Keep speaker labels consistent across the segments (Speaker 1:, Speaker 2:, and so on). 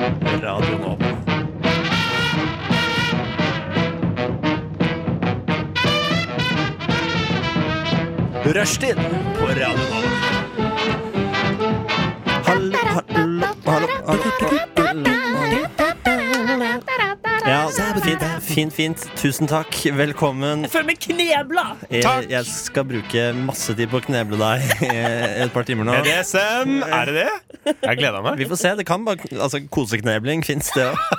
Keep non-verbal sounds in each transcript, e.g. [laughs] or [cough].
Speaker 1: Radio Nova. Rushtid på Radio Nova.
Speaker 2: Hallo, hallo, hallo, Ja, fint, fint, fint. Tusen takk. Velkommen.
Speaker 3: Jeg føler meg knebla!
Speaker 2: Jeg, Eh, jeg skal bruke masse tid på å kneble deg [laughs] i et par timer nå.
Speaker 1: BDSM, er det det? Jeg gleder meg.
Speaker 2: Vi får se. Det kan bare Altså, koseknebling fins, det òg. [laughs]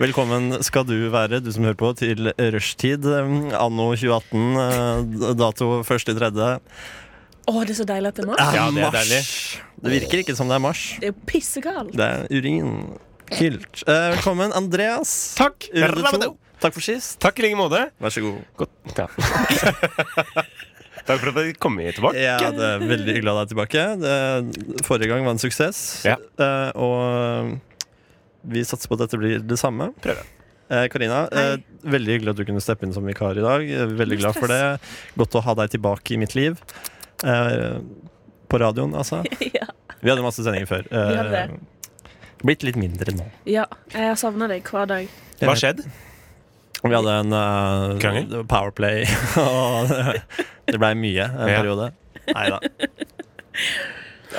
Speaker 2: Velkommen skal du være, du som hører på, til rushtid eh, anno 2018. eh, Dato 1.3.
Speaker 3: Å, det er så deilig at det er mars.
Speaker 1: Ja, det er
Speaker 2: Det virker ikke som det er mars.
Speaker 3: Det er jo pissekaldt.
Speaker 2: Det er urin. Kult. Eh, velkommen, Andreas.
Speaker 1: Takk.
Speaker 2: Runde to. Takk for sist.
Speaker 4: Takk i like måte.
Speaker 2: Vær så god.
Speaker 4: Godt.
Speaker 2: [laughs]
Speaker 4: Ja. Takk for at jeg kom hit tilbake.
Speaker 2: Ja, det er Veldig hyggelig å ha deg tilbake. Det, forrige gang var en suksess.
Speaker 4: Ja.
Speaker 2: Eh, og vi satser på at dette blir det samme.
Speaker 4: Prøver.
Speaker 2: Eh, Karina, eh,
Speaker 3: Hei.
Speaker 2: veldig hyggelig at du kunne steppe inn som vikar i dag. Eh, Veldig glad for det. Godt å ha deg tilbake i mitt liv. Eh, på radioen, altså.
Speaker 3: [laughs] Ja.
Speaker 2: Vi hadde masse sendinger før. Eh,
Speaker 3: Vi hadde det.
Speaker 2: blitt litt mindre nå.
Speaker 3: ja. Jeg har savna deg hver dag.
Speaker 4: Hva skjedde?
Speaker 2: Vi hadde en eh,
Speaker 4: Krangel?
Speaker 2: Powerplay, [laughs] og det blei mye en
Speaker 4: Ja.
Speaker 2: periode. Nei da.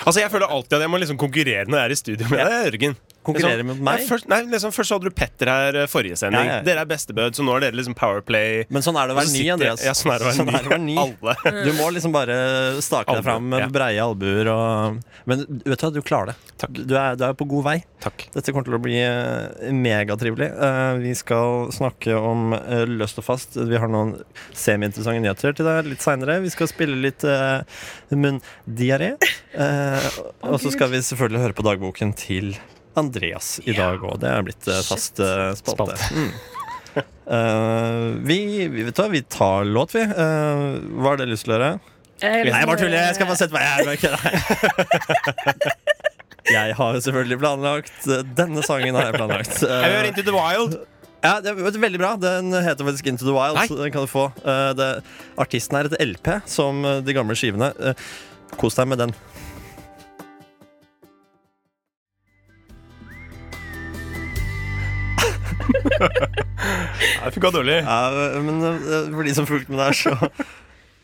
Speaker 4: Altså, Jeg føler alltid at jeg må liksom konkurrere når jeg er i studio med deg, Jørgen.
Speaker 2: Konkurrere
Speaker 4: Liksom,
Speaker 2: mot meg?
Speaker 4: Nei, først, nei, liksom, først så hadde du Petter her eh, forrige sending.
Speaker 2: Ja, ja.
Speaker 4: Dere er bestebød, så nå er dere liksom Powerplay.
Speaker 2: Men sånn er det å
Speaker 4: Og
Speaker 2: være
Speaker 4: så
Speaker 2: ny,
Speaker 4: sitter-
Speaker 2: Andreas.
Speaker 4: Ja, sånn er det å
Speaker 2: Sånn er det å
Speaker 4: være ny. Alle.
Speaker 2: [laughs] Du må liksom bare stake deg
Speaker 4: Albuer,
Speaker 2: fram med
Speaker 4: ja.
Speaker 2: breie albuer og Men vet du hva, du klarer det. Du er, du er på god vei.
Speaker 4: Takk.
Speaker 2: Dette kommer til å bli eh, megatrivelig. Eh, vi skal snakke om eh, løst og fast. Vi har noen semiinteressante nyheter til deg litt seinere. Vi skal spille litt uh, munndiaré. Eh, og så
Speaker 3: Gud.
Speaker 2: skal vi selvfølgelig høre på dagboken til Andreas i dag òg. Det er blitt eh, fast eh, spalte. Mm. Eh, vi, vi, vet du, hva, vi tar låt, vi. Eh, hva har dere lyst til å gjøre?
Speaker 3: Jeg liksom, eh,
Speaker 2: Nei, jeg bare tuller. Jeg skal bare
Speaker 3: bare
Speaker 2: sette meg Jeg, bare
Speaker 4: [laughs]
Speaker 2: kødder. jeg har jo selvfølgelig planlagt eh, Denne sangen har jeg planlagt. Eh,
Speaker 4: Jeg hører Into the Wild.
Speaker 2: Ja, det er Veldig bra. Den heter faktisk Into the Wild.
Speaker 4: Nei.
Speaker 2: Så den kan du få Eh, det, Artisten er et LP, som eh, de gamle skivene. Eh, Kos deg med den.
Speaker 4: Ja, Det funka dårlig.
Speaker 2: Ja, men eh, for de som fulgte med der, så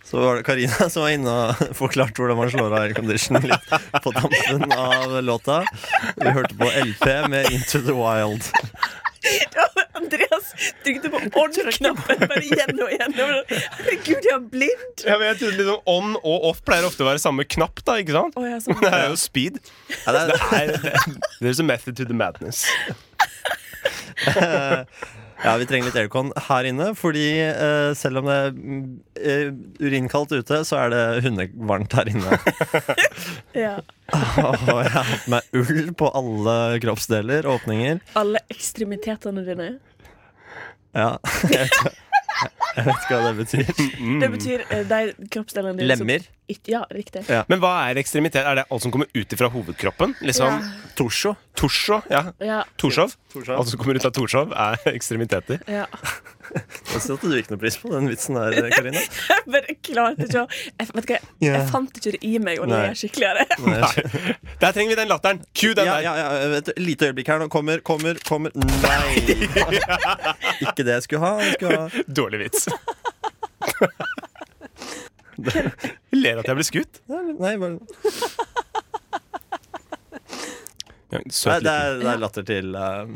Speaker 2: så var det Karina [laughs] som var inne og forklarte hvordan man slår av aircondition litt på tampen av låta. Vi hørte på LP med Into the Wild.
Speaker 3: Andreas trykte på on-knappen bare igjen og igjen. Jeg bare, Herregud, jeg er blind!
Speaker 4: Ja, men jeg trodde liksom On og off pleier ofte å være samme knapp, da, ikke sant?
Speaker 3: Å,
Speaker 4: [laughs]
Speaker 3: jeg er
Speaker 4: Men det
Speaker 3: sånn.
Speaker 4: er jo speed.
Speaker 2: Ja, det er,
Speaker 4: Det er, det, there's a method to the madness.
Speaker 2: Ja, vi trenger litt aircon her inne, fordi eh, selv om det er mm, eh, urinkaldt ute, så er det hundevarmt her
Speaker 4: [laughs]
Speaker 2: inne.
Speaker 3: Ja.
Speaker 2: Og jeg har hatt med ull på alle kroppsdeler, åpninger.
Speaker 3: Alle ekstremitetene dine.
Speaker 2: Ja, [laughs] jeg vet, jeg vet ikke hva det betyr.
Speaker 3: Det betyr eh, de kroppsdelene dine som-
Speaker 2: Mm. Lemmer,
Speaker 3: Ikke- Ja, riktig.
Speaker 2: Ja.
Speaker 4: Men hva er ekstremitet? Er det alt som kommer ut fra hovedkroppen? Liksom
Speaker 2: torso,
Speaker 4: Torso? Ja.
Speaker 3: Ja.
Speaker 4: Torshov? Alt som kommer ut av Torshov, er [laughs] ekstremiteter.
Speaker 3: ja. [laughs]
Speaker 2: Jeg satte du ikke noe pris på den vitsen
Speaker 4: [laughs]
Speaker 2: der, Karina.
Speaker 3: Jeg bare klarte ikke å Jeg, vet du hva, jeg,
Speaker 2: Ja.
Speaker 3: jeg fant ikke det i meg å le
Speaker 2: Nei.
Speaker 3: skikkelig av det.
Speaker 2: Nei.
Speaker 4: Der trenger vi den latteren! Cue den
Speaker 2: Ja,
Speaker 4: der!
Speaker 2: ja, ja, et lite øyeblikk her nå. Kommer, kommer, kommer.
Speaker 4: [laughs]
Speaker 2: Nei! Ikke det jeg skulle ha. Jeg skulle ha
Speaker 4: Dårlig
Speaker 2: [laughs]
Speaker 4: vits. Ler at jeg blir skutt.
Speaker 2: Nei, bare...
Speaker 4: Ja,
Speaker 2: Nei det,
Speaker 4: Søt liten
Speaker 2: er, det er latter til eh,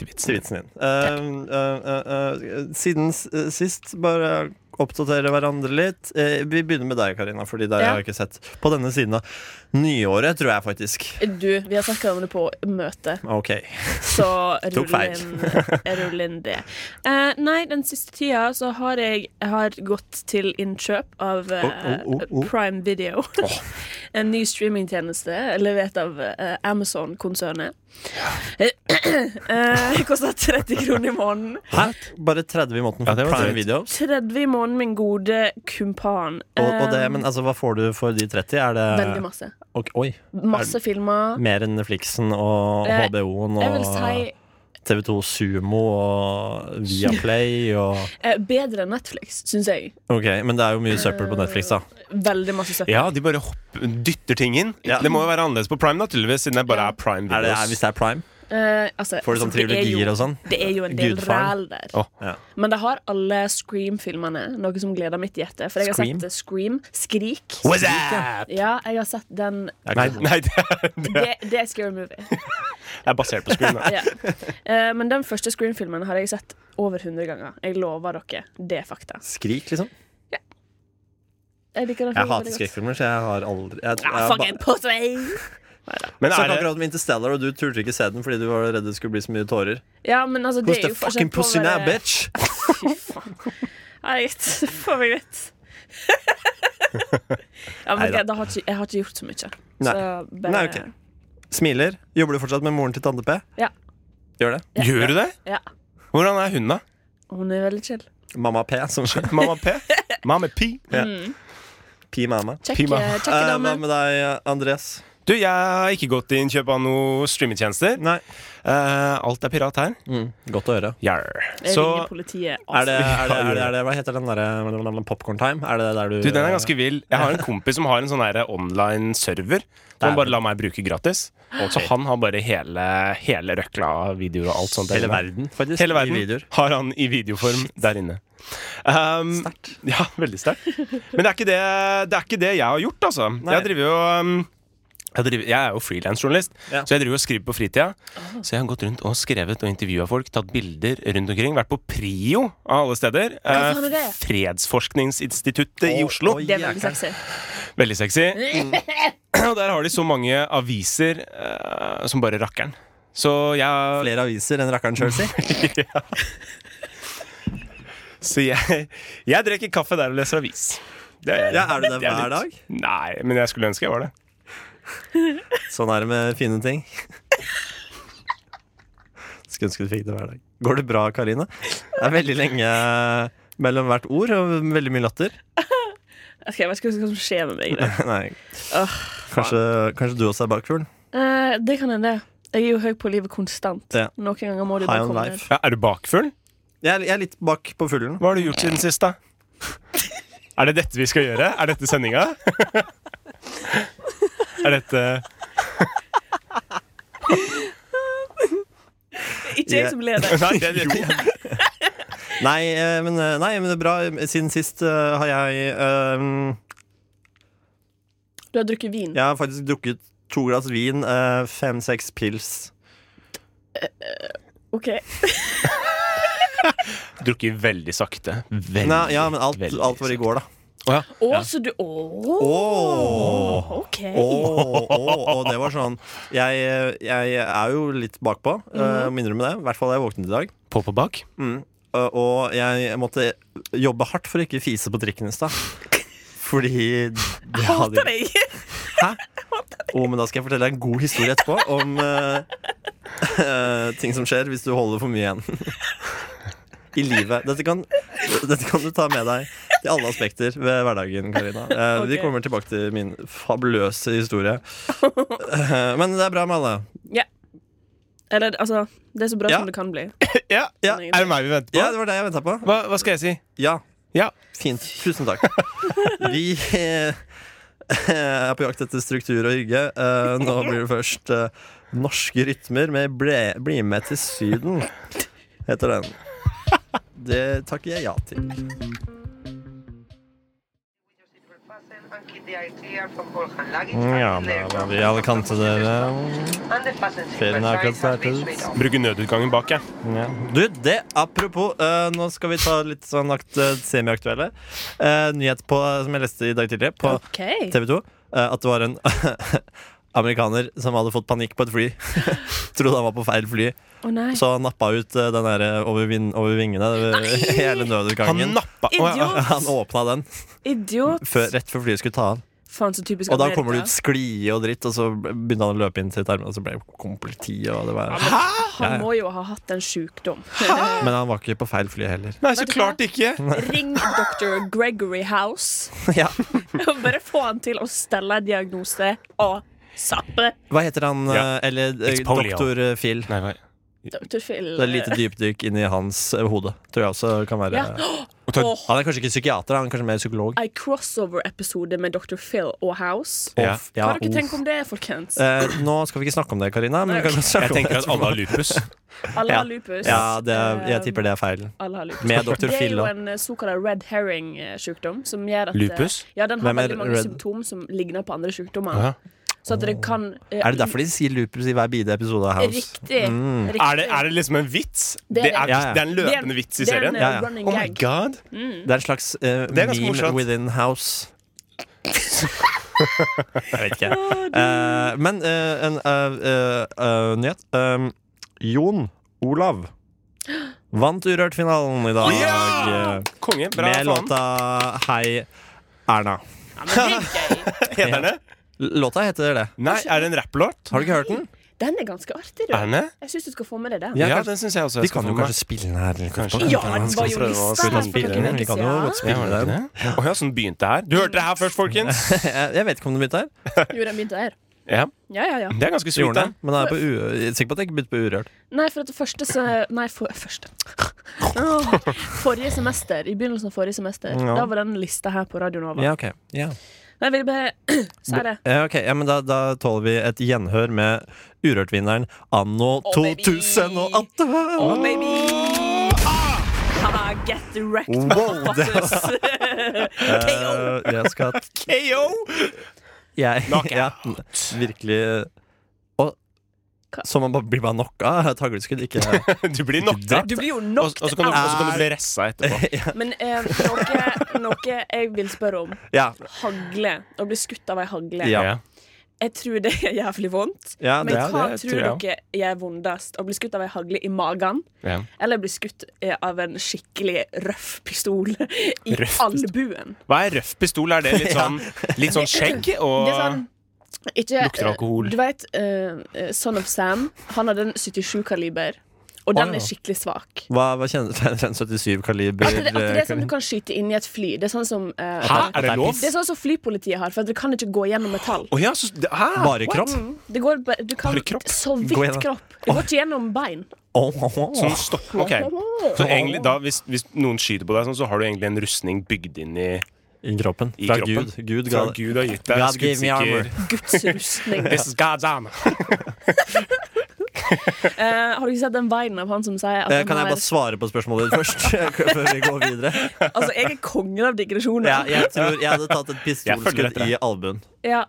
Speaker 4: til vits.
Speaker 2: til vitsen din. Eh, eh, eh, eh, siden s- eh, sist, bare oppdatere hverandre litt. Eh, vi begynner med deg, Karina, fordi deg
Speaker 3: Ja.
Speaker 2: har jeg ikke sett på denne siden av nyåret, tror jeg faktisk.
Speaker 3: Du, vi har snakka om det på møte.
Speaker 2: Ok.
Speaker 3: Så
Speaker 2: [laughs] Tok
Speaker 3: rull
Speaker 2: feil.
Speaker 3: inn, rull inn det. Eh, nei, den siste tida så har jeg jeg har gått til innkjøp av eh,
Speaker 2: Oh, oh, oh, oh.
Speaker 3: Prime Video. [laughs] en ny streamingtjeneste levert av eh, Amazon-konsernet. [clears throat] Eh, Kosta 30 kroner i måneden.
Speaker 2: Hæ? Bare 30 i måneden for
Speaker 4: Ja, det var
Speaker 2: prime
Speaker 4: drøyt.
Speaker 2: videos?
Speaker 3: 30 i måneden, min gode kumpan.
Speaker 2: Og, og det,
Speaker 3: Eh,
Speaker 2: men eh, altså, hva får du for de 30? Er det
Speaker 3: Veldig masse.
Speaker 2: Ok, Oi.
Speaker 3: Masse filmer.
Speaker 2: Mer enn Flixen og
Speaker 3: Eh,
Speaker 2: HBO-en Mm, og
Speaker 3: Jeg vil si
Speaker 2: TV2 Sumo og Viaplay og
Speaker 3: Eh, bedre enn Netflix, syns jeg.
Speaker 2: Ok, men det er jo mye søppel på Netflix, da.
Speaker 3: Veldig masse søppel.
Speaker 4: Ja, de bare hopp, dytter ting inn.
Speaker 2: Ja.
Speaker 4: Det må jo være annerledes på Prime, naturligvis, siden det bare er Prime
Speaker 2: Er det, er,
Speaker 4: videos.
Speaker 2: hvis det er prime?
Speaker 3: Eh, altså,
Speaker 2: Får du sånn
Speaker 3: altså, det er jo-
Speaker 2: trilogier og sånn?
Speaker 3: Det er jo en del
Speaker 2: Gudfaren?
Speaker 3: ræl der.
Speaker 4: Åh.
Speaker 2: Ja.
Speaker 3: Men det har alle Scream-filmene, noe som gleder mitt hjerte. For jeg har
Speaker 2: Scream?
Speaker 3: sett Scream. Skrik.
Speaker 4: What's up?
Speaker 3: Ja, jeg har sett den.
Speaker 4: Nei, nei det, er, det
Speaker 3: Det, det er Scary Movie.
Speaker 4: er basert
Speaker 2: [laughs]
Speaker 4: på screen. da.
Speaker 3: Ja. Eh, men den første Scream-filmen har jeg sett over 100 ganger. Jeg lover dere, det er fakta.
Speaker 2: Skrik, liksom?
Speaker 3: Jeg liker
Speaker 2: Jeg
Speaker 3: den filmen
Speaker 2: hater
Speaker 3: veldig godt.
Speaker 2: skrekkfilmer, så jeg har aldri jeg, tror-
Speaker 3: Ah,
Speaker 2: jeg,
Speaker 3: fuck
Speaker 2: ba-
Speaker 3: it, på seg!
Speaker 2: Snakket
Speaker 4: Men er det,
Speaker 2: akkurat om Interstellar, og du turte ikke se den fordi du var redd det skulle bli så mye tårer.
Speaker 3: Ja, men altså,
Speaker 2: Who's
Speaker 3: det
Speaker 2: the
Speaker 3: er jo forskjell
Speaker 2: fucking
Speaker 3: på å
Speaker 2: pussy now,
Speaker 3: være-
Speaker 2: bitch?
Speaker 3: [laughs] Fy faen. Nei, greit. Får meg litt.
Speaker 2: [laughs]
Speaker 3: ja, men
Speaker 2: Neida.
Speaker 3: jeg, da har ikke, jeg har ikke gjort så mye.
Speaker 2: Nei.
Speaker 3: Så bare,
Speaker 2: Nei, ok. Smiler. Jobber du fortsatt med moren til Tande P?
Speaker 3: Ja.
Speaker 2: Gjør det.
Speaker 4: gjør du det?
Speaker 3: Ja.
Speaker 4: Hvordan er hun, da?
Speaker 3: Hun er veldig chill.
Speaker 2: Mamma P, som
Speaker 4: Mamma P? Mamma P?
Speaker 2: P-mamma.
Speaker 3: Kjekk
Speaker 4: Pima.
Speaker 3: eh, kjekk
Speaker 2: Eh,
Speaker 3: dame.
Speaker 2: hva med deg, Andreas?
Speaker 4: Du, jeg har ikke gått i innkjøp av noen streametjenester.
Speaker 2: Nei.
Speaker 4: Eh, alt er pirat her.
Speaker 2: Mm, Godt å høre.
Speaker 4: Yarr.
Speaker 3: Jeg
Speaker 4: Så
Speaker 3: ringer politiet.
Speaker 2: Er det, [laughs] er
Speaker 3: altså.
Speaker 2: det, er det, er det, hva heter den derre Popcorn Time? Er det der du
Speaker 4: du, den er ganske vill. Jeg har en kompis som har en sånn her online server som han bare lar meg bruke gratis. Så han har bare hele, hele røkla av video og alt sånt. der
Speaker 2: Hele
Speaker 4: inne.
Speaker 2: verden, faktisk.
Speaker 4: Hele
Speaker 2: I
Speaker 4: verden
Speaker 2: videoer.
Speaker 4: har han i videoform der inne. Um,
Speaker 2: Sterkt.
Speaker 4: Ja, veldig sterkt. Men det er ikke det, det, er ikke det jeg har gjort, altså. Jeg driver jo um, jeg, driver, jeg er jo frilansjournalist,
Speaker 2: Ja. Ah.
Speaker 4: så jeg driver og skriver på fritida. Så jeg har gått rundt og skrevet og intervjua folk, tatt bilder rundt omkring. Vært på Prio av alle steder.
Speaker 3: Hva faen er
Speaker 4: Eh,
Speaker 3: det?
Speaker 4: Fredsforskningsinstituttet i
Speaker 2: Å,
Speaker 4: Oslo.
Speaker 2: oi, Mm.
Speaker 3: Det er veldig
Speaker 2: jækla.
Speaker 3: sexy.
Speaker 4: Veldig sexy. [clears throat] Og der har de så mange aviser eh, som bare rakkeren. Så jeg
Speaker 2: Flere aviser enn rakkeren sjøl, [laughs] si.
Speaker 4: Så jeg, jeg drikker kaffe der og leser avis. Det jeg.
Speaker 2: Ja, er du der
Speaker 4: Det
Speaker 2: hver
Speaker 4: litt-
Speaker 2: dag?
Speaker 4: Nei, men jeg skulle ønske jeg var det.
Speaker 2: Sånn er det med fine ting. Skulle ønske du fikk det hver dag. Går det bra, Karine? Det er veldig lenge mellom hvert ord og veldig mye latter. [laughs]
Speaker 3: Ok, jeg vet ikke hva som skjer med meg. i dag.
Speaker 2: Nei,
Speaker 3: Åh,
Speaker 2: kanskje, kanskje du også er bakfuglen?
Speaker 3: Eh, det kan hende. Jeg er jo høy på livet konstant.
Speaker 2: Ja.
Speaker 3: Noen ganger må de
Speaker 2: High
Speaker 3: bare
Speaker 2: on
Speaker 3: komme ned.
Speaker 2: life.
Speaker 4: Ja, er du bakfull?
Speaker 2: Jeg er, jeg er litt bak på fuglen.
Speaker 4: Hva har du gjort siden sist,
Speaker 2: [laughs]
Speaker 4: da? Er det dette vi skal gjøre? Er dette sendinga? [laughs] Er dette
Speaker 2: [laughs]
Speaker 3: Ikke jeg som leder.
Speaker 4: Nei, det, det,
Speaker 2: Nei, eh, men, eh, nei, men det er bra. Siden sist eh, har jeg eh,
Speaker 3: Du har drukket vin.
Speaker 2: Jeg har faktisk drukket to glass vin, eh, fem-seks pils.
Speaker 3: Ok.
Speaker 4: Drukket veldig sakte. Veldig,
Speaker 2: Nei, ja, men alt,
Speaker 4: veldig
Speaker 2: alt var i går, da.
Speaker 3: Å, så du Åh
Speaker 2: Åh.
Speaker 3: OK.
Speaker 2: Åh, åh, og det var sånn Jeg, jeg er jo litt bakpå, eh, må innrømme det. I hvert fall da jeg våknet i dag.
Speaker 4: sakte. På på bak?
Speaker 2: Mm. Eh, Og jeg måtte jobbe hardt for å ikke fise på trikken i stad. Fordi det
Speaker 3: Jeg
Speaker 2: hadde
Speaker 3: hater deg. [laughs]
Speaker 2: Hæ? Å, men da skal jeg fortelle deg en god historie etterpå om eh, [laughs] eh, ting som skjer hvis du holder for mye igjen. [laughs] I livet. Dette kan, dette kan du ta med deg til alle aspekter ved hverdagen, Karina. Eh, Vi
Speaker 3: Ok.
Speaker 2: kommer tilbake til min fabuløse historie. Eh, men det er bra med alle.
Speaker 3: Eller, altså, det er så bra
Speaker 2: Ja.
Speaker 3: som det kan bli.
Speaker 4: Ja.
Speaker 2: Ja.
Speaker 3: Sånn
Speaker 4: Er det meg vi venter på?
Speaker 2: Ja, det var det jeg venta på.
Speaker 4: Hva, hva skal jeg si?
Speaker 2: Ja.
Speaker 4: Ja.
Speaker 2: Fint. Tusen
Speaker 5: [laughs]
Speaker 2: takk. Vi eh, er på jakt etter struktur og hygge. Eh, nå blir det først eh, Norske rytmer med ble, 'Bli med til Syden', heter den. Det takker jeg ja til.
Speaker 5: Ja, da var vi i Alicante, dere. Ferien er akkurat startet.
Speaker 4: Bruker nødutgangen bak, jeg.
Speaker 2: Du, det apropos, eh, nå skal vi ta litt sånn akt, eh, semiaktuelle. Eh, nyhet på, som jeg leste i dag tidlig på
Speaker 3: OK.
Speaker 2: TV 2. at det var en [laughs] amerikaner som hadde fått panikk på et fly. [laughs] Trodde han var på feil fly.
Speaker 3: Å nei.
Speaker 2: Så han nappa ut eh, den der eh, over, vin, over vingene, det- [laughs] hele
Speaker 4: Han
Speaker 2: nødutgangen.
Speaker 4: nappa Å, ja, ja.
Speaker 2: Han åpna den
Speaker 3: Idiot.
Speaker 2: før, rett før flyet skulle ta av.
Speaker 3: Faen, så typisk
Speaker 2: Og da
Speaker 3: Amerika.
Speaker 2: kommer det ut sklie og dritt, og så begynte han å løpe inn til tarmen, og så ble kom politiet, og det var
Speaker 3: Han må jo ha hatt en sjukdom.
Speaker 2: [laughs] Men han var ikke på feil fly heller.
Speaker 4: Nei, så
Speaker 3: Vet du hva?
Speaker 4: klart ikke.
Speaker 3: [laughs] Ring dr. Gregory House
Speaker 2: ja.
Speaker 3: og [laughs] bare få han til å stelle en diagnose og sappe.
Speaker 2: Hva heter han, eh,
Speaker 4: Ja.
Speaker 2: eller eh,
Speaker 4: It's polio.
Speaker 2: doktor eh, Phil?
Speaker 4: Nei, hva?
Speaker 3: Doktorfyll.
Speaker 2: Det er lite dypdykk inni hans eh, hode. Tror jeg også kan være
Speaker 3: Ja. Åh,
Speaker 2: Han er kanskje ikke psykiater, han er kanskje mer psykolog.
Speaker 3: En crossover-episode med Dr. Phil og House.
Speaker 2: Ja.
Speaker 3: Hva
Speaker 2: Ja,
Speaker 3: har dere
Speaker 2: uff.
Speaker 3: tenkt om det, folkens?
Speaker 2: Eh, nå skal vi ikke snakke om det, Karina. Men vi kan godt snakke
Speaker 4: Jeg
Speaker 2: om
Speaker 4: tenker
Speaker 2: det.
Speaker 4: at alle har lupus.
Speaker 2: [laughs]
Speaker 3: Alle
Speaker 2: Eh, ja.
Speaker 3: har lupus.
Speaker 2: Ja, det, jeg
Speaker 3: Eh,
Speaker 2: tipper det er feilen.
Speaker 3: Alle har lupus.
Speaker 2: Med Dr.
Speaker 3: Det er
Speaker 2: Phil
Speaker 3: jo
Speaker 2: da.
Speaker 3: en eh, såkalt red herring-sjukdom. Som gjør at eh,
Speaker 4: Lupus?
Speaker 3: Ja, den har
Speaker 2: Hvem er
Speaker 3: veldig mange
Speaker 2: red-
Speaker 3: symptom som ligner på andre sjukdommer.
Speaker 4: Aha.
Speaker 3: Så at det kan eh,
Speaker 2: Er det derfor de sier lupus i hver bide-episode av House? Mm.
Speaker 3: Riktig. riktig.
Speaker 4: Er det, er det liksom en vits?
Speaker 3: Det er
Speaker 4: Det
Speaker 3: det.
Speaker 4: er,
Speaker 2: Ja, ja.
Speaker 4: det er en
Speaker 3: Det er en-
Speaker 4: løpende vits i
Speaker 3: det er en,
Speaker 4: serien?
Speaker 3: eh,
Speaker 2: Ja, ja.
Speaker 3: running
Speaker 4: Oh my
Speaker 3: gag.
Speaker 4: god!
Speaker 2: Det er en slags eh,
Speaker 4: Det er ganske
Speaker 2: meme
Speaker 4: morsomt.
Speaker 2: within
Speaker 4: [laughs]
Speaker 2: house. jeg vet ikke. Eh, men eh, en eh, eh, eh, nyhet. Um, Jon Olav vant Urørt-finalen i dag
Speaker 4: Ja!
Speaker 2: eh,
Speaker 4: Konge. Bra
Speaker 2: med
Speaker 4: faen.
Speaker 2: låta Hei Erna.
Speaker 3: Ja, men det er gøy.
Speaker 4: [laughs] Heter den det?
Speaker 2: Låta heter det.
Speaker 4: Nei, er det en rapplåt?
Speaker 2: Har du ikke hørt den?
Speaker 3: Den er ganske artig, du.
Speaker 4: [laughs] Er den det?
Speaker 3: Jeg syns du skal få med deg den.
Speaker 2: Ja,
Speaker 4: Ja,
Speaker 2: kanskje-
Speaker 4: den syns jeg også. jeg
Speaker 2: Vi
Speaker 4: skal
Speaker 2: kan
Speaker 4: få
Speaker 2: jo
Speaker 4: med.
Speaker 2: kanskje spille den her.
Speaker 4: Kanskje.
Speaker 3: Ja, den var jo
Speaker 4: Skal vi prøve å
Speaker 3: lista her for
Speaker 4: spille
Speaker 3: noen
Speaker 2: den? Vi
Speaker 3: uker
Speaker 2: kan jo
Speaker 3: siden.
Speaker 2: godt spille.
Speaker 4: Ja, var det ikke det? Å ja, sånn begynte det her. Du hørte det her først, folkens!
Speaker 2: [laughs] Jeg jeg vet ikke om den begynte her.
Speaker 3: [laughs] Jo, den begynte her.
Speaker 4: Ja,
Speaker 3: Ja, ja, ja.
Speaker 4: Det er ganske sweet,
Speaker 2: Gjorde
Speaker 4: da.
Speaker 2: den, men den er på u jeg er sikker på at jeg ikke begynte på Urørt.
Speaker 3: Nei, for at det første så Nei, for,
Speaker 4: [laughs]
Speaker 3: første Åh, Forrige semester, i begynnelsen av forrige semester,
Speaker 2: Ja.
Speaker 3: da var den lista her på Radio Nova.
Speaker 2: Ja, ok. Ja.
Speaker 3: Nei, Jeg ville bare [clears throat] si det.
Speaker 2: Ja, ok, ja, men da, da tåler vi et gjenhør med Urørt-vinneren anno
Speaker 3: Oh, baby.
Speaker 2: 2018.
Speaker 3: Oh, baby!
Speaker 4: ah!
Speaker 3: Haha, get wrecked,
Speaker 4: Oh,
Speaker 3: [laughs]
Speaker 2: Wow, det
Speaker 4: [laughs]
Speaker 2: var-
Speaker 3: motherfuckers! oh.
Speaker 2: Eh, jeg skal
Speaker 4: KO!
Speaker 2: jeg, ja,
Speaker 4: Knockout.
Speaker 2: Virkelig Og så man bare blir bare knocka? Tagleskudd, ikke
Speaker 4: [laughs]
Speaker 3: [laughs]
Speaker 4: Du blir knocka.
Speaker 3: [laughs] Du blir jo
Speaker 4: Og og
Speaker 3: knocked
Speaker 4: så kan, du- og så kan du
Speaker 2: out.
Speaker 4: bli ressa etterpå.
Speaker 3: Men eh, noe, noe jeg vil spørre om.
Speaker 2: Ja.
Speaker 3: Hagle. Å bli skutt av ei hagle.
Speaker 2: [laughs] Ja.
Speaker 3: Jeg tror det er jævlig vondt.
Speaker 2: ja
Speaker 3: Men
Speaker 2: det,
Speaker 4: Ja,
Speaker 3: hva
Speaker 4: det
Speaker 3: tror,
Speaker 4: tror jeg
Speaker 3: dere er vondest? Å bli skutt av ei hagle i magen?
Speaker 4: Ja.
Speaker 3: Eller bli skutt eh, av en skikkelig røff pistol i
Speaker 4: Røff
Speaker 3: albuen?
Speaker 4: Hva er røff pistol? Er det litt
Speaker 2: [laughs]
Speaker 4: sånn, litt sånn skjegg og
Speaker 3: Det er sånn ikke,
Speaker 4: Lukter
Speaker 3: eh,
Speaker 4: alkohol.
Speaker 3: Du vet eh, Son of Sam? Han hadde en 77-kaliber, og den
Speaker 2: ja.
Speaker 3: er skikkelig svak.
Speaker 2: hva, hva kjennetegner en [laughs] 77 kaliber? eh,
Speaker 3: At det, at det er sånn du kan skyte inn i et fly. Det er sånn som eh,
Speaker 4: Hæ, er det
Speaker 2: er
Speaker 4: lov?
Speaker 3: Det er sånn som flypolitiet har, for at det kan ikke gå gjennom metall.
Speaker 4: Å ja, så det- hæ?
Speaker 2: Bare kropp?
Speaker 3: Det går, ba- du kan
Speaker 4: Bare kropp?
Speaker 3: så
Speaker 2: Gå
Speaker 3: vidt
Speaker 2: gjennom-
Speaker 3: kropp. Det går ikke gjennom bein.
Speaker 2: Oh, oh, oh.
Speaker 4: Sånn stopp. Ok. Så egentlig da, hvis, hvis noen skyter på deg sånn, så har du egentlig en rustning bygd inn i,
Speaker 2: I kroppen.
Speaker 4: i
Speaker 2: Fra
Speaker 4: kroppen.
Speaker 2: Gud. Gud ga
Speaker 4: Fra
Speaker 2: det.
Speaker 4: Gud har gitt deg
Speaker 2: God gave me armor.
Speaker 4: [laughs] skuddsikker
Speaker 3: Guds rustning.
Speaker 4: This is God's armor.
Speaker 3: Eh, har du ikke sett den veien av han som sier at
Speaker 2: Eh,
Speaker 3: han
Speaker 2: Kan jeg
Speaker 3: har-
Speaker 2: bare svare på spørsmålet ditt først? [laughs] Før vi går videre
Speaker 3: Altså, jeg er kongen av digresjoner.
Speaker 2: ja, Jeg tror jeg hadde tatt et
Speaker 4: Jeg følger
Speaker 2: pistolskudd
Speaker 4: etter deg.
Speaker 2: i albuen
Speaker 3: Ja.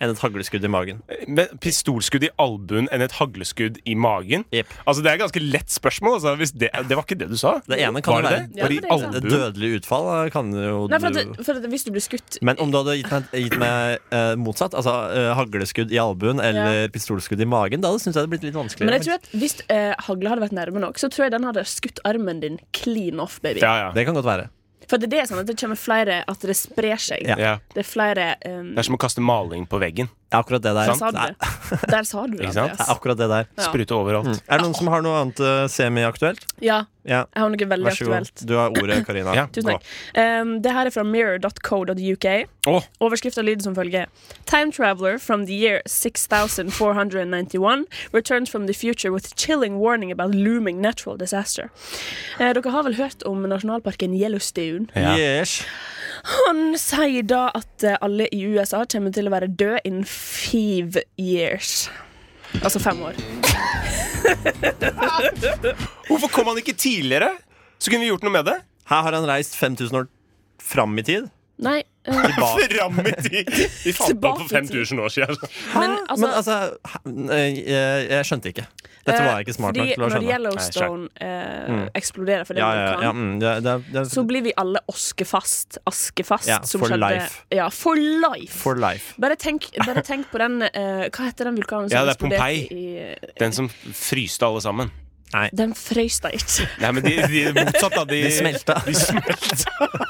Speaker 2: enn et hagleskudd i magen.
Speaker 4: Men pistolskudd i albuen enn et hagleskudd i magen?
Speaker 2: Jep.
Speaker 4: Altså Det er et ganske lett spørsmål. Altså, hvis det, det var ikke det du sa.
Speaker 2: Det ene kan
Speaker 4: var
Speaker 2: jo
Speaker 4: det
Speaker 2: være
Speaker 4: det?
Speaker 3: Ja,
Speaker 4: Var det
Speaker 3: det
Speaker 4: i
Speaker 3: er sant.
Speaker 2: et
Speaker 4: albuen?
Speaker 2: dødelig utfall. eh, Kan jo
Speaker 3: Nei, for, at,
Speaker 2: du-
Speaker 3: det- for at Hvis du blir skutt
Speaker 2: Men om du hadde gitt meg, gitt meg eh, motsatt, altså eh, hagleskudd i albuen eller pistolskudd i magen, da hadde synes jeg det blitt litt
Speaker 3: Men
Speaker 2: vanskeligere.
Speaker 3: jeg tror at Hvis eh, hagla hadde vært nærme nok, så tror jeg den hadde skutt armen din clean off, baby.
Speaker 4: Ja, ja.
Speaker 2: Det kan godt være.
Speaker 3: For det er sånn at det kommer flere At det sprer seg.
Speaker 2: Ja.
Speaker 4: ja.
Speaker 3: Det er flere um,
Speaker 4: Det er som å kaste maling på veggen.
Speaker 2: Ja, Akkurat det der.
Speaker 3: Der sa du
Speaker 2: Nei,
Speaker 3: det. [laughs] Der sa du det,
Speaker 4: Ikke sant?
Speaker 2: det er
Speaker 3: Andreas.
Speaker 2: akkurat det der.
Speaker 3: Ja.
Speaker 4: Sprute overalt.
Speaker 2: Er det noen som har noe annet eh, semiaktuelt?
Speaker 3: Ja,
Speaker 2: Ja,
Speaker 3: jeg har noe veldig
Speaker 2: vær så god.
Speaker 3: aktuelt.
Speaker 2: Du har ordet, Karina.
Speaker 4: Ja.
Speaker 3: Tusen takk. Um, det her er fra mirror.co.uk.
Speaker 4: Åh,
Speaker 3: Overskrifta lyder som følger Time traveler from the year 6491 returns from the future with chilling warning about looming natural disaster. Eh, dere har vel hørt om nasjonalparken Yellowstone?
Speaker 4: ja.
Speaker 2: Yes.
Speaker 3: Han sier da at eh, alle i USA kommer til å være døde innen five years. Altså fem år.
Speaker 4: Hvorfor kom han ikke tidligere? Så kunne vi gjort noe med det.
Speaker 2: Her har han reist 5000 år fram i tid.
Speaker 3: Nei, eh,
Speaker 2: Tilbake.
Speaker 4: [laughs] Fram i tid! Vi fant på for
Speaker 3: Tilbake i tid.
Speaker 4: 5000 år siden.
Speaker 3: men altså, Eh,
Speaker 2: Men altså, hæ- eh, jeg, jeg skjønte ikke. Dette var jeg ikke smart nok
Speaker 3: fordi
Speaker 2: til å
Speaker 3: Når
Speaker 2: skjønne. Mm.
Speaker 3: Yellowstone eh, eksploderer for det
Speaker 2: Ja,
Speaker 3: den
Speaker 2: ja,
Speaker 3: kan,
Speaker 2: ja, mm, det, det, det,
Speaker 3: så blir vi alle oskefast. Askefast.
Speaker 2: Ja,
Speaker 3: som
Speaker 2: for
Speaker 3: skjedde-
Speaker 2: life.
Speaker 3: Ja, for life.
Speaker 2: for life.
Speaker 3: bare, tenk, bare tenk på den eh, Hva heter den vulkanen som
Speaker 4: Ja, det er
Speaker 3: eksploderte
Speaker 4: Pompeii.
Speaker 3: i
Speaker 4: Den som fryste alle sammen.
Speaker 3: Den frøys da ikke.
Speaker 4: Nei, men de, de motsatt, da. De,
Speaker 2: De smelta.
Speaker 4: De smelta.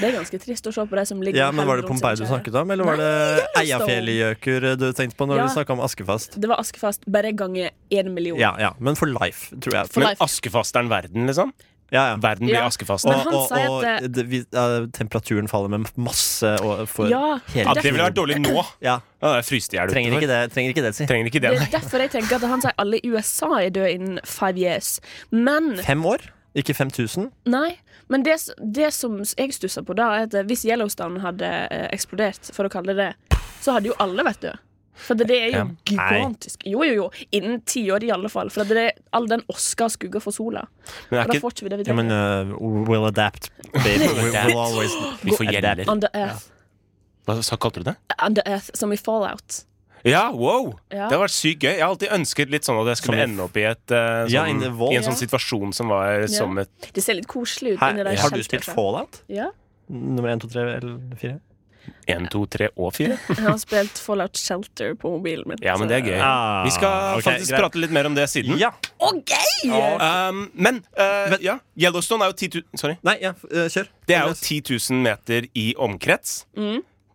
Speaker 3: Det er ganske trist å se på de som ligger
Speaker 2: Ja, men Var det
Speaker 3: helvete rundt
Speaker 2: Pompeii du
Speaker 3: seg.
Speaker 2: snakket om, eller var det Eiafjellgjøkur du tenkte på når
Speaker 3: Ja.
Speaker 2: du snakka om Askefast?
Speaker 3: Det var Askefast bare ganger én million.
Speaker 2: Ja, ja, Men for life, tror jeg.
Speaker 3: For
Speaker 4: Men
Speaker 3: life.
Speaker 4: askefasteren verden, liksom?
Speaker 2: Ja, ja.
Speaker 4: Verden blir
Speaker 3: Ja.
Speaker 4: askefast.
Speaker 3: Men
Speaker 2: Og,
Speaker 3: han
Speaker 2: og,
Speaker 3: sier
Speaker 2: og
Speaker 3: at det-
Speaker 2: det, vi, eh, temperaturen faller med masse og, for
Speaker 3: Ja,
Speaker 2: hele
Speaker 4: Ja, det ville
Speaker 2: tiden.
Speaker 4: vært dårlig nå.
Speaker 2: Ja,
Speaker 4: Ja, det er fryst i hjel
Speaker 2: trenger ikke
Speaker 4: utenfor.
Speaker 2: det, trenger ikke det si.
Speaker 4: Trenger ikke det.
Speaker 3: Det
Speaker 4: nei.
Speaker 3: er derfor jeg tenker at han sier alle i USA er døde innen five years. Men
Speaker 2: Fem år? Ikke 5000?
Speaker 3: Nei, men det, s- det som jeg stusser på da, er at hvis Yellowstone hadde eh, eksplodert, for å kalle det det, så hadde jo alle vært døde. For det er jo gigantisk. Jo, jo, jo. Innen ti år i alle fall. For det er all den oska skugger for sola.
Speaker 4: Men
Speaker 3: Og
Speaker 4: er
Speaker 3: da
Speaker 4: ikke,
Speaker 3: får ikke vi det vi
Speaker 2: Ja, men
Speaker 3: trenger.
Speaker 2: uh, we'll adapt,
Speaker 4: [laughs]
Speaker 2: baby. We will [laughs] always
Speaker 4: vi får gjeller.
Speaker 3: Under Earth.
Speaker 4: Hva sa- kalte du det?
Speaker 3: Under Earth, som i Fallout.
Speaker 4: Ja, wow!
Speaker 3: Ja.
Speaker 4: Det har vært sykt gøy. Jeg har alltid ønsket litt sånn at jeg skulle
Speaker 2: Som i-
Speaker 4: ende opp i, et, eh, sånn,
Speaker 2: Ja, in the vault.
Speaker 4: i en sånn situasjon som var som et
Speaker 3: Det ser litt koselig ut.
Speaker 2: Her,
Speaker 3: inni der
Speaker 2: har du
Speaker 3: shelteret.
Speaker 2: spilt Fallout?
Speaker 3: Ja.
Speaker 2: Nummer 1, 2, 3 eller 4?
Speaker 4: 1, 2, 3 og 4.
Speaker 3: Jeg har spilt Fallout Shelter på mobilen min.
Speaker 4: Ja, men det er gøy.
Speaker 2: Ah,
Speaker 4: Eh, Vi skal
Speaker 2: ok,
Speaker 4: faktisk
Speaker 2: greit.
Speaker 4: prate litt mer om det siden.
Speaker 2: Ja!
Speaker 4: Um, men, eh,
Speaker 2: Men-
Speaker 4: ja, Yellowstone er jo 10 000 Sorry.
Speaker 2: Nei, ja, f- eh, kjør.
Speaker 4: Det er jo 10 000 meter i omkrets.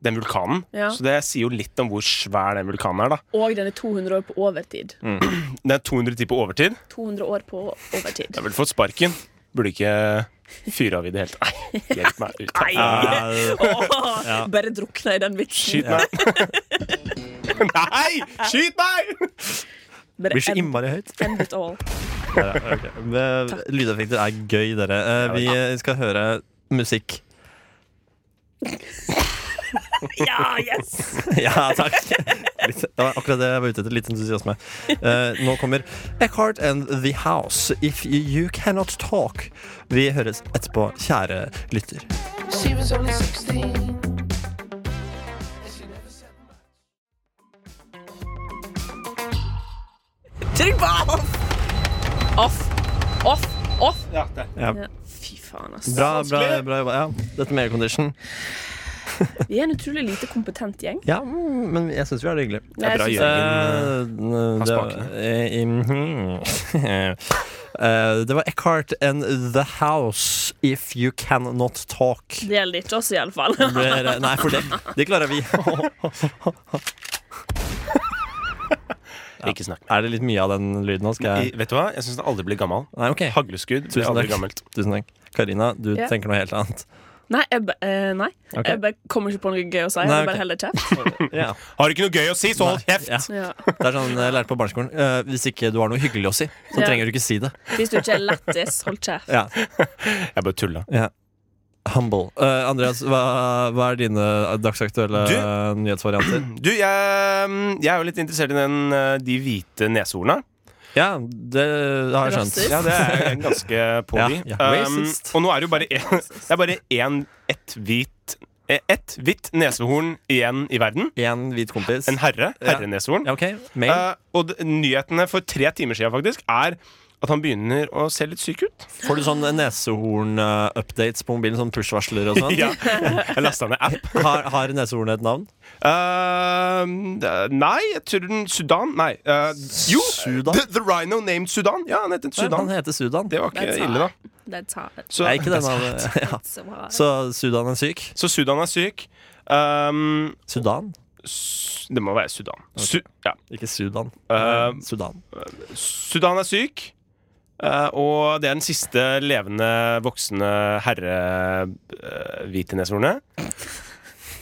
Speaker 4: Den vulkanen.
Speaker 3: Mm. Ja.
Speaker 4: Så det sier jo litt om hvor svær den vulkanen er. da
Speaker 3: Og den er 200 år på overtid.
Speaker 2: Mm.
Speaker 4: Den er 210 på overtid.
Speaker 3: 200 år på overtid.
Speaker 4: Jeg ville fått sparken. Burde ikke fyre av i det hele tatt. Nei, [laughs] Hjelp meg ut.
Speaker 3: Nei!
Speaker 2: Eh,
Speaker 3: Åh, Bare drukna i den vitsen.
Speaker 4: Ah, Skyt meg! [laughs] Nei! Skyt meg!
Speaker 3: Bare
Speaker 2: blir så
Speaker 3: end,
Speaker 2: innmari
Speaker 4: [laughs]
Speaker 2: høyt.
Speaker 3: end it all.
Speaker 2: Ja, ja, ok. Men, Lydeffekter er gøy, dere. Eh, Vi eh, skal høre musikk. [laughs]
Speaker 3: Ja, yes!
Speaker 2: Ja, takk. Litt, det var akkurat det jeg var ute etter. Litt entusiasme. Eh, nå kommer Eckhart and The House, If You Cannot Talk. Vi høres etterpå, kjære lytter.
Speaker 5: She was only 16.
Speaker 3: Trykk på off! Off, off, off.
Speaker 4: Ja, det.
Speaker 2: Ja.
Speaker 3: Ja, fy faen, ass.
Speaker 2: Bra, bra, bra jobba. Ja, dette med aircondition.
Speaker 3: Vi er en utrolig lite kompetent gjeng.
Speaker 2: Ja, mm, men jeg syns vi har det hyggelig.
Speaker 3: Jeg
Speaker 4: bra
Speaker 3: synes-
Speaker 4: gjeng.
Speaker 2: Eh, det,
Speaker 4: spakene.
Speaker 2: eh, mhm. [laughs] Eh, det var Eckhart and The House, If You Cannot Talk.
Speaker 3: Det gjelder ikke oss, iallfall.
Speaker 2: Blir, nei, for det, det klarer vi.
Speaker 4: Eh, Ikke snakk.
Speaker 2: [laughs] Er det litt mye av den lyden nå? Skal
Speaker 4: I,
Speaker 2: jeg
Speaker 4: vet du hva? Jeg syns den aldri blir gammel.
Speaker 2: Nei, ok.
Speaker 4: Hagleskudd blir
Speaker 2: Tusen
Speaker 4: aldri
Speaker 2: takk.
Speaker 4: gammelt.
Speaker 2: Tusen takk. Karina, du
Speaker 3: Ja.
Speaker 2: tenker noe helt annet.
Speaker 3: Nei, jeg, ba- eh, nei.
Speaker 2: Ok.
Speaker 3: jeg bare kommer ikke på noe gøy å si. Jeg
Speaker 2: Nei,
Speaker 3: vil
Speaker 2: ok.
Speaker 3: bare heller kjeft.
Speaker 4: [laughs]
Speaker 2: Ja.
Speaker 4: Har du ikke noe gøy å si, så hold kjeft!
Speaker 2: Ja.
Speaker 3: Ja.
Speaker 2: Det er sånn jeg lærte på barneskolen. Eh, hvis ikke du har noe hyggelig å si, så
Speaker 3: Ja.
Speaker 2: trenger du ikke si det.
Speaker 3: Hvis du ikke er lættis, hold kjeft.
Speaker 2: Ja.
Speaker 4: Jeg bare tulla.
Speaker 2: Humble. Eh, Andreas, hva, hva er dine dagsaktuelle
Speaker 4: Du-
Speaker 2: eh,
Speaker 4: [clears throat]
Speaker 2: nyhetsvarianter?
Speaker 4: Du, jeg, mm, jeg er jo litt interessert i den, eh, de hvite neshorna.
Speaker 2: Ja, det har jeg skjønt.
Speaker 3: Rasist.
Speaker 4: Ja, det er jeg ganske på
Speaker 2: Ja,
Speaker 4: de.
Speaker 2: ja.
Speaker 4: Um,
Speaker 2: Racist.
Speaker 4: og nå er det jo bare en, Det er bare én ett hvit eh, Ett hvitt nesehorn igjen i verden.
Speaker 2: Én hvit kompis.
Speaker 4: En herre. Herreneshorn.
Speaker 2: Ja, ok, Mail.
Speaker 4: Eh, og d- nyhetene for tre timer siden faktisk er at han begynner å se litt syk ut.
Speaker 2: Får du sånn nesehorn-updates på mobilen? Sånn push-varsler og sånn?
Speaker 4: [laughs] Ja. Jeg lasta ned app.
Speaker 2: Har, har nesehornet et navn?
Speaker 4: Eh, nei, jeg tror den Sudan Nei. eh, jo!
Speaker 2: Sudan?
Speaker 4: The, the Rhino named Sudan. Ja, han heter
Speaker 2: Nei, Han
Speaker 4: Sudan.
Speaker 2: heter Sudan.
Speaker 4: Det var ikke
Speaker 3: That's
Speaker 4: ille, da.
Speaker 3: hard. That's hard.
Speaker 4: Så,
Speaker 2: Nei,
Speaker 4: [laughs]
Speaker 2: ikke den altså. navnet. [laughs] Ja.
Speaker 3: That's so hard.
Speaker 2: Så Sudan er syk?
Speaker 4: så Sudan er syk. Um,
Speaker 2: Sudan?
Speaker 4: s- det må være Sudan. Su ja.
Speaker 2: Ikke Sudan.
Speaker 4: Eh,
Speaker 2: Sudan.
Speaker 4: Sudan er syk. eh, og det er den siste levende voksne herre-hviteneshornet.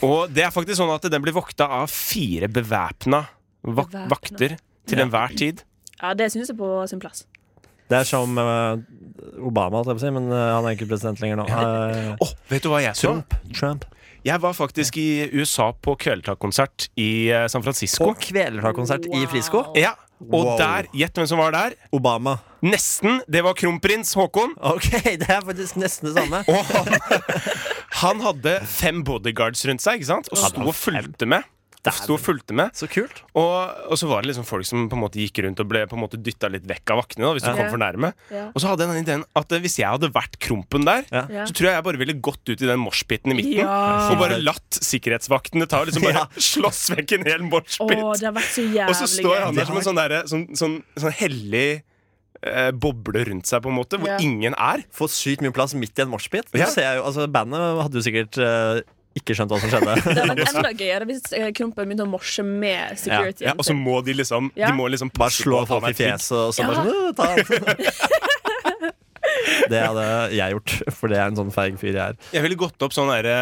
Speaker 4: og det er faktisk sånn at den blir vokta av fire bevæpna vak
Speaker 3: Bevæpna.
Speaker 4: vakter til enhver tid.
Speaker 3: Ja, det syns jeg på sin plass.
Speaker 2: Det er som eh, Obama, holdt jeg på å si, men eh, han er ikke president lenger nå. Eh,
Speaker 4: Åh, vet du hva jeg så?
Speaker 2: Trump.
Speaker 4: Jeg var faktisk i USA på kvelertak-konsert i eh, San Francisco.
Speaker 2: På kvelertakonsert i Frisco.
Speaker 3: Wow.
Speaker 4: Ja, og
Speaker 2: Wow.
Speaker 4: der, gjett hvem som var der?
Speaker 2: Obama.
Speaker 4: Nesten. Det var kronprins Haakon.
Speaker 2: Ok, det er faktisk nesten det samme.
Speaker 4: Og han, han hadde fem bodyguards rundt seg, ikke sant? Og sto og fulgte med. Og Sto og fulgte med
Speaker 2: Så kult.
Speaker 4: og, og så var det liksom folk som på en måte gikk rundt og ble på en måte dytta litt vekk av vaktene. Da, hvis du kom for nærme
Speaker 3: Ja.
Speaker 4: Og så hadde jeg den ideen at eh, hvis jeg hadde vært Krompen der,
Speaker 2: Ja.
Speaker 3: Ja.
Speaker 4: så tror jeg jeg bare ville gått ut i den moshpiten i midten
Speaker 3: Ja.
Speaker 4: og bare latt sikkerhetsvaktene ta og liksom bare
Speaker 2: Ja.
Speaker 4: [laughs] slåss vekk en hel
Speaker 3: Å,
Speaker 4: moshpit.
Speaker 3: det har vært så
Speaker 4: Og så
Speaker 3: jævlig
Speaker 4: står
Speaker 3: gøy.
Speaker 4: han der som en sånn, derre- sånn, sånn, sånn hellig eh, boble rundt seg, på en måte, hvor
Speaker 3: Ja.
Speaker 4: ingen er.
Speaker 2: Få sykt mye plass midt i en moshpit.
Speaker 4: Ja.
Speaker 2: Så ser jeg jo- Altså, bandet hadde jo sikkert eh, ikke skjønt hva som
Speaker 3: Det
Speaker 4: [laughs]
Speaker 2: skjedde.
Speaker 3: hadde vært enda gøyere hvis eh, Krompen begynte å morse med security.
Speaker 4: Ja, og så må de liksom
Speaker 3: Ja.
Speaker 4: De må liksom
Speaker 2: Bare sånn,
Speaker 4: passe
Speaker 2: slå
Speaker 4: på at han
Speaker 2: folk i
Speaker 3: [laughs]
Speaker 4: er trygg.
Speaker 2: fjeset og så
Speaker 3: Ja.
Speaker 2: bare sånn «Øh, ta han». Det hadde jeg gjort, for det er en sånn feig fyr jeg er.
Speaker 4: Jeg ville gått opp sånn derre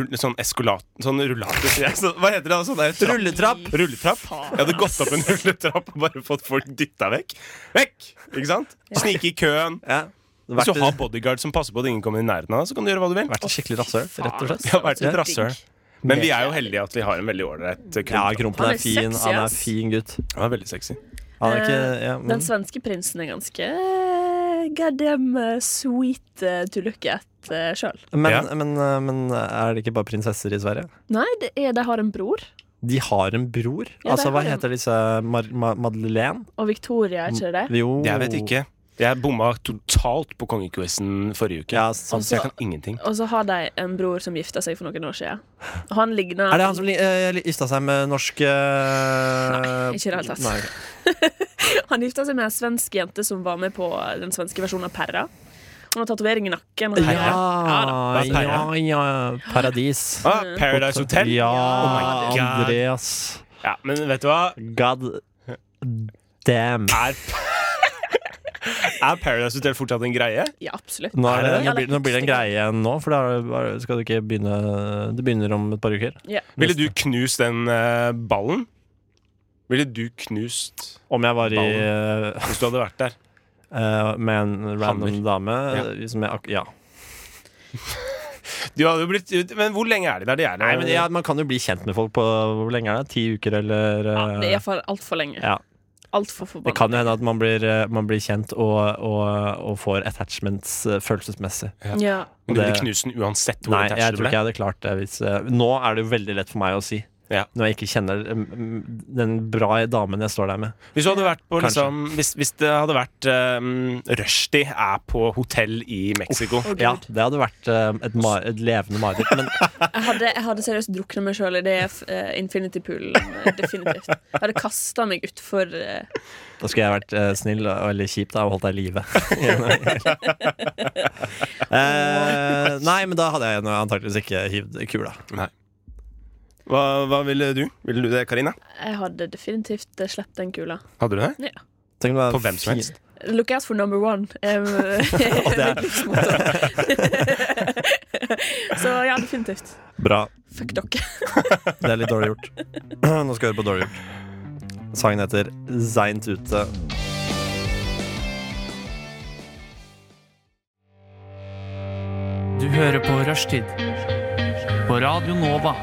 Speaker 4: rull- Sånn eskolat... Sånn rullator. sier jeg. Så, hva heter det? Sånn der, trapp.
Speaker 2: Rulletrapp!
Speaker 4: Rulletrapp. Jeg hadde gått opp en [laughs] rulletrapp og bare fått folk dytta vekk. Vekk! Ikke sant? Snike i køen.
Speaker 2: Ja.
Speaker 4: Hvis
Speaker 2: Vært,
Speaker 4: du har bodyguard som passer på at ingen kommer i nærheten av deg, så kan du gjøre hva du vil.
Speaker 2: vært et
Speaker 4: [laughs]
Speaker 2: skikkelig rasshøl, rett og slett.
Speaker 4: Jeg har vært litt
Speaker 2: Ja.
Speaker 4: rasshøl. Men vi er jo heldige at vi har en veldig ålreit
Speaker 2: Ja,
Speaker 4: krump.
Speaker 2: Krompen
Speaker 3: Han er
Speaker 2: er fin.
Speaker 3: sexy,
Speaker 2: Han er
Speaker 3: ass.
Speaker 2: fin gutt.
Speaker 4: Han er veldig sexy.
Speaker 2: Han er ikke
Speaker 3: Eh,
Speaker 2: ja,
Speaker 3: Den
Speaker 2: mm.
Speaker 3: svenske prinsen er ganske eh, goddamn eh, sweet eh, to look at uh, sjøl.
Speaker 2: men,
Speaker 4: Ja.
Speaker 2: men, eh, men er det ikke bare prinsesser i Sverige?
Speaker 3: Nei, det er, de har en bror,
Speaker 2: De har en bror.
Speaker 3: Ja,
Speaker 2: altså,
Speaker 3: de
Speaker 2: hva
Speaker 3: har en.
Speaker 2: heter disse? Mar Ma Madeleine?
Speaker 3: og Victoria, er ikke det?
Speaker 4: Mm.
Speaker 2: Jo.
Speaker 4: Jeg vet ikke. Jeg bomma totalt på kongequizen forrige uke.
Speaker 2: Ja, sånn. sant.
Speaker 4: Så jeg kan ingenting.
Speaker 3: Og så har de en bror som gifta seg for noen år siden. Og han ligner
Speaker 2: Er det han som li- eh, li- gifta seg med norsk Nei,
Speaker 3: ikke i det hele tatt.
Speaker 2: Nei.
Speaker 3: Han gifta seg med ei svensk jente som var med på eh, den svenske versjonen av Perra. Hun har tatovering i nakken. Og
Speaker 2: Ja,
Speaker 4: Det er
Speaker 2: ja,
Speaker 4: Perra.
Speaker 2: ja. Paradis.
Speaker 4: Ah, Paradise Hotel.
Speaker 2: Ja,
Speaker 4: Oh my God.
Speaker 2: Andreas.
Speaker 4: Ja, men vet du hva?
Speaker 2: God damn.
Speaker 4: Er, er Paradise Hotel fortsatt en greie?
Speaker 3: ja, absolutt.
Speaker 2: Nå, er det,
Speaker 4: Er det
Speaker 2: nå, blir, nå blir det en greie igjen nå, for da er det bare- skal du ikke begynne Det begynner om et par uker.
Speaker 3: Ja.
Speaker 4: Ville du knust den eh, ballen? Ville du knust
Speaker 2: Om jeg var i eh,
Speaker 4: hvis du hadde vært der?
Speaker 2: eh, med en random
Speaker 4: Hammer.
Speaker 2: dame eh, som jeg ak Ja.
Speaker 4: Du hadde jo blitt, men hvor lenge er de der? De er eh, der-
Speaker 2: Nei, men ja, Man kan jo bli kjent med folk på hvor lenge er det? Ti uker, eller
Speaker 3: Ja,
Speaker 2: eh,
Speaker 3: det er for altfor lenge.
Speaker 2: ja.
Speaker 3: Altfor
Speaker 2: Det
Speaker 3: forbanna.
Speaker 2: kan jo hende at man blir, eh, man blir kjent og, og, og får attachments eh, følelsesmessig.
Speaker 3: Ja.
Speaker 4: Men du ville
Speaker 2: det-
Speaker 4: knust den uansett hvor
Speaker 2: Nei,
Speaker 4: attached
Speaker 2: jeg
Speaker 4: du
Speaker 2: tror
Speaker 4: ble?
Speaker 2: ikke jeg hadde klart det. Hvis, eh, nå er det jo veldig lett for meg å si.
Speaker 4: Ja.
Speaker 2: Når jeg ikke kjenner mm, mm, den bra damen jeg står der med.
Speaker 4: Hvis, du hadde vært på,
Speaker 2: Kanskje.
Speaker 4: liksom, hvis, hvis det hadde vært um, rushtid er på hotell i Mexico
Speaker 3: Å, Gud.
Speaker 2: Ja, Det hadde vært eh, et, mar et levende mareritt. Men
Speaker 3: Jeg, hadde, jeg hadde seriøst drukna meg sjøl i det eh, Infinity Poolen. eh, Definitivt. Jeg hadde kasta meg utfor uh,
Speaker 2: da skulle jeg vært eh, snill og eller kjip da, og holdt deg i live. [laughs] Eh, nei, men da hadde jeg antakeligvis ikke hivd kula.
Speaker 4: Hva, hva ville du? Ville du det, Karina?
Speaker 3: Jeg hadde definitivt eh, sluppet den kula.
Speaker 4: Hadde du det?
Speaker 2: Tenk om det var
Speaker 4: På hvem som
Speaker 2: fin-
Speaker 4: helst.
Speaker 3: Look out for number one.
Speaker 2: [laughs]
Speaker 3: Um, mitt livsmotto. [laughs] Så ja, definitivt.
Speaker 2: Bra.
Speaker 3: Fuck dere.
Speaker 2: Det er litt dårlig gjort. [clears throat] Nå skal vi høre på dårlig gjort. Sangen heter Seint ute.
Speaker 6: Du hører på Rushtid på Radio Nova.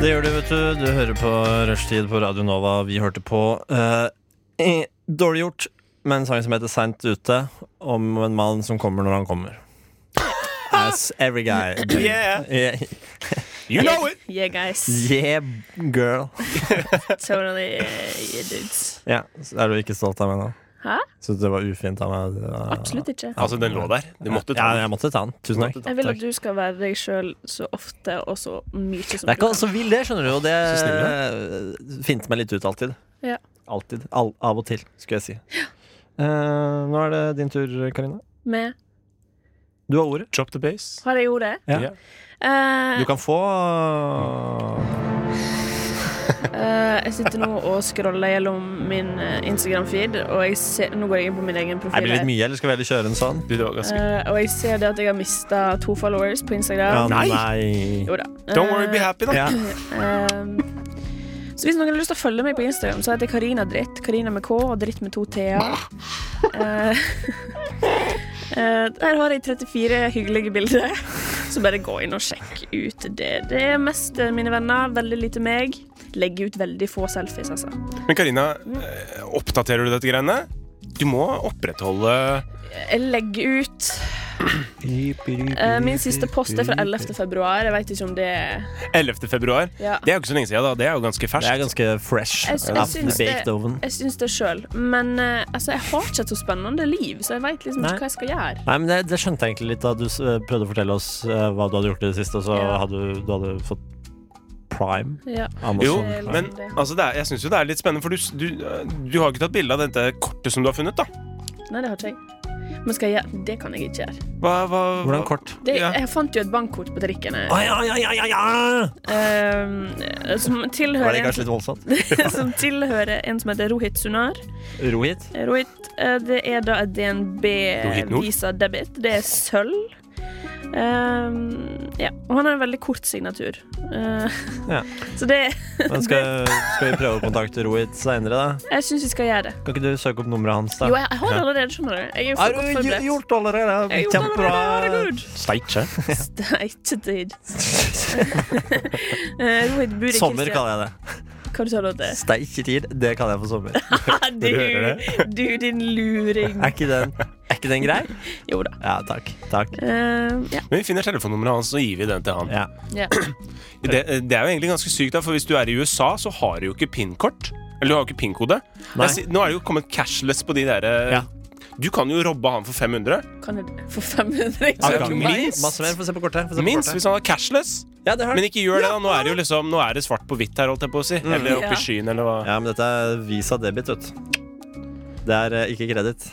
Speaker 2: Det gjør du, vet du. Du hører på Rushtid på Radio Nova. Vi hørte på eh, eh, Dårlig gjort, med en sang som heter Seint ute, om en mann som kommer når han kommer. As every guy. do.
Speaker 4: Yeah.
Speaker 2: Yeah,
Speaker 4: You know it!
Speaker 3: Yeah, guys.
Speaker 2: yeah, girl.
Speaker 3: Totally eh, yeah, dudes.
Speaker 2: Ja, så Er du ikke stolt av meg nå?
Speaker 3: Hæ?
Speaker 2: Syns du det var ufint av meg?
Speaker 3: Absolutt ikke.
Speaker 4: Altså, den lå der. Du måtte ta
Speaker 2: ja,
Speaker 4: den.
Speaker 2: jeg måtte ta den. Tusen takk.
Speaker 3: Jeg vil
Speaker 2: ah, Takk.
Speaker 3: at du skal være deg sjøl så ofte og så mye som
Speaker 2: Det er ikke altså- alle
Speaker 3: du
Speaker 2: som vil det, skjønner du. Og det
Speaker 4: Så snill
Speaker 2: eh, finter meg litt ut alltid.
Speaker 3: Ja.
Speaker 2: Alltid. Al av og til, skulle jeg si. Eh, nå er det din tur, Karina.
Speaker 3: kan. Med
Speaker 2: Du har ordet.
Speaker 4: Drop the bass.
Speaker 3: Har jeg gjort det?
Speaker 2: Ja.
Speaker 4: Ja.
Speaker 2: Du
Speaker 3: Eh,
Speaker 2: kan få
Speaker 3: eh, jeg sitter nå og scroller gjennom min eh, Instagram-feed, og jeg ser, nå går jeg inn på min egen
Speaker 2: Er det
Speaker 3: profil.
Speaker 2: litt mye, eller skal vi heller kjøre en sånn?
Speaker 4: Du, det var ganske
Speaker 3: Eh, og jeg ser det at jeg har mista to followers på
Speaker 2: Ja,
Speaker 3: Instagram.
Speaker 4: Nei.
Speaker 3: Jo da.
Speaker 4: Don't worry, be
Speaker 3: Eh,
Speaker 4: happy, da.
Speaker 2: Ja.
Speaker 3: Ehm, så hvis noen har lyst til å følge meg på Instagram, så heter jeg Karina Dritt. Karina med K og Dritt med to T-er. Eh, [laughs] eh, der har jeg 34 hyggelige bilder, så bare gå inn og sjekk ut det. Det er mest eh, mine venner, veldig lite meg. Legger ut veldig få selfies, altså.
Speaker 4: Men Karina, eh, oppdaterer du dette greiene? Du må opprettholde
Speaker 3: Jeg legger ut eh, Min siste post er fra 11. februar. Jeg vet ikke om det er
Speaker 4: 11. februar.
Speaker 3: ja.
Speaker 4: Det er jo ikke så lenge siden, da. Det er jo ganske
Speaker 2: Det er
Speaker 4: ferskt.
Speaker 2: ganske fresh.
Speaker 3: Jeg- jeg
Speaker 2: Ja,
Speaker 3: syns
Speaker 2: baked
Speaker 3: det-
Speaker 2: oven.
Speaker 3: Jeg syns det sjøl, men eh, altså, jeg har ikke et så spennende liv, så jeg veit liksom
Speaker 2: Nei.
Speaker 3: ikke hva jeg skal gjøre.
Speaker 2: Nei, men det, det skjønte jeg egentlig litt da du s- prøvde å fortelle oss eh, hva du hadde gjort i det siste, og så
Speaker 3: Ja.
Speaker 2: hadde du, du hadde fått prime.
Speaker 3: Ja.
Speaker 2: Amazon.
Speaker 4: Jo,
Speaker 3: Det er litt
Speaker 4: men
Speaker 3: det.
Speaker 4: altså, det er, jeg syns eh, jo det er litt spennende, for du, s- du, eh, du har ikke tatt bilde av dette kortet som du har funnet, da.
Speaker 3: Nei, det har ikke jeg. Men skal jeg gjøre Det kan jeg ikke gjøre.
Speaker 4: Hva, hva,
Speaker 2: Hvordan kort?
Speaker 3: Det,
Speaker 4: Ja.
Speaker 3: Jeg fant jo et bankkort på drikken. jeg.
Speaker 2: Ai, ai, ai, ai, ai, ai.
Speaker 3: Eh, som,
Speaker 2: Var
Speaker 3: tilhører
Speaker 2: det
Speaker 3: en,
Speaker 2: kanskje litt voldsomt?
Speaker 3: [laughs] som tilhører en som heter Rohit Sunar.
Speaker 2: Ro hit.
Speaker 3: Rohit, eh, det er da et
Speaker 4: Rohit Nord?
Speaker 3: DNB-visa debit. Det er sølv. Ehm, ja. Og han har en veldig kort signatur. Eh,
Speaker 2: Ja.
Speaker 3: [laughs] Så det
Speaker 2: Men skal, skal vi prøve å kontakte Rohit seinere, da?
Speaker 3: Jeg syns vi skal gjøre det.
Speaker 2: Kan ikke du søke opp nummeret hans, da?
Speaker 3: Jo, jeg, jeg har det allerede, skjønner du. Jeg er jo
Speaker 2: Har
Speaker 3: for
Speaker 2: du
Speaker 3: godt
Speaker 2: gj-
Speaker 3: forberedt.
Speaker 2: gjort allerede?
Speaker 3: Jeg gjorde det
Speaker 2: Kjempebra.
Speaker 3: allerede, herregud.
Speaker 4: Steitje?
Speaker 3: [laughs] Steitetid. Eh, Rohit bor i
Speaker 2: Sommer
Speaker 3: Kristian-
Speaker 2: kaller jeg det.
Speaker 3: Hva du sa du at det?
Speaker 2: Steiketid, det kaller jeg for sommer.
Speaker 3: er? du, du, din luring.
Speaker 2: Er ikke den, er ikke den grei?
Speaker 3: Jo da.
Speaker 2: Ja, takk. takk.
Speaker 3: Eh, ja.
Speaker 4: Men vi finner telefonnummeret hans, så gir vi den til han.
Speaker 2: Ja.
Speaker 3: ja.
Speaker 4: Det, det er jo egentlig ganske sykt, da, for hvis du er i USA, så har du jo ikke PIN-kort. Eller du har jo ikke PIN-kode.
Speaker 2: Nei.
Speaker 4: Jeg sier- Nå er det jo kommet cashless på de derre
Speaker 2: Ja.
Speaker 4: Du kan jo robbe han for 500.
Speaker 3: Kan jeg det? For 500
Speaker 4: Ja,
Speaker 3: kroner?
Speaker 4: minst.
Speaker 2: Masse mer. Få se på kortet. Få se på
Speaker 4: Minst
Speaker 2: kortet.
Speaker 4: hvis han har cashless.
Speaker 2: Ja, det har
Speaker 4: Men
Speaker 2: den.
Speaker 4: ikke gjør det, da. Nå er det jo liksom Nå er det svart på hvitt her, holdt jeg på å si. Eller oppe
Speaker 3: Ja.
Speaker 4: i skyen, eller hva.
Speaker 2: Ja, men dette er visa debit, vet du. Det er eh, ikke kreditt.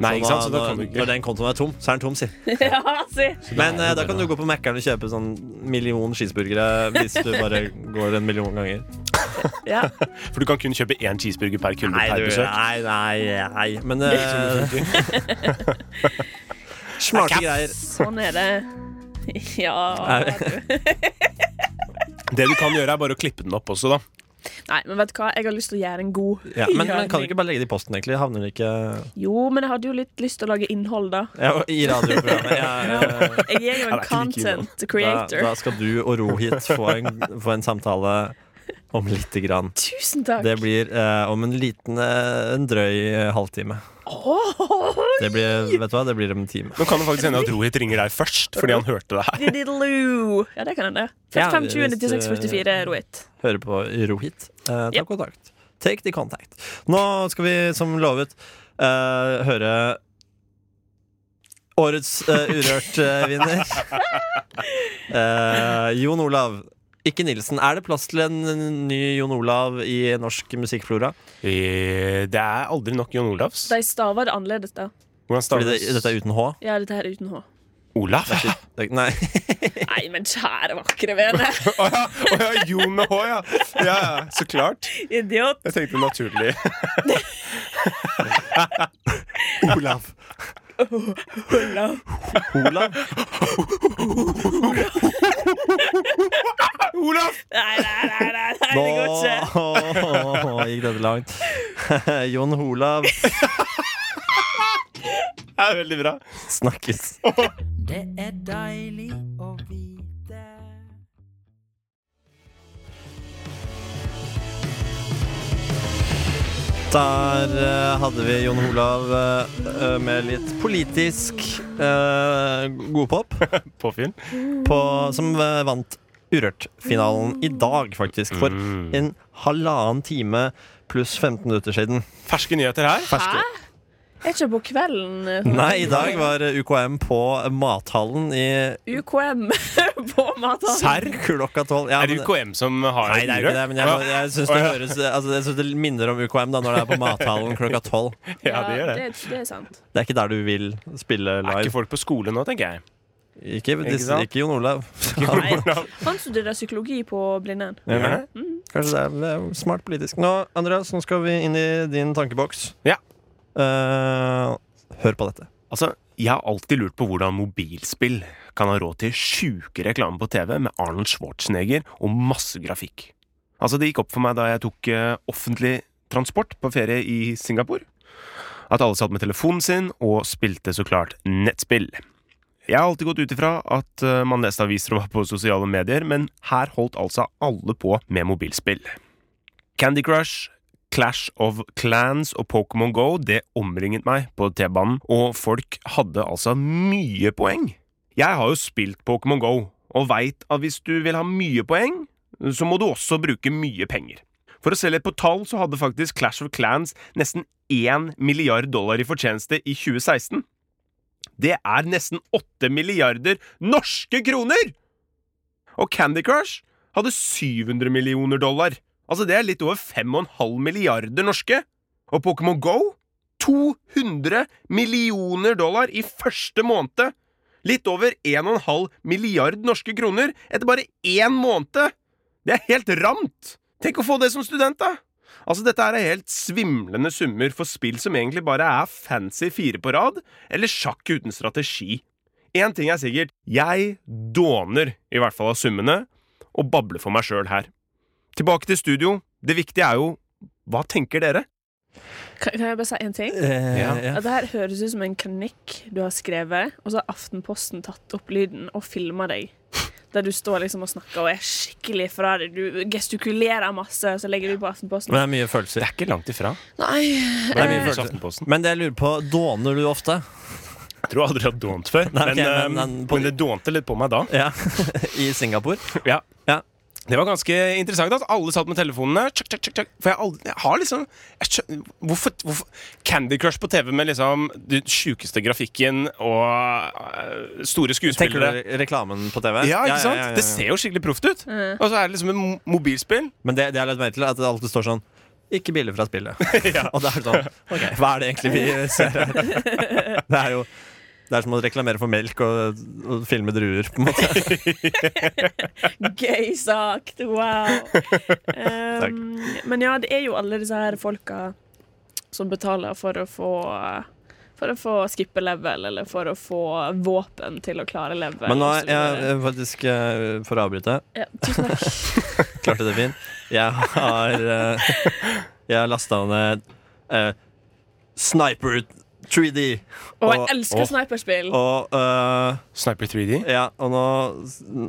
Speaker 4: Nei, ikke sant? Så da
Speaker 2: når,
Speaker 4: kan du
Speaker 2: når
Speaker 4: ikke
Speaker 2: den kontoen er tom, så er den tom, si.
Speaker 3: [laughs] ja, si.
Speaker 2: Men eh, da kan du gå på Mækkern og kjøpe sånn million cheeseburgere hvis du [laughs] bare går en million ganger.
Speaker 3: Ja.
Speaker 4: For du kan kun kjøpe én cheeseburger per kunde per
Speaker 2: du-
Speaker 4: besøk.
Speaker 2: nei, nei, nei. Men eh, [laughs] Smarte greier.
Speaker 3: Sånn er det. Ja
Speaker 2: [laughs]
Speaker 3: du.
Speaker 4: Det du kan gjøre, er bare å klippe den opp også, da.
Speaker 3: Nei, men vet du hva? Jeg har lyst til å gjøre en god
Speaker 2: Ja, men, men kan du ikke bare legge det i posten, egentlig? Havner det ikke
Speaker 3: Jo, men jeg hadde jo litt lyst til å lage innhold, da.
Speaker 2: [laughs] ja, I radioprogrammet. Ja, ja, ja.
Speaker 3: Jeg er jo
Speaker 4: Ja,
Speaker 3: en
Speaker 4: det er ikke like ille, da.
Speaker 3: content
Speaker 2: Da, da
Speaker 3: creator.
Speaker 2: skal du og Rohit få en, få en samtale om lite grann.
Speaker 3: Tusen takk!
Speaker 2: Det blir eh, om en liten, eh, en drøy eh, halvtime.
Speaker 3: Åh,
Speaker 2: Det blir, vet du hva, det blir om en time.
Speaker 4: Nå kan det faktisk hende at Rohit ringer deg først fordi han hørte det her.
Speaker 3: diddididoo. Ja, det kan hende.
Speaker 2: Ja,
Speaker 3: 45 20
Speaker 2: hvis,
Speaker 3: 96 44
Speaker 2: eh,
Speaker 3: Rohit.
Speaker 2: Hører på Rohit. Eh, ta
Speaker 3: Ja.
Speaker 2: kontakt. Take the contact. Nå skal vi, som lovet, eh, høre Årets eh, Urørt-vinner. Jon Olav. Ikke Nilsen. Er det plass til en ny Jon Olav i norsk musikkflora?
Speaker 4: Eh, Det er aldri nok Jon Olavs.
Speaker 3: De staver det annerledes, da.
Speaker 4: Hvordan
Speaker 2: Fordi
Speaker 4: staves
Speaker 2: det, dette er uten H.
Speaker 3: Ja, dette her er
Speaker 2: [laughs]
Speaker 3: uten H.
Speaker 4: Olav? Å
Speaker 2: Det er ikke- Nei.
Speaker 3: Nei, men kjære vakre
Speaker 2: [laughs]
Speaker 3: vene.
Speaker 4: ja, [laughs] å ja, Jon med H, ja. ja. ja, Så klart.
Speaker 3: Idiot.
Speaker 4: Jeg tenkte naturlig.
Speaker 2: [laughs] Olav.
Speaker 3: Hulla.
Speaker 2: Olav?
Speaker 4: Olav!
Speaker 3: Nei, nei, nei, nei, nei,
Speaker 2: [laughs] Nå
Speaker 3: det går ikke.
Speaker 2: [laughs] gikk dette langt. [laughs] Jon Olav
Speaker 4: Det er veldig bra.
Speaker 2: snakkes.
Speaker 6: [laughs] Det er deilig å vite.
Speaker 2: Der eh, hadde vi Jon Olav eh, eh, med litt politisk uh, godpop,
Speaker 4: Påfyll.
Speaker 2: på- som eh, vant Urørt-finalen i dag, faktisk. For en halvannen time pluss 15 minutter siden.
Speaker 4: Ferske nyheter her.
Speaker 2: Ferske.
Speaker 3: Er ikke på kvelden? eh,
Speaker 2: Nei, i dag var UKM på Mathallen i
Speaker 3: UKM [laughs] på mathallen.
Speaker 4: Serr?
Speaker 2: klokka tolv. Ja,
Speaker 4: Er det
Speaker 2: men-
Speaker 4: UKM som har
Speaker 2: Nei, det er jo ikke det, men jeg,
Speaker 4: Å,
Speaker 2: jeg syns det høres altså, Jeg synes det minner om UKM da når det er på Mathallen klokka tolv.
Speaker 4: Ja, det gjør det.
Speaker 3: det. Det er sant.
Speaker 2: Det er ikke der du vil spille
Speaker 4: Er ikke
Speaker 2: live.
Speaker 4: folk på skole nå,
Speaker 2: [laughs]
Speaker 4: tenker jeg.
Speaker 2: Ikke,
Speaker 4: Ikke sant?
Speaker 2: ikke Jon
Speaker 4: [laughs]
Speaker 2: Olav.
Speaker 3: Nei. Han studerer psykologi på Blindern.
Speaker 2: Ja. Kanskje det er, det er jo smart politisk. Nå, Andreas, nå skal vi inn i din tankeboks.
Speaker 4: Ja.
Speaker 2: Eh, hør på dette.
Speaker 4: Altså, jeg har alltid lurt på hvordan mobilspill kan ha råd til sjuke reklame på TV med Arnold Schwarzenegger og masse grafikk. Altså, det gikk opp for meg da jeg tok eh, offentlig transport på ferie i Singapore. At alle satt med telefonen sin og spilte så klart nettspill. Jeg har alltid gått ut ifra at eh, man leste aviser og var på sosiale medier, men her holdt altså alle på med mobilspill. Candy Crush, Clash of Clans og Pokémon Go det omringet meg på T-banen, og folk hadde altså mye poeng. Jeg har jo spilt Pokémon Go, og veit at hvis du vil ha mye poeng, så må du også bruke mye penger. For å se litt på tall, så hadde faktisk Clash of Clans nesten 1 milliard dollar i fortjeneste i 2016. Det er nesten 8 milliarder norske kroner! Og Candy Crush hadde 700 millioner dollar. Altså Det er litt over 5,5 milliarder norske. Og Pokémon Go 200 millioner dollar i første måned! Litt over 1,5 milliard norske kroner etter bare én måned! Det er helt ramt! Tenk å få det som student, da! Altså, Dette her er helt svimlende summer for spill som egentlig bare er fancy fire på rad, eller sjakk uten strategi. Én ting er sikkert, jeg dåner i hvert fall av summene, og babler for meg sjøl her. Tilbake til studio. Det viktige er jo hva tenker dere?
Speaker 3: Kan, kan jeg bare si en ting?
Speaker 2: Eh,
Speaker 4: Ja.
Speaker 2: ja.
Speaker 3: At det her høres ut som en kronikk du har skrevet, og så har Aftenposten tatt opp lyden og filma deg. Der du står liksom og snakker og er skikkelig fra deg. Du gestikulerer masse, og så legger du på Aftenposten.
Speaker 2: Men det er mye følelser.
Speaker 4: er ikke langt [laughs] ifra.
Speaker 3: Nei,
Speaker 2: Det er mye
Speaker 4: Hos
Speaker 2: følelser.
Speaker 4: Aftenposten.
Speaker 2: Men det jeg lurer på, dåner du ofte?
Speaker 4: Jeg tror aldri jeg har dånt før,
Speaker 2: Nei,
Speaker 4: men,
Speaker 2: ok, men-
Speaker 4: eh,
Speaker 2: men-
Speaker 4: men det dånte litt på meg da.
Speaker 2: Ja, [laughs] I Singapore?
Speaker 4: Ja.
Speaker 2: Ja.
Speaker 4: Det var ganske interessant at alle satt med telefonene. Tjekk, tjekk, tjekk, tjekk. For jeg, aldri, jeg har liksom jeg skjø- hvorfor, hvorfor Candy Crush på TV med liksom den sjukeste grafikken og eh, store
Speaker 2: Tenker
Speaker 4: skuespillere.
Speaker 2: du reklamen på TV?
Speaker 4: Ja, ikke sant?
Speaker 2: ja, ja, ja.
Speaker 4: Det ser jo skikkelig proft ut. Og så er det liksom en mo- mobilspill.
Speaker 2: Men det, det jeg legger merke til, er at det alltid står sånn ikke bilder fra [laughs] spillet. Og det er sånn [laughs] Ok, hva er det egentlig vi ser [laughs] her? Det er jo det er som å reklamere for melk og, og filme druer, på en måte.
Speaker 3: [laughs] gøy sagt!
Speaker 2: [laughs]
Speaker 3: Wow. Um, men ja, det er jo alle disse her folka som betaler for å få for å få skippe level, eller for å få våpen til å klare level.
Speaker 2: Men nå
Speaker 3: og
Speaker 2: [laughs] er
Speaker 3: så
Speaker 2: jeg
Speaker 3: videre.
Speaker 2: eh, faktisk eh, For å avbryte.
Speaker 3: ja, tusen takk.
Speaker 2: [laughs] Klarte det fint. Jeg har eh, Jeg har lasta ned eh, Sniper 3D.
Speaker 3: Og jeg
Speaker 2: Og-
Speaker 3: elsker
Speaker 2: og-
Speaker 3: sniperspill.
Speaker 2: Og eh,
Speaker 4: Sniper 3D.
Speaker 2: ja, og nå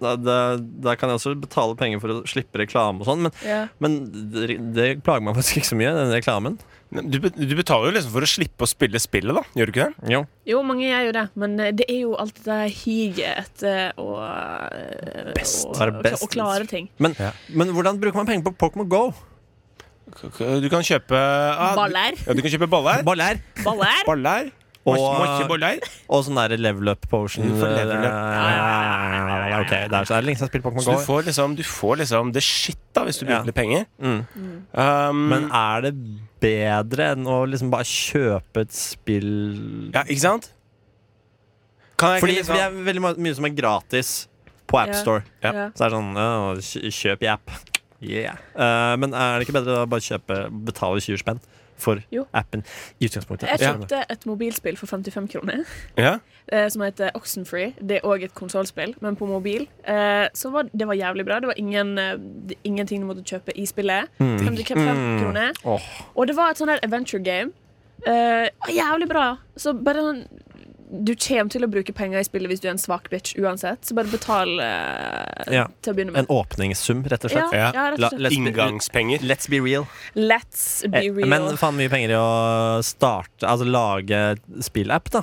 Speaker 2: da, da- da kan jeg også betale penger for å slippe reklame og sånn, men,
Speaker 3: Ja.
Speaker 2: men det, det plager meg faktisk ikke så mye, den reklamen.
Speaker 4: Du, be- du betaler jo liksom for å slippe å spille spillet, da. Gjør du ikke det?
Speaker 2: Jo.
Speaker 3: Jo, mange gjør jo det, men eh, det er jo alt det der higet etter å eh,
Speaker 2: Best.
Speaker 3: å-
Speaker 2: Være best.
Speaker 3: Å klare ting.
Speaker 2: Men,
Speaker 4: Ja.
Speaker 2: men hvordan bruker man penger på Pokémon Go?
Speaker 4: K- k- Du kan kjøpe ah, du-
Speaker 3: Baller.
Speaker 4: Ja, du kan kjøpe baller.
Speaker 2: Baller.
Speaker 3: Baller.
Speaker 4: Baller.
Speaker 2: Og-
Speaker 4: Må ikke baller.
Speaker 2: Og sånn der level up potion.
Speaker 4: For level up.
Speaker 2: Eh, ok, det er så er det lenge siden jeg har spilt Pokémon
Speaker 4: Så
Speaker 2: Go.
Speaker 4: du får liksom, du får liksom det shit da, hvis du
Speaker 2: Ja.
Speaker 4: bruker litt penger.
Speaker 2: Mm.
Speaker 4: Um,
Speaker 2: Men er det bedre enn å liksom bare kjøpe et spill
Speaker 4: ja, ikke sant? Kan jeg
Speaker 2: Fordi
Speaker 4: ikke
Speaker 2: det er
Speaker 4: liksom,
Speaker 2: veldig ma- mye som er gratis på
Speaker 3: Ja.
Speaker 2: AppStore.
Speaker 4: Ja.
Speaker 3: Ja.
Speaker 2: Så det er sånn ja, og kj- Kjøp i app. Yeah. Eh, men er det ikke bedre da bare kjøpe betale 20 spenn for
Speaker 3: Jo.
Speaker 2: appen? I utgangspunktet.
Speaker 3: Jeg
Speaker 2: Ja.
Speaker 3: kjøpte et mobilspill for 55 kroner
Speaker 4: ja?
Speaker 3: eh, som heter Oxenfree. Det er òg et konsollspill, men på mobil. Eh, Så var, det var jævlig bra. Det var ingen, eh, d- ingenting du måtte kjøpe i spillet. 55 kroner.
Speaker 2: Mm. Åh.
Speaker 3: Og det var et sånn der adventure game. Eh, og jævlig bra. Så bare sånn Du kommer til å bruke penger i spillet hvis du er en svak bitch uansett, så bare betal eh,
Speaker 2: Ja.
Speaker 3: til å begynne
Speaker 2: En
Speaker 3: med.
Speaker 2: åpningssum, rett og
Speaker 3: Ja,
Speaker 2: slett.
Speaker 4: Ja.
Speaker 3: ja, rett
Speaker 2: La-
Speaker 3: og slett.
Speaker 2: let's, be,
Speaker 4: Inngangspenger.
Speaker 2: let's be real.
Speaker 3: Let's be
Speaker 2: Eh,
Speaker 3: real.
Speaker 2: Men faen mye penger i å starte Altså lage spillapp, da.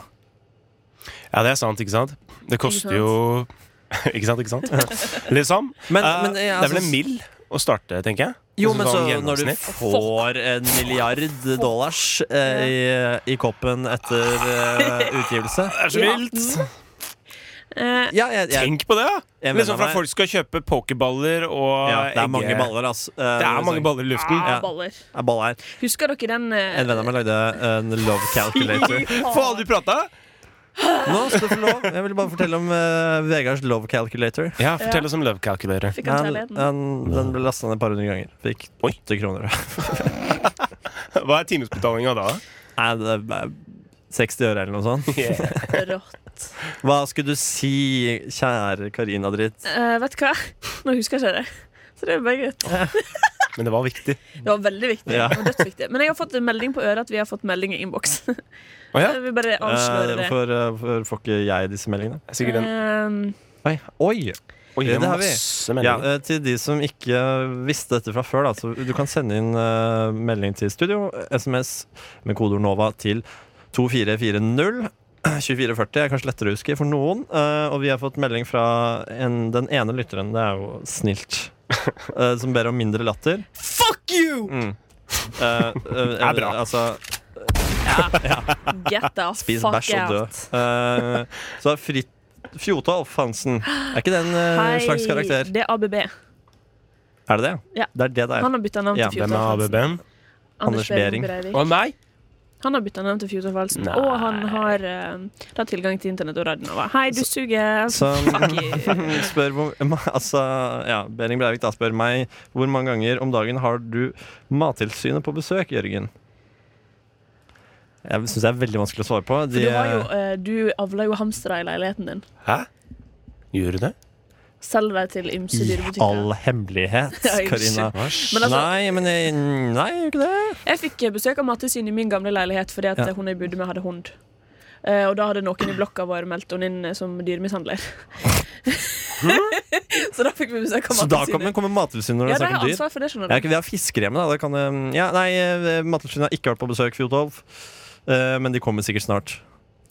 Speaker 4: Ja, det er sant, ikke sant? Det koster jo [laughs] Ikke sant, ikke sant? Liksom.
Speaker 2: Men-
Speaker 4: Eh,
Speaker 2: men, eh,
Speaker 4: det er vel
Speaker 2: altså-
Speaker 4: en mill å starte, tenker jeg?
Speaker 2: Jo,
Speaker 4: Altså,
Speaker 2: men så
Speaker 4: sånn
Speaker 2: når du
Speaker 4: gjennomsnitt.
Speaker 2: får en milliard dollars eh, i, i koppen etter eh, utgivelse
Speaker 4: Det er så vilt!
Speaker 3: Eh,
Speaker 2: Ja, jeg, jeg,
Speaker 4: Tenk på det!
Speaker 2: Jeg
Speaker 4: da
Speaker 2: mener
Speaker 4: Liksom Fra
Speaker 2: meg-
Speaker 4: folk skal kjøpe pokerballer og
Speaker 2: ja, det er mange
Speaker 4: egge-
Speaker 2: baller, altså. Eh,
Speaker 4: Det er mange baller i luften.
Speaker 3: ah,
Speaker 2: Ja.
Speaker 3: baller.
Speaker 2: Det er baller.
Speaker 3: Husker dere den eh,
Speaker 2: En venn av meg lagde en love [laughs] calculator.
Speaker 4: Faen, du prata!
Speaker 2: Nå skal du få lov. Jeg ville bare fortelle om eh, Vegards love calculator.
Speaker 4: Ja, fortell oss om Love Calculator.
Speaker 3: Fikk han
Speaker 2: Han,
Speaker 3: kjærligheten?
Speaker 2: han, den ble lasta ned et par hundre ganger. Fikk
Speaker 4: Oi.
Speaker 2: åtte kroner.
Speaker 4: [laughs] Hva er timesbetalinga da?
Speaker 2: Nei, det er bare 60 øre eller noe sånt.
Speaker 3: Rått.
Speaker 2: Hva skulle du si, kjære Karina Dritt?
Speaker 3: [laughs] Eh, vet du hva? Nå husker jeg ikke det. Så det er bare greit.
Speaker 4: [laughs] Men det var viktig.
Speaker 3: Det var veldig viktig.
Speaker 2: Ja.
Speaker 3: Det var dødsviktig. Men jeg har fått en melding på øret at vi har fått melding i innboks.
Speaker 4: Å
Speaker 3: [laughs]
Speaker 4: ja.
Speaker 3: Jeg vil bare avsløre det.
Speaker 2: Hvorfor eh, hvorfor får ikke jeg disse meldingene?
Speaker 4: Det er Sikkert en
Speaker 3: Um,
Speaker 2: Oi! Oi.
Speaker 4: Oi,
Speaker 2: det har vi.
Speaker 4: masse
Speaker 2: Ja,
Speaker 4: meldinger.
Speaker 2: eh, til de som ikke visste dette fra før, da, så du kan sende inn eh, melding til studio, SMS med kodeord NOVA til [clears throat] 2440. 2440 er kanskje lettere å huske for noen. eh, og vi har fått melding fra en, den ene lytteren, det er jo
Speaker 4: [laughs]
Speaker 2: snilt, eh, som ber om mindre latter.
Speaker 3: fuck you!
Speaker 2: Mm.
Speaker 4: [laughs]
Speaker 2: Eh, eh,
Speaker 4: er bra.
Speaker 2: Altså,
Speaker 3: Get the
Speaker 2: [laughs] Spis
Speaker 3: fuck
Speaker 2: bæsj og dø.
Speaker 3: out.
Speaker 2: Eh, så er Fritt Fjotolf Hansen. Er ikke det en eh,
Speaker 3: Hei,
Speaker 2: slags karakter?
Speaker 3: det er ABB.
Speaker 2: Er det det?
Speaker 3: Ja.
Speaker 2: Det er det det er.
Speaker 3: Han har bytta navn
Speaker 2: Ja,
Speaker 3: til
Speaker 2: hvem
Speaker 4: Hvem er
Speaker 3: Fjordkraft.
Speaker 4: ABB-en?
Speaker 2: Anders Behring.
Speaker 3: Breivik.
Speaker 4: Å, meg?
Speaker 3: Han har bytta navn til Fjord og Falsen.
Speaker 4: Nei.
Speaker 3: Og han har eh, da tilgang til internett og Radionova. Hei, du suger!
Speaker 2: Så
Speaker 3: [laughs] Fuck you.
Speaker 2: spør hvor, altså, ja, Behring Breivik da spør meg hvor mange ganger om dagen har du Mattilsynet på besøk, Jørgen? Jeg syns det er veldig vanskelig å svare på.
Speaker 3: For
Speaker 2: De, [laughs]
Speaker 3: du, har jo, eh, du avler jo hamstere i leiligheten din.
Speaker 4: Hæ? Gjør du det?
Speaker 3: Selger deg til ymse
Speaker 2: I all
Speaker 3: dyrebutikker.
Speaker 2: hemmelighet,
Speaker 3: [laughs] Ja, unnskyld.
Speaker 2: Karina.
Speaker 4: Hva skjer?
Speaker 3: Men altså-
Speaker 2: nei, men jeg, nei, jeg gjør ikke det.
Speaker 3: Jeg fikk eh, besøk av Mattilsynet i min gamle leilighet fordi at
Speaker 2: Ja.
Speaker 3: eh, hun jeg bodde med, hadde hund. Eh, og da hadde noen i blokka vår meldt henne inn eh, som dyremishandler. [laughs] så da fikk vi besøk av
Speaker 2: Så da kommer,
Speaker 3: Mattilsynet.
Speaker 2: kommer Mattilsynet når
Speaker 3: Ja,
Speaker 2: det
Speaker 3: de
Speaker 2: er snakk
Speaker 3: har
Speaker 2: om dyr?
Speaker 3: ansvar for det, skjønner
Speaker 2: Ja,
Speaker 3: du.
Speaker 2: ikke, vi har fiskere hjemme, da. Det kan, eh, ja, nei, eh, Mattilsynet har ikke vært på besøk, Fjotolv. Eh, men de kommer sikkert snart.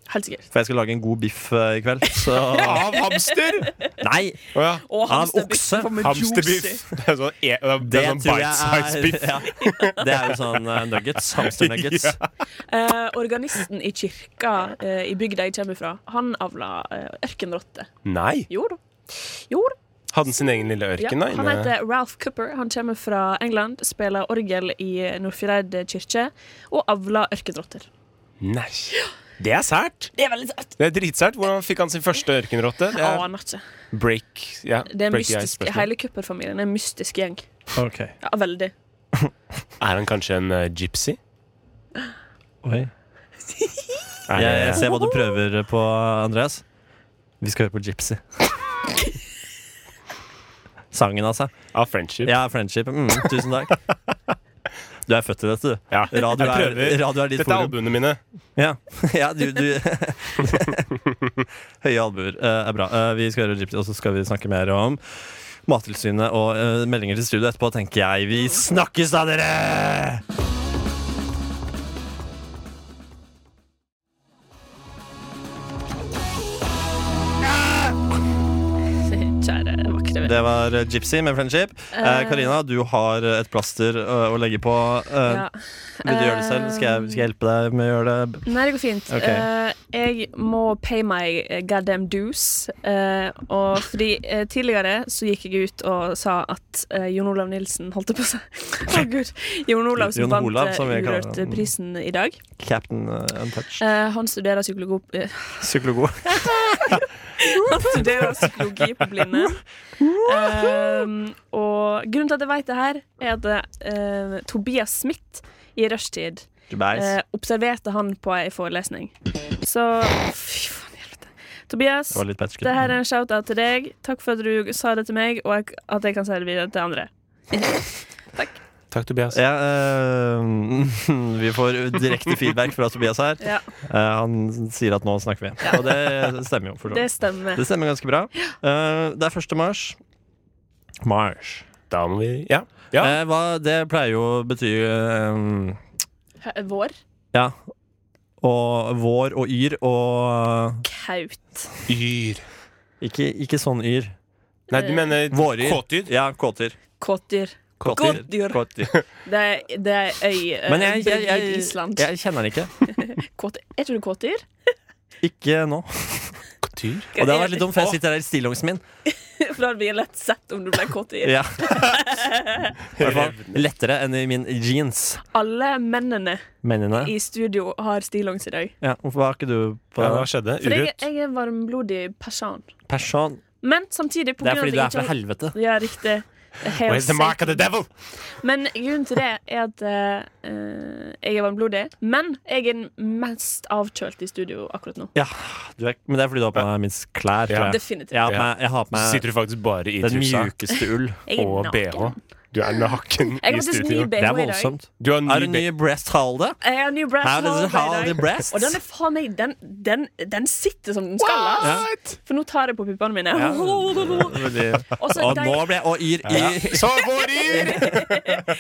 Speaker 3: Helt sikkert.
Speaker 2: For jeg skal lage en god biff eh, i kveld. Så
Speaker 3: [laughs]
Speaker 4: Av hamster!
Speaker 2: Nei!
Speaker 4: Å ja.
Speaker 3: Og
Speaker 2: Av
Speaker 3: hamsterbiff.
Speaker 2: okse.
Speaker 3: for med
Speaker 4: Hamsterbiff.
Speaker 3: juicy.
Speaker 4: Det er sånn, e det er sånn bite-size-biff.
Speaker 2: [laughs] ja, Det er jo sånn eh, nuggets.
Speaker 4: [laughs]
Speaker 2: Hamsternuggets.
Speaker 3: Eh, organisten i kirka eh, i bygda jeg kommer fra, han avla eh, ørkenrotte.
Speaker 4: Nei.
Speaker 3: Jo da. Jo da.
Speaker 4: Hadde han sin egen lille
Speaker 3: Ja.
Speaker 4: ørken, da?
Speaker 3: Han
Speaker 4: inne?
Speaker 3: heter Ralph Cooper. Han kommer fra England, spiller orgel i Nordfjordeid kirke og avla ørkenrotter.
Speaker 4: Nei. Det er sært.
Speaker 3: Det er veldig søtt.
Speaker 4: Det er dritsært. Hvordan fikk han sin første ørkenrotte? Det er
Speaker 3: Aner ikke.
Speaker 4: break. Ja,
Speaker 3: Det er en
Speaker 4: break the ice
Speaker 3: mystisk,
Speaker 4: spørsmål.
Speaker 3: hele Cooper-familien er en mystisk gjeng.
Speaker 2: Okay.
Speaker 3: Ja, veldig.
Speaker 4: Er han kanskje en eh, gypsy?
Speaker 2: Oi.
Speaker 4: Er
Speaker 2: Jeg,
Speaker 4: det-
Speaker 2: jeg ser hva du prøver eh, på, Andreas. Vi skal høre på Gypsy. [laughs] Sangen, altså.
Speaker 4: Av friendship?
Speaker 2: Ja, friendship. Mm, tusen takk. Du er født til dette, du.
Speaker 4: Ja.
Speaker 2: [laughs] Radio
Speaker 4: Jeg
Speaker 2: er,
Speaker 4: prøver.
Speaker 2: radio er ditt
Speaker 4: Dette er
Speaker 2: forum.
Speaker 4: albuene mine.
Speaker 2: Ja, [laughs] ja du, du. [laughs] Høye albuer eh, er bra. Eh, vi skal høre Gypsy, og så skal vi snakke mer om Mattilsynet og eh, meldinger til studio etterpå, tenker jeg. Vi snakkes da, dere!
Speaker 3: Kjære vakre venn.
Speaker 2: Det var eh, Gypsy med Friendship. Eh, Karina, du har eh, et plaster eh, å legge på. Eh,
Speaker 3: Ja. eh,
Speaker 2: Vil du gjøre det selv? Skal jeg, skal jeg hjelpe deg med å gjøre det?
Speaker 3: Nei, det går fint.
Speaker 2: Ok.
Speaker 3: Eh, jeg må pay my eh, goddamn dues. eh, og fordi eh, tidligere så gikk jeg ut og sa at eh, Jon Olav Nilsen holdt det på seg. [laughs] Å gud. Jon Olav som
Speaker 2: Jon
Speaker 3: vant eh,
Speaker 2: Olav, som vi kaller han.
Speaker 3: Urørt-prisen i dag.
Speaker 2: Captain eh, Untouched.
Speaker 3: Eh, han studerer psykologi, eh, [laughs]
Speaker 2: Psykologo.
Speaker 3: han studerer psykologi på blinde. Eh, og grunnen til at jeg vet det her, er at eh, Tobias Smith i rushtid eh, observerte han på ei forelesning. Så Fy faen i helvete. Tobias,
Speaker 2: Det var litt patchkid.
Speaker 3: det her er en shout-out til deg. Takk for at du sa det til meg, og jeg, at jeg kan si det videre til andre.
Speaker 4: Takk, Tobias.
Speaker 2: Ja, eh, [laughs] vi får direkte feedback fra Tobias her.
Speaker 3: Ja,
Speaker 2: Eh, han sier at nå snakker vi. Og det stemmer jo. for så
Speaker 3: Det
Speaker 2: vidt.
Speaker 3: stemmer.
Speaker 2: Det stemmer ganske bra. Eh, det er 1. mars. Mars.
Speaker 4: Da må vi Ja. ja.
Speaker 2: Eh, hva, det pleier jo å bety eh,
Speaker 3: Hø- Vår.
Speaker 2: Ja. Og vår og yr og
Speaker 3: Kaut.
Speaker 4: Yr.
Speaker 2: Ikke, ikke sånn yr.
Speaker 4: Nei, du mener
Speaker 2: Våryr.
Speaker 4: kåtyd?
Speaker 2: Ja, kåtyr.
Speaker 3: Kåtdyr. Kåtdyr. [laughs]
Speaker 2: Kåtyr.
Speaker 3: Det er, det er øy eh,
Speaker 2: Men jeg, jeg,
Speaker 3: brygd
Speaker 2: jeg,
Speaker 3: i
Speaker 2: jeg,
Speaker 3: Island.
Speaker 2: kjenner den ikke.
Speaker 3: Kåt- Er ikke du kåtdyr?
Speaker 2: Ikke nå.
Speaker 4: Kåtyr?
Speaker 2: Og det hadde vært litt dumt,
Speaker 3: [laughs]
Speaker 2: for jeg sitter her i stillongsen min.
Speaker 3: For da hadde vi lett sett om du ble kåtdyr.
Speaker 2: Ja.
Speaker 3: [laughs]
Speaker 2: I hvert fall lettere enn i min jeans.
Speaker 3: Alle mennene
Speaker 2: Mennene.
Speaker 3: i studio har stillongs i dag.
Speaker 2: Ja, hvorfor var ikke du på
Speaker 4: Ja, hva
Speaker 2: det?
Speaker 4: skjedde?
Speaker 3: For jeg,
Speaker 4: Urut?
Speaker 3: jeg er en varmblodig person.
Speaker 2: Person.
Speaker 3: Men samtidig på
Speaker 2: Det er
Speaker 3: grunn av at
Speaker 2: fordi du
Speaker 3: jeg
Speaker 2: er fra
Speaker 3: ikke har-
Speaker 2: helvete.
Speaker 3: Ja, riktig. Hail
Speaker 4: Where's the mark of the devil?
Speaker 3: eh, Men grunnen til det er at eh, jeg er varmblodig. Men jeg er den mest avkjølte i studio akkurat nå.
Speaker 2: Ja, du er, men det er fordi du har på deg minst klær. Tror jeg.
Speaker 3: Definitivt.
Speaker 2: Jeg har på meg, jeg har på
Speaker 4: Så
Speaker 2: meg
Speaker 4: sitter du faktisk bare i
Speaker 2: den
Speaker 4: trusa
Speaker 2: mjukeste ull.
Speaker 3: [laughs] Jeg er
Speaker 4: og bh.
Speaker 3: naken.
Speaker 4: Du er naken
Speaker 3: Jeg
Speaker 4: i
Speaker 3: har faktisk ny
Speaker 4: studio.
Speaker 2: Det
Speaker 3: BH
Speaker 2: er
Speaker 3: i dag.
Speaker 2: voldsomt.
Speaker 4: Du har
Speaker 2: Er
Speaker 4: ny
Speaker 2: det
Speaker 4: be-
Speaker 2: nye breast halde?
Speaker 3: Jeg har ny breast
Speaker 2: How does it
Speaker 3: hole
Speaker 2: hold
Speaker 3: i
Speaker 2: the
Speaker 3: dag.
Speaker 2: breasts?
Speaker 3: Og den er faen meg Den, den, den sitter som den skal. ass. For nå tar jeg på puppene mine.
Speaker 2: Ja.
Speaker 3: Og
Speaker 2: Veldig-
Speaker 3: så
Speaker 2: Og
Speaker 3: de-
Speaker 2: nå ble jeg Og yr. yr.
Speaker 4: [laughs] Så
Speaker 2: [laughs]
Speaker 4: våryr!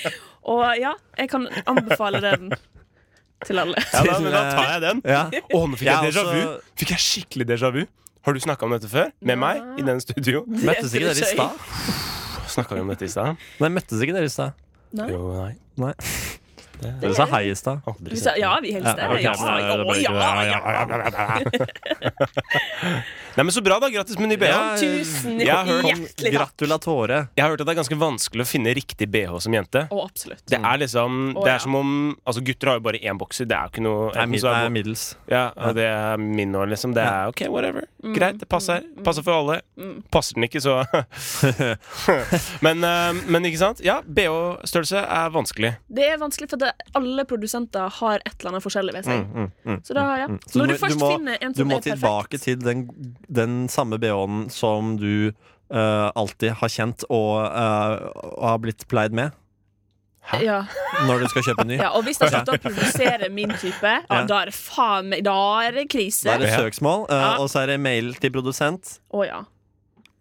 Speaker 3: [laughs] Og ja, jeg kan anbefale den til alle.
Speaker 2: [laughs]
Speaker 4: Ja, da, men da tar jeg den.
Speaker 3: [laughs]
Speaker 2: Ja.
Speaker 4: Å, nå fikk jeg
Speaker 2: Jeg
Speaker 4: déjà
Speaker 2: også-
Speaker 4: vu. Fikk jeg skikkelig déjà vu. Har du snakka om dette før? Med meg? I denne studio?
Speaker 2: Møttes ikke dere i stad?
Speaker 4: Snakka vi om dette i stad?
Speaker 2: Nei, møttes ikke dere i stad?
Speaker 3: Nei.
Speaker 4: Jo, nei.
Speaker 2: Nei. [laughs] Dere sa hei i stad.
Speaker 4: Aldri
Speaker 3: Vi sa, ja, vi hilste.
Speaker 2: Ja,
Speaker 3: Ja,
Speaker 2: ok,
Speaker 3: ja,
Speaker 2: men eh, det er- det
Speaker 3: å,
Speaker 2: blir ikke-
Speaker 3: ja, ja.
Speaker 4: Nei, men så bra, da. Grattis med ny BH.
Speaker 2: Ja,
Speaker 3: Tusen
Speaker 4: Jeg har hørt-
Speaker 3: hjertelig takk.
Speaker 2: Gratulatore.
Speaker 4: Jeg har hørt at det er ganske vanskelig å finne riktig BH som jente.
Speaker 3: Å, absolutt.
Speaker 4: Det er liksom,
Speaker 3: Å,
Speaker 4: det
Speaker 3: ja.
Speaker 4: er som om Altså, gutter har jo bare én bokser. Det er jo ikke noe
Speaker 2: Det er,
Speaker 4: enten
Speaker 2: mid
Speaker 4: så
Speaker 2: det er middels.
Speaker 4: ja, og det er min nå, liksom. Det er OK, whatever.
Speaker 3: Mm,
Speaker 4: Greit, det passer. Passer for alle. Passer den ikke, så [laughs] men, eh, men ikke sant? Ja, BH-størrelse er vanskelig.
Speaker 3: Det er vanskelig, for det, alle produsenter har et eller annet forskjellig ved
Speaker 2: Mm,
Speaker 3: seg. Så da, ja.
Speaker 2: Så
Speaker 3: Når
Speaker 2: du
Speaker 3: du
Speaker 2: må-
Speaker 3: først
Speaker 2: du må-
Speaker 3: finner en
Speaker 2: Du
Speaker 3: som
Speaker 2: må
Speaker 3: er perfekt
Speaker 2: tilbake til den, den samme BH-en som du eh, alltid har kjent og, eh, og har blitt pleid med
Speaker 3: ja,
Speaker 2: når du skal kjøpe en ny.
Speaker 3: [laughs] ja, Og hvis de slutter å produsere min type, ja, da er det faen meg Da er det
Speaker 2: Da
Speaker 3: krise.
Speaker 2: er det søksmål, eh,
Speaker 3: Ja.
Speaker 2: og så er det mail til produsent
Speaker 3: Å ja.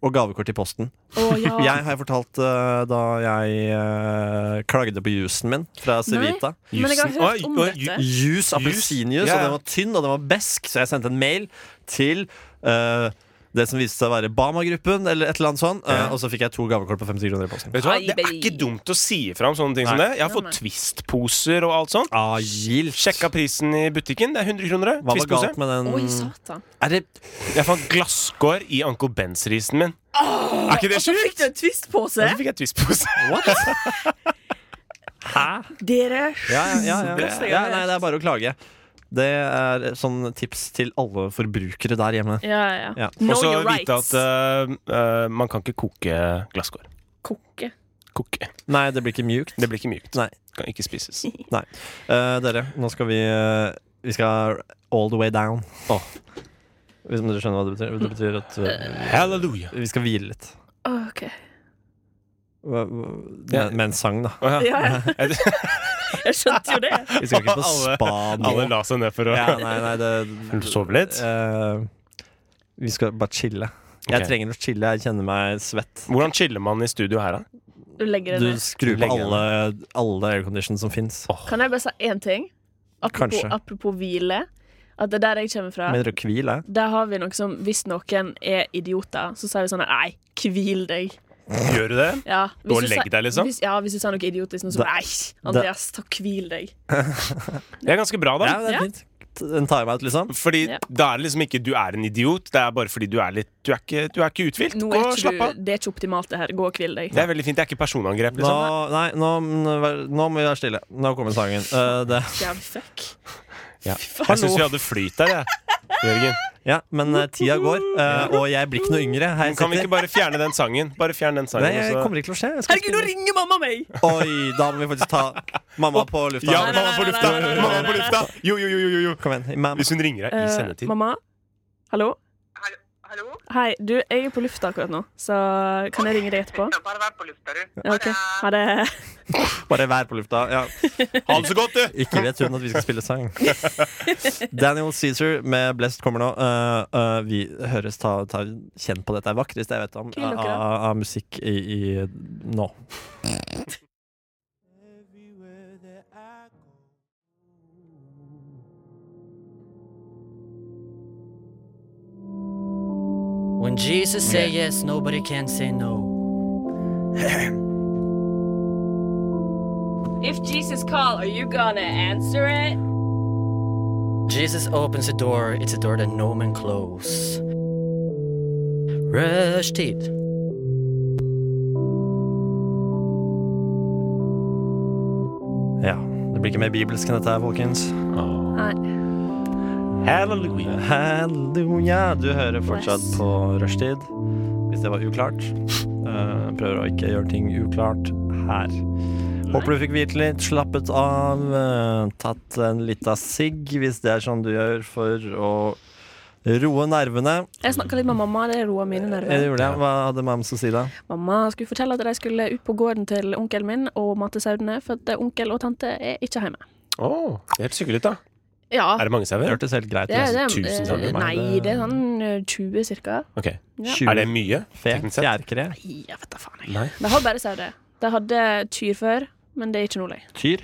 Speaker 2: og gavekort til posten.
Speaker 3: Å ja.
Speaker 2: Jeg har fortalt eh, da jeg eh, klagde på jusen min fra Civita.
Speaker 3: Men jeg har
Speaker 4: Jusen.
Speaker 3: hørt
Speaker 4: Oi,
Speaker 3: om
Speaker 4: oi,
Speaker 3: dette.
Speaker 2: Juice, appelsinjuice,
Speaker 4: Ja, ja.
Speaker 2: og den var tynn og den var besk, så jeg sendte en mail til eh, det som viste seg å være Bama-gruppen, eller et eller annet sånt. eh, og så fikk jeg to gavekort på 50 kroner i posten.
Speaker 4: Vet du hva?
Speaker 3: Ai,
Speaker 4: Det er
Speaker 3: baby.
Speaker 4: ikke dumt å si ifra om sånne ting som
Speaker 2: Nei.
Speaker 4: det. Jeg har fått Twist-poser og alt sånt.
Speaker 2: Ah, gildt.
Speaker 4: Sjekka prisen i butikken. Det er 100 kroner. det.
Speaker 2: Hva var
Speaker 4: Twist-pose.
Speaker 2: galt med
Speaker 3: Oi,
Speaker 2: den?
Speaker 3: satan.
Speaker 2: Er det
Speaker 4: Jeg fant glasskår i Uncle Bens-risen min. er ikke
Speaker 3: Og
Speaker 4: det
Speaker 3: så fikk
Speaker 4: sjukt?
Speaker 3: du en Twist-pose!
Speaker 4: Og så fikk jeg Twist-pose.
Speaker 2: [laughs] What? Hæ?
Speaker 3: Dere
Speaker 2: Ja, ja, ja, ja.
Speaker 3: Første gang
Speaker 2: ja
Speaker 3: jeg
Speaker 2: Nei,
Speaker 3: vet.
Speaker 2: det er bare å klage. Det er sånn tips til alle forbrukere der hjemme.
Speaker 3: Ja, ja.
Speaker 2: Ja.
Speaker 3: ja. [laughs] Know
Speaker 4: Og så
Speaker 3: your rights.
Speaker 4: vite at eh, eh, man kan ikke koke glasskår.
Speaker 3: Kokke.
Speaker 4: Koke.
Speaker 2: Nei, det blir ikke mjukt.
Speaker 4: Det blir ikke mjukt.
Speaker 2: Nei.
Speaker 4: Kan ikke spises.
Speaker 3: [laughs]
Speaker 2: Eh, dere, nå skal vi eh, Vi skal all the way down. Hvis dere skjønner hva det betyr? Det betyr at eh,
Speaker 4: Halleluja.
Speaker 2: vi skal hvile litt.
Speaker 3: Ok.
Speaker 2: Hva- hva-
Speaker 4: Ja.
Speaker 2: Med, med en sang, da.
Speaker 4: Å, ja. [laughs]
Speaker 3: Ja,
Speaker 2: [laughs]
Speaker 3: jeg skjønte jo det.
Speaker 2: Vi skal ikke på
Speaker 4: Alle-
Speaker 2: spa nå.
Speaker 4: Alle la seg ned for å
Speaker 2: Ja, nei, nei,
Speaker 4: Vil du
Speaker 2: det,
Speaker 4: sove litt?
Speaker 2: eh, vi skal bare chille. Jeg
Speaker 4: Ok.
Speaker 2: trenger å chille. Jeg kjenner meg svett.
Speaker 4: Hvordan chiller man i studio her, da?
Speaker 3: Du legger det
Speaker 2: Du
Speaker 3: ned.
Speaker 2: skrur på
Speaker 4: Legger jeg
Speaker 2: alle, alle aircondition som fins.
Speaker 3: Kan jeg bare si én ting? Apropos,
Speaker 2: Kanskje.
Speaker 3: apropos hvile. At det er der jeg kommer fra.
Speaker 2: Mener du hvil, jeg?
Speaker 3: Der har vi noe som Hvis noen er idioter, så sier vi sånn Nei, hvil deg.
Speaker 4: Gjør du det?
Speaker 3: Ja, hvis
Speaker 4: Gå og
Speaker 3: du
Speaker 4: legg
Speaker 3: sier-
Speaker 4: deg, liksom?
Speaker 3: Hvis, ja, hvis du sier noe idiotisk, nå, så
Speaker 2: Da-
Speaker 3: Nei, Andreas, ta hvil deg.
Speaker 4: Det er ganske bra, da.
Speaker 2: Ja, det er
Speaker 3: Ja.
Speaker 2: fint. En timeout, liksom.
Speaker 4: Fordi
Speaker 3: Ja.
Speaker 4: da er det liksom ikke du er en idiot, det er bare fordi du er litt Du er ikke, du er ikke uthvilt.
Speaker 3: Nå
Speaker 4: Gå
Speaker 3: er
Speaker 4: og slapp
Speaker 3: ikke
Speaker 4: av.
Speaker 3: du, det er ikke optimalt, det her. Gå og hvil deg.
Speaker 4: Det er veldig fint. Det er ikke personangrep,
Speaker 2: Nå,
Speaker 4: liksom.
Speaker 2: nei, nå, nå må vi være stille. Nå kommer sangen. Eh, det,
Speaker 3: Jævlig fuck.
Speaker 4: Ja.
Speaker 3: Fy faen.
Speaker 4: Jeg syns vi hadde flyt der, jeg. Jørgen.
Speaker 2: ja, men eh, tida går, eh, og jeg blir ikke noe yngre. Her
Speaker 4: Kan vi
Speaker 2: sitter-
Speaker 4: ikke bare fjerne den sangen? Bare altså? fjern den sangen.
Speaker 2: Nei, jeg
Speaker 4: og så-
Speaker 2: kommer ikke til å skje. Jeg skal
Speaker 3: Herregud, nå ringer mamma meg!
Speaker 2: spille- Oi, da må vi faktisk ta mamma på lufta.
Speaker 4: Ja,
Speaker 3: Nei, nei,
Speaker 4: mamma på
Speaker 3: nei,
Speaker 4: lufta!
Speaker 3: nei, nei, nei,
Speaker 4: Mamma
Speaker 3: nei,
Speaker 4: på
Speaker 3: nei.
Speaker 4: lufta! Jo, jo, jo, jo, jo.
Speaker 2: Kom igjen. Mamma.
Speaker 4: Hvis hun ringer deg i
Speaker 3: Eh,
Speaker 4: sendetid.
Speaker 3: mamma? Hallo?
Speaker 5: Hallo? Hallo?
Speaker 3: Hei, du, jeg er på lufta akkurat nå, så kan jeg ringe deg etterpå?
Speaker 5: Ja, bare vær på lufta, du.
Speaker 3: Ja, Ok, ha det.
Speaker 2: Bare vær på lufta. Ja.
Speaker 4: [laughs] Ha det så godt, du!
Speaker 2: Ikke vet hun at vi skal spille sang.
Speaker 4: [laughs]
Speaker 2: Daniel Cæsar med Blest kommer nå. Eh, eh, vi høres ta, ta kjenn på dette. Det er vakreste jeg vet om
Speaker 3: Kul,
Speaker 2: av
Speaker 3: dere.
Speaker 2: av musikk i, i nå.
Speaker 6: When Jesus say yes, nobody can say no.
Speaker 3: If Jesus call, are you gonna answer it?
Speaker 6: Jesus opens a door, it's a door that no man close. Rushtid.
Speaker 2: Ja. Det blir ikke mer bibelsk enn dette her, folkens.
Speaker 3: Nei.
Speaker 4: Halleluja.
Speaker 2: Halleluja. Du hører fortsatt på rushtid. Hvis det var uklart. Eh, prøver å ikke gjøre ting uklart her. Håper du fikk hvile litt, slappet av, eh, tatt en lita sigg, hvis det er sånn du gjør for å roe nervene.
Speaker 3: Jeg snakka litt med mamma, det roa mine
Speaker 2: Eh,
Speaker 3: nerver.
Speaker 2: det gjorde jeg. Hva hadde mams å si da?
Speaker 3: Mamma skulle fortelle at de skulle ut på gården til onkelen min og mate sauene, for at eh, onkel og tante er ikke hjemme.
Speaker 4: Åh, det er helt sykt ut, da.
Speaker 3: Ja.
Speaker 4: Er det mange
Speaker 2: Det
Speaker 4: sauer?
Speaker 2: hørtes helt greit
Speaker 3: Ah. Det,
Speaker 2: ut. altså.
Speaker 3: det,
Speaker 4: tusen
Speaker 3: eh,
Speaker 4: takk til
Speaker 2: meg.
Speaker 3: nei, det er sånn eh, 20 cirka.
Speaker 4: Ok.
Speaker 3: Ja.
Speaker 4: Er det mye?
Speaker 2: Fe,
Speaker 4: teknisk sett?
Speaker 2: fjærkre,
Speaker 3: Nei, Jeg vet da faen. jeg.
Speaker 4: Nei.
Speaker 3: De har bare sauer. De hadde kyr før, men det er ikke nå lenger.
Speaker 2: tyr,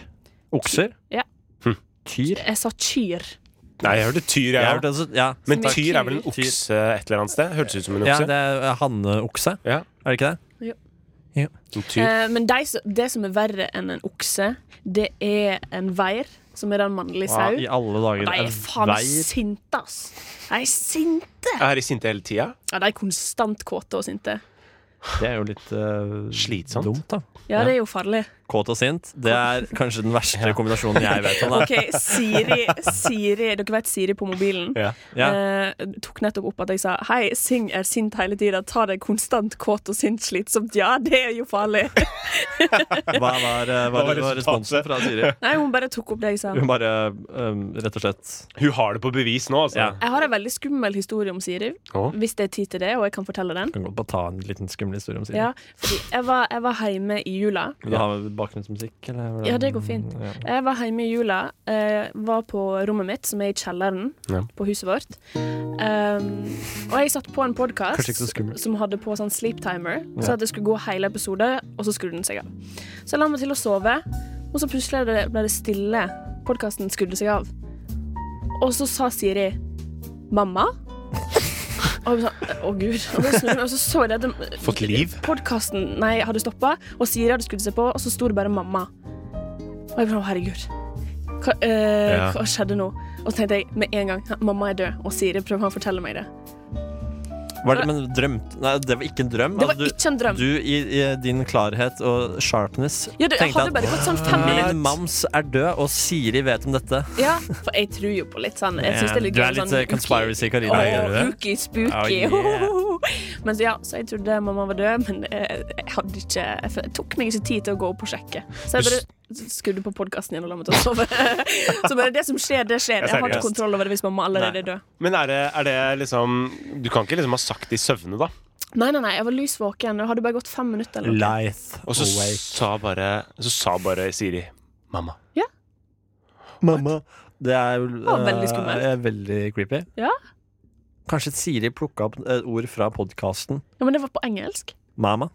Speaker 2: okser.
Speaker 3: Ja.
Speaker 4: Hm.
Speaker 2: Tyr.
Speaker 3: Jeg sa kyr.
Speaker 4: Nei, jeg hørte tyr,
Speaker 2: Jeg
Speaker 4: jeg
Speaker 2: har
Speaker 4: òg.
Speaker 2: hørt det, så- ja.
Speaker 4: Men
Speaker 3: Som er
Speaker 4: tyr er vel en
Speaker 2: tyr.
Speaker 4: okse et eller annet sted? Hørtes ut som en
Speaker 2: ja,
Speaker 4: okse.
Speaker 2: det er hanneokse.
Speaker 4: Ja.
Speaker 2: Er det ikke det?
Speaker 3: Jo.
Speaker 2: Ja.
Speaker 4: En tyv.
Speaker 3: Eh, men de, som- det som er verre enn en okse, det er en veir, som er en mannlig sau.
Speaker 2: I alle dager.
Speaker 3: De er
Speaker 2: en
Speaker 3: faen
Speaker 2: vei.
Speaker 3: sinte, ass. De er sinte.
Speaker 4: Er de sinte hele tida?
Speaker 3: Ja, de er konstant kåte og sinte.
Speaker 2: Det er jo litt eh,
Speaker 4: Slitsomt.
Speaker 2: Dumt, da.
Speaker 3: Ja, det er jo farlig.
Speaker 2: Kåt og sint. Det er kanskje den
Speaker 3: [laughs]
Speaker 2: verste kombinasjonen jeg vet om. Da.
Speaker 3: OK, Siri, Siri Dere vet Siri på mobilen?
Speaker 4: Ja.
Speaker 2: Ja.
Speaker 3: Eh, tok nettopp opp at jeg sa Hei, Sing er sint hele tida. Ta deg konstant kåt og sint slitsomt. Ja, det er jo farlig.
Speaker 2: Hva var, eh, hva
Speaker 4: var
Speaker 2: var responsen
Speaker 4: resultatet?
Speaker 2: fra
Speaker 3: [laughs]
Speaker 2: Siri?
Speaker 3: Nei, hun bare tok opp det jeg sa.
Speaker 2: Hun bare eh, rett og slett
Speaker 4: Hun har det på bevis nå, altså.
Speaker 2: Ja.
Speaker 3: Jeg har en veldig skummel historie om Siri,
Speaker 4: Å?
Speaker 3: hvis det er tid til det, og jeg kan fortelle den.
Speaker 2: Kan godt bare ta en liten skummel historie om Siri.
Speaker 3: Ja, fordi jeg var, jeg var hjemme i jula.
Speaker 2: Vil du ha bakgrunnsmusikk? Eller? hvordan-
Speaker 3: Ja, det går fint.
Speaker 2: Ja.
Speaker 3: Jeg var hjemme i jula, eh, var på rommet mitt, som er i kjelleren
Speaker 4: Ja.
Speaker 3: på huset vårt. Um, og jeg satt på en podkast
Speaker 2: Kanskje ikke så skummelt.
Speaker 3: som hadde på sånn sleep timer, så at det skulle gå hele episode, og så skrudde den seg av. Så jeg la meg til å sove, og så plutselig ble det, ble det stille. Podkasten skrudde seg av. Og så sa Siri 'mamma'. Og jeg ble sånn, å gud. Og så snudde jeg meg, og så så jeg det
Speaker 4: Fått liv?
Speaker 3: Podkasten nei, hadde stoppa, og Siri hadde skrudd seg på, og så sto det bare 'mamma'. Og jeg ble sånn, herregud. Hva, eh,
Speaker 4: Ja.
Speaker 3: hva skjedde nå? Og så tenkte jeg med en gang mamma er død, og Siri prøver å fortelle meg det.
Speaker 2: Var det, men drømt Nei, det var ikke en drøm.
Speaker 3: Det var
Speaker 2: Altså, du,
Speaker 3: ikke en drøm.
Speaker 2: Du i, i din klarhet og sharpness
Speaker 3: Ja, det
Speaker 2: tenkte
Speaker 3: hadde
Speaker 2: at
Speaker 3: bare gått sånn fem
Speaker 2: min
Speaker 3: minutter.
Speaker 2: mams er død, og Siri vet om dette.
Speaker 3: Ja, for jeg tror jo på litt sånn Jeg synes det er litt
Speaker 2: Du er
Speaker 3: gøy,
Speaker 2: litt,
Speaker 3: sånn,
Speaker 2: eh, conspiracy,
Speaker 3: ooky-
Speaker 2: Karina,
Speaker 3: åh,
Speaker 2: gjør du det?
Speaker 3: ooky, spooky.
Speaker 2: Oh,
Speaker 3: [laughs] Men så ja, så jeg trodde mamma var død, men eh, jeg hadde ikke Jeg f- tok meg ikke tid til å gå opp og sjekke. Så jeg
Speaker 4: Du
Speaker 3: bare skrudde på podkasten igjen og la meg til å sove. [laughs] så bare det som skjer, det skjer. Jeg har
Speaker 4: seriøst.
Speaker 3: ikke kontroll over det hvis mamma allerede er død.
Speaker 4: Men er det, er det liksom Du kan ikke liksom ha sagt det i søvne, da?
Speaker 3: Nei, nei, nei, jeg var lys våken. Det hadde bare gått fem minutter. Eller noe.
Speaker 2: Lith
Speaker 4: Og så sa bare Så sa bare Siri Mamma.
Speaker 2: Mamma. Det er jo
Speaker 3: Å, veldig
Speaker 2: eh,
Speaker 3: skummelt.
Speaker 2: er veldig creepy.
Speaker 3: Ja.
Speaker 2: Kanskje Siri plukka opp et ord fra podkasten
Speaker 3: Ja, men det var på engelsk.
Speaker 2: Mamma.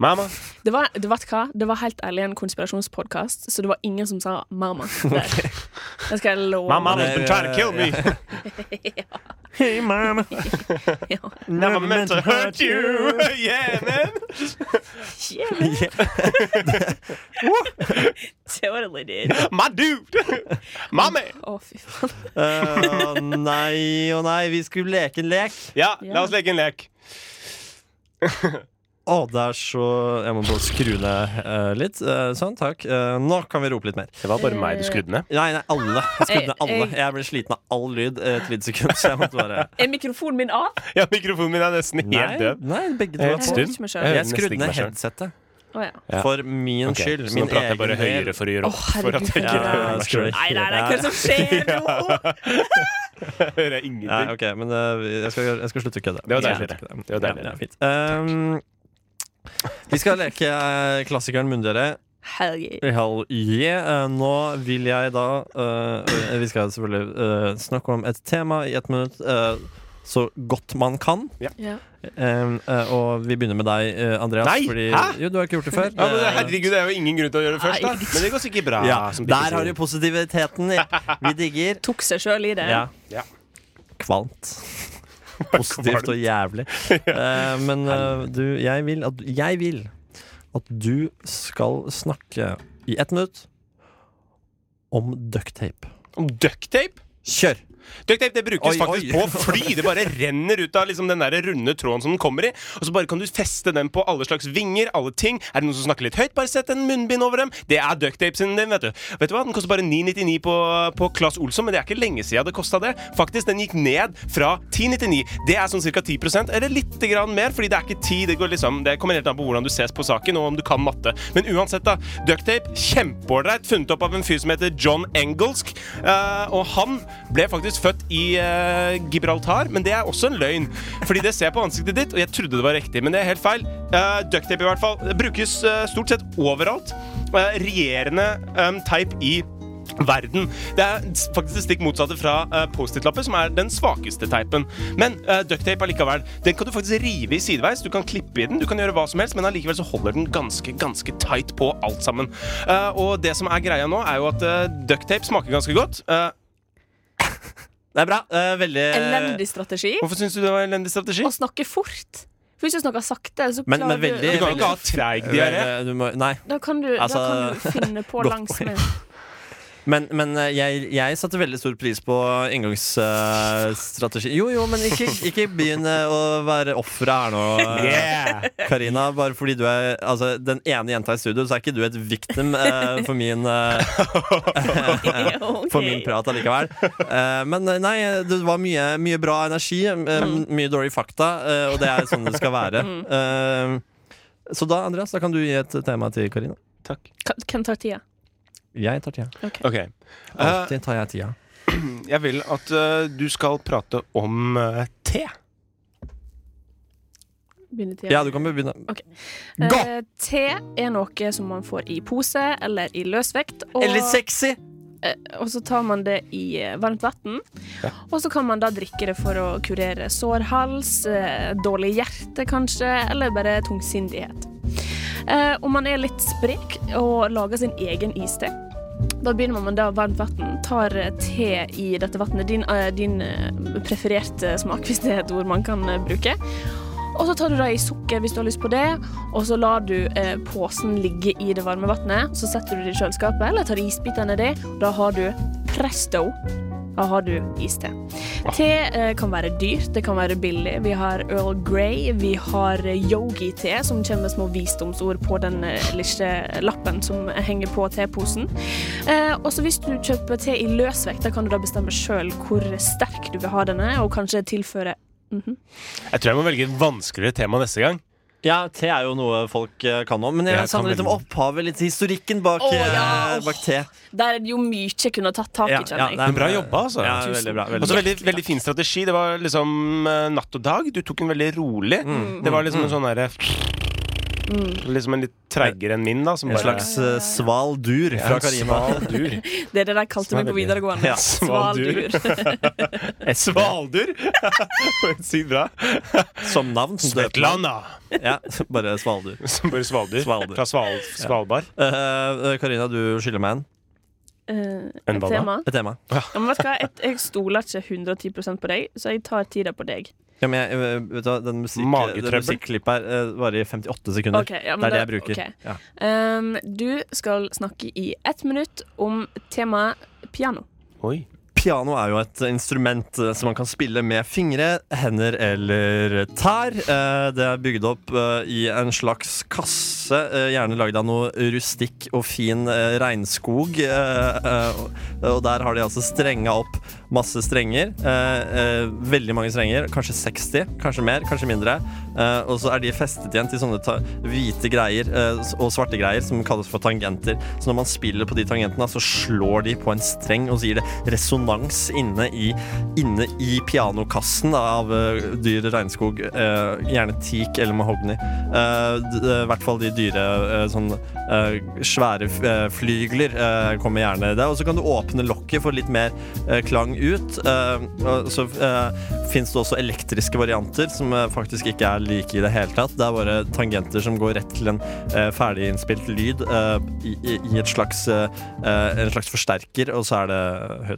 Speaker 4: Mamma.
Speaker 3: Det var, det, vet du hva? det var helt ærlig en konspirasjonspodkast, så det var ingen som sa
Speaker 2: [laughs]
Speaker 3: 'mamma'. Der. Det skal jeg love.
Speaker 4: Mamma
Speaker 2: det
Speaker 4: has
Speaker 2: er-
Speaker 4: been trying to kill me.
Speaker 2: Eh,
Speaker 3: [laughs]
Speaker 2: Hey, mamma.
Speaker 3: Ja.
Speaker 4: Never meant to hurt you. [laughs] Yeah, man.
Speaker 3: [laughs]
Speaker 2: [laughs]
Speaker 3: Yeah, man. Totally did.
Speaker 4: My [laughs] dude. My man.
Speaker 3: Å, fy faen.
Speaker 2: Eh, Å nei, å nei, vi skulle leke en lek.
Speaker 4: Ja, la oss leke en lek.
Speaker 2: Å, det er så Jeg må bare skru ned eh, litt. Eh, sånn, takk. Eh, nå kan vi rope litt mer.
Speaker 4: Det var bare meg du skrudde ned.
Speaker 2: Nei, nei, alle. Jeg skrudde ned alle.
Speaker 3: Jeg- jeg-
Speaker 2: Jeg ble sliten av all lyd eh, et lite sekund, så jeg måtte bare
Speaker 3: Er mikrofonen min av?
Speaker 4: [laughs] Ja, mikrofonen min er nesten
Speaker 2: Nei,
Speaker 4: [laughs] helt død.
Speaker 2: nei begge to
Speaker 4: Jeg er
Speaker 2: var på.
Speaker 3: Jeg hører ikke
Speaker 4: helt stum.
Speaker 3: meg
Speaker 4: Jeg
Speaker 3: selv.
Speaker 2: Jeg skrudde ned
Speaker 4: Nesten ikke meg
Speaker 2: headsetet.
Speaker 3: Å, ja.
Speaker 4: Ja.
Speaker 2: For min
Speaker 4: Ok,
Speaker 2: skyld.
Speaker 4: så
Speaker 2: Min
Speaker 4: nå prater jeg bare
Speaker 2: egen del.
Speaker 4: høyere for å gjøre
Speaker 3: Å,
Speaker 4: opp for at jeg
Speaker 3: herregud,
Speaker 4: ikke
Speaker 3: ja.
Speaker 4: hører meg selv.
Speaker 3: Nei, nei, nei, hva er det som skjer
Speaker 2: [laughs]
Speaker 3: nå?
Speaker 4: Jeg hører
Speaker 2: Nei,
Speaker 4: ingenting.
Speaker 2: ok, men eh, jeg, skal, jeg skal slutte å kødde.
Speaker 4: Det var
Speaker 2: Jeg skal
Speaker 4: deiligere.
Speaker 2: slutte å kødde.
Speaker 4: Det var deiligere.
Speaker 2: Ja, det er fint. Um, vi skal leke eh, klassikeren Munndere.
Speaker 3: Herregud.
Speaker 2: Hell yeah. Eh, Nå vil jeg da eh, Vi skal selvfølgelig eh, snakke om et tema i ett minutt eh, så godt man kan.
Speaker 3: Ja.
Speaker 2: Eh, eh, og vi begynner med deg, eh, Andreas.
Speaker 4: Nei,
Speaker 2: fordi,
Speaker 4: hæ?
Speaker 2: Jo, du har ikke gjort det før.
Speaker 4: Ja, men
Speaker 2: Eh,
Speaker 4: Herregud, det er jo ingen grunn til å gjøre det først, da. Men det går sikkert bra.
Speaker 2: ja,
Speaker 4: som de
Speaker 2: der
Speaker 4: sier.
Speaker 2: har du positiviteten. Vi digger.
Speaker 3: Tok seg sjøl i det.
Speaker 2: Ja.
Speaker 4: [laughs] Ja. [laughs]
Speaker 2: Kvalmt. Positivt og jævlig. Eh, men eh, du, jeg vil, at, jeg vil at du skal snakke i ett minutt om ducktape.
Speaker 4: Om ducktape?
Speaker 2: Kjør!
Speaker 4: Ducktape det brukes
Speaker 2: Oi,
Speaker 4: faktisk
Speaker 2: oi.
Speaker 4: på fly. Det bare renner ut av liksom den der runde tråden som den kommer i. Og så bare kan du feste den på alle slags vinger, alle ting. Er det noen som snakker litt høyt, bare sett en munnbind over dem. Det er ducktape sin, den, vet du. Vet du hva? Den koster bare 9,99 på, på Claes Olsson, men det er ikke lenge siden det kosta det. Faktisk, den gikk ned fra 10,99. Det er sånn ca. 10 eller litt grann mer, fordi det er ikke tid. Det, går liksom, det kommer helt an på hvordan du ses på saken, og om du kan matte. Men uansett, da. Ducktape, kjempeålreit. Funnet opp av en fyr som heter John Engelsk. Eh, og han ble faktisk født i eh, Gibraltar, men det er også en løgn. Fordi det ser jeg på ansiktet ditt, og jeg trodde det var riktig, men det er helt feil. Uh, Ducktape, i hvert fall, det brukes eh, stort sett overalt. Eh, regjerende em, teip i verden. Det er s- faktisk det stikk motsatte fra eh, Post-It-lapper, som er den svakeste teipen. Men uh, ducktape allikevel. Den kan du faktisk rive i sideveis. Du kan klippe i den, du kan gjøre hva som helst, men allikevel så holder den ganske, ganske tight på alt sammen. Eh, og det som er greia nå, er jo at uh, ducktape smaker ganske godt. Eh,
Speaker 2: Det er bra. Eh, veldig
Speaker 3: Elendig strategi.
Speaker 4: hvorfor syns du det var en elendig strategi?
Speaker 3: Å snakke fort. For hvis du snakker sakte, så
Speaker 2: Men-
Speaker 3: klarer
Speaker 2: men veldig-
Speaker 4: Du
Speaker 3: du
Speaker 4: kan jo ikke ha treig diaré.
Speaker 2: Eh, Du må, nei.
Speaker 3: da kan, du, da kan
Speaker 2: Altså,
Speaker 3: du finne
Speaker 2: [laughs]
Speaker 3: på
Speaker 2: godt
Speaker 3: langs
Speaker 2: poeng.
Speaker 3: med
Speaker 2: Men, men eh, jeg, jeg satte veldig stor pris på inngangsstrategi. jo, jo, men ikke, ikke begynn eh, å være offeret her
Speaker 4: [laughs]
Speaker 2: nå, eh,
Speaker 4: Yeah.
Speaker 2: Karina. Bare fordi du er altså, den ene jenta i studio, så er ikke du et victim eh, for min eh, for min prat allikevel. Eh, men eh, nei, det var mye, mye bra energi, eh, mye dårlige fakta, eh, og det er sånn det skal være. Eh, så da, Andreas, da kan du gi et tema til Karina.
Speaker 3: Ka- Hvem tar tida?
Speaker 2: Jeg tar tida.
Speaker 4: Ok. Eh,
Speaker 2: Alltid tar jeg tida.
Speaker 4: jeg vil at eh, du skal prate om eh, te.
Speaker 3: Begynner tida.
Speaker 2: Ja, du kan begynne.
Speaker 4: Gå!
Speaker 3: Eh, te er noe som man får i pose eller i løsvekt. Og,
Speaker 2: Eller sexy!
Speaker 3: og så tar man det i eh, varmt vann. Og så kan man da drikke det for å kurere sår hals, eh, dårlig hjerte kanskje, eller bare tungsindighet. Eh, om man er litt sprek og lager sin egen iste, da begynner man med da varmt vann, tar eh, te i dette vannet, din, eh, din eh, prefererte smak, hvis det er et ord man kan eh, bruke. Og så tar du da i sukker hvis du har lyst på det, og så lar du eh, posen ligge i det varme vannet. Så setter du det i kjøleskapet, eller tar isbitene i det, og da har du presto. Da har du iste. Te eh, kan være dyrt, det kan være billig. Vi har Earl Grey, vi har eh, yogi-te, som kommer med små visdomsord på den eh, lille lappen som henger på teposen. Eh, og så hvis du kjøper te i løsvekt, da kan du da bestemme sjøl hvor sterk du vil ha denne, og kanskje tilføre Mhm.
Speaker 4: Jeg tror jeg må velge et vanskeligere tema neste gang.
Speaker 2: Ja, te er jo noe folk eh, kan om, men jeg
Speaker 4: Jeg kan
Speaker 2: savner litt om
Speaker 4: veldig.
Speaker 2: opphavet, litt historikken bak,
Speaker 3: Å, ja.
Speaker 2: eh, bak te.
Speaker 3: Der er det jo mye jeg kunne tatt tak i,
Speaker 2: Ja, ja,
Speaker 3: kjenner jeg.
Speaker 2: det er-
Speaker 4: Men bra jobba, altså.
Speaker 2: Ja, veldig bra.
Speaker 4: Altså,
Speaker 2: Veldig.
Speaker 4: veldig, veldig fin strategi. Det var liksom eh, natt og dag. Du tok den veldig rolig.
Speaker 2: Mm.
Speaker 4: Det var liksom en sånn derre Liksom en litt treigere enn min, da. Som
Speaker 2: En
Speaker 4: bare,
Speaker 2: slags eh, sval dur fra Karina.
Speaker 4: Svaldur. [laughs]
Speaker 3: Det er det de kalte meg på
Speaker 4: Svaldur.
Speaker 3: videregående.
Speaker 2: Ja,
Speaker 4: svaldur.
Speaker 2: [laughs]
Speaker 4: Svaldur! [laughs] Sykt bra.
Speaker 2: Som navn. som døper navn.
Speaker 4: Svetlana.
Speaker 2: Ja, [laughs] bare svaldur.
Speaker 4: [laughs] Som bare Svaldur.
Speaker 2: Svaldur.
Speaker 4: Fra Sval Svalbard.
Speaker 2: Eh, eh, Karina, du skylder meg en.
Speaker 3: Eh,
Speaker 4: Enn
Speaker 3: et
Speaker 4: hva da?
Speaker 3: tema.
Speaker 2: et tema.
Speaker 3: Ja, men vet du hva? Jeg, jeg stoler ikke 110 på deg, så jeg tar tida på deg.
Speaker 2: Ja, men jeg, eh, vet du, hva, den musikk,
Speaker 4: Magetrøbbel.
Speaker 2: den musikklippet her eh, varer i 58 sekunder.
Speaker 3: Ok, ja,
Speaker 2: det
Speaker 3: men
Speaker 2: er det jeg
Speaker 3: da-
Speaker 2: bruker.
Speaker 3: ok.
Speaker 2: Ja.
Speaker 3: Um, du skal snakke i ett minutt om temaet piano.
Speaker 4: Oi.
Speaker 2: Piano er jo et instrument eh, som man kan spille med fingre, hender eller tær. Eh, Det er bygd opp eh, i en slags kasse, eh, gjerne lagd av noe rustikk og fin eh, regnskog. eh, eh, Og og der har de altså strenga opp masse strenger. eh, eh, Veldig mange strenger, kanskje 60, kanskje mer, kanskje mindre. Eh, Og så er de festet igjen til sånne ta hvite greier eh, s- og svarte greier som kalles for tangenter. Så når man spiller på de tangentene, så slår de på en streng, og så gir det resonans inne i, inne i pianokassen av eh, dyr regnskog. eh, Gjerne teak eller mahogny. Eh, d- eh, I hvert fall de dyre eh, sånn eh, svære f- eh, flygler eh, kommer gjerne der. Og så kan du åpne lokket for litt mer eh, klang ut. Eh, og Så fins det også elektriske varianter som eh, faktisk ikke er like i det hele tatt. Det er bare tangenter som går rett til en eh, ferdig innspilt lyd eh, i, i i et slags, eh, eh, en slags forsterker, og så er det eh, høyttaler.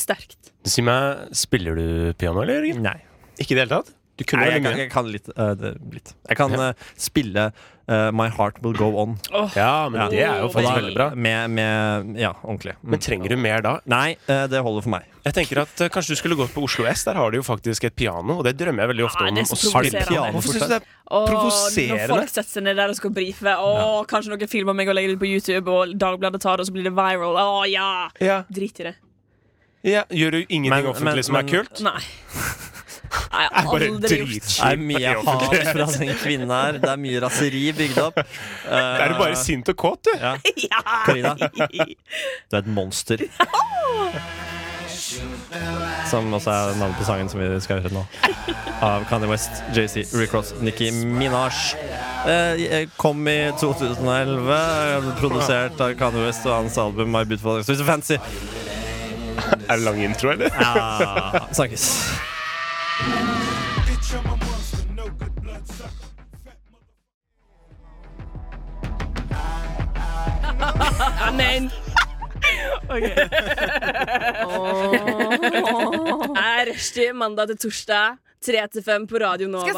Speaker 3: Sterkt.
Speaker 4: Si meg, spiller du piano, eller? Jørgen?
Speaker 2: Nei.
Speaker 4: Ikke i det hele tatt? Du kunne
Speaker 2: Nei, jeg,
Speaker 4: veldig
Speaker 2: kan,
Speaker 4: mye.
Speaker 2: jeg kan litt. eh, det, litt. Jeg kan eh, spille eh, My Heart Will Go On.
Speaker 4: Ja, men
Speaker 2: Ja.
Speaker 4: det er jo
Speaker 2: Og
Speaker 4: faktisk
Speaker 2: da-
Speaker 4: veldig bra.
Speaker 2: Med, med Ja, ordentlig. Mm.
Speaker 4: Men trenger du mer da?
Speaker 2: Nei, eh, det holder for meg.
Speaker 4: Jeg tenker at eh, Kanskje du skulle gått på Oslo S. Der har de jo faktisk et piano, og det drømmer jeg veldig ofte
Speaker 3: Ah,
Speaker 4: om.
Speaker 3: det er så
Speaker 4: å spille.
Speaker 3: provoserende. Piano
Speaker 4: Hvorfor synes du det er
Speaker 3: Og
Speaker 4: Provoserende.
Speaker 3: Når folk setter seg ned der og skal brife, Åh, kanskje noen filmer meg og legger det ut på YouTube, og Dagbladet tar det, og så blir det viral. Å ja!
Speaker 4: ja,
Speaker 3: Drit i det.
Speaker 4: ja, Gjør du ingenting
Speaker 2: Men- men-
Speaker 4: offentlig som
Speaker 2: men-
Speaker 4: er
Speaker 2: [laughs]
Speaker 4: kult?
Speaker 3: Nei. Nei, Jeg har
Speaker 4: Bare
Speaker 3: aldri gjort
Speaker 2: Det er
Speaker 4: dritkjipt.
Speaker 2: mye hat fra den kvinnen her. Det er mye raseri bygd
Speaker 4: [laughs]
Speaker 2: opp. Eh,
Speaker 4: Da er du bare sint og kåt, du.
Speaker 3: [laughs]
Speaker 2: Karina, du er et
Speaker 4: [laughs]
Speaker 2: monster. Som også er navnet på sangen som vi skal høre nå. Av Kanye West, JC, Rick Ross, Nicki Minaj. Eh, kom i 2011, eh, produsert av Kanye West og hans album My Beautiful Exquisite Fancy.
Speaker 4: Er det lang intro, eller?
Speaker 2: Ja, snakkes.
Speaker 3: Amen. OK. Er rushtid mandag til torsdag, 3 til 5 på Radio Nova.
Speaker 2: Det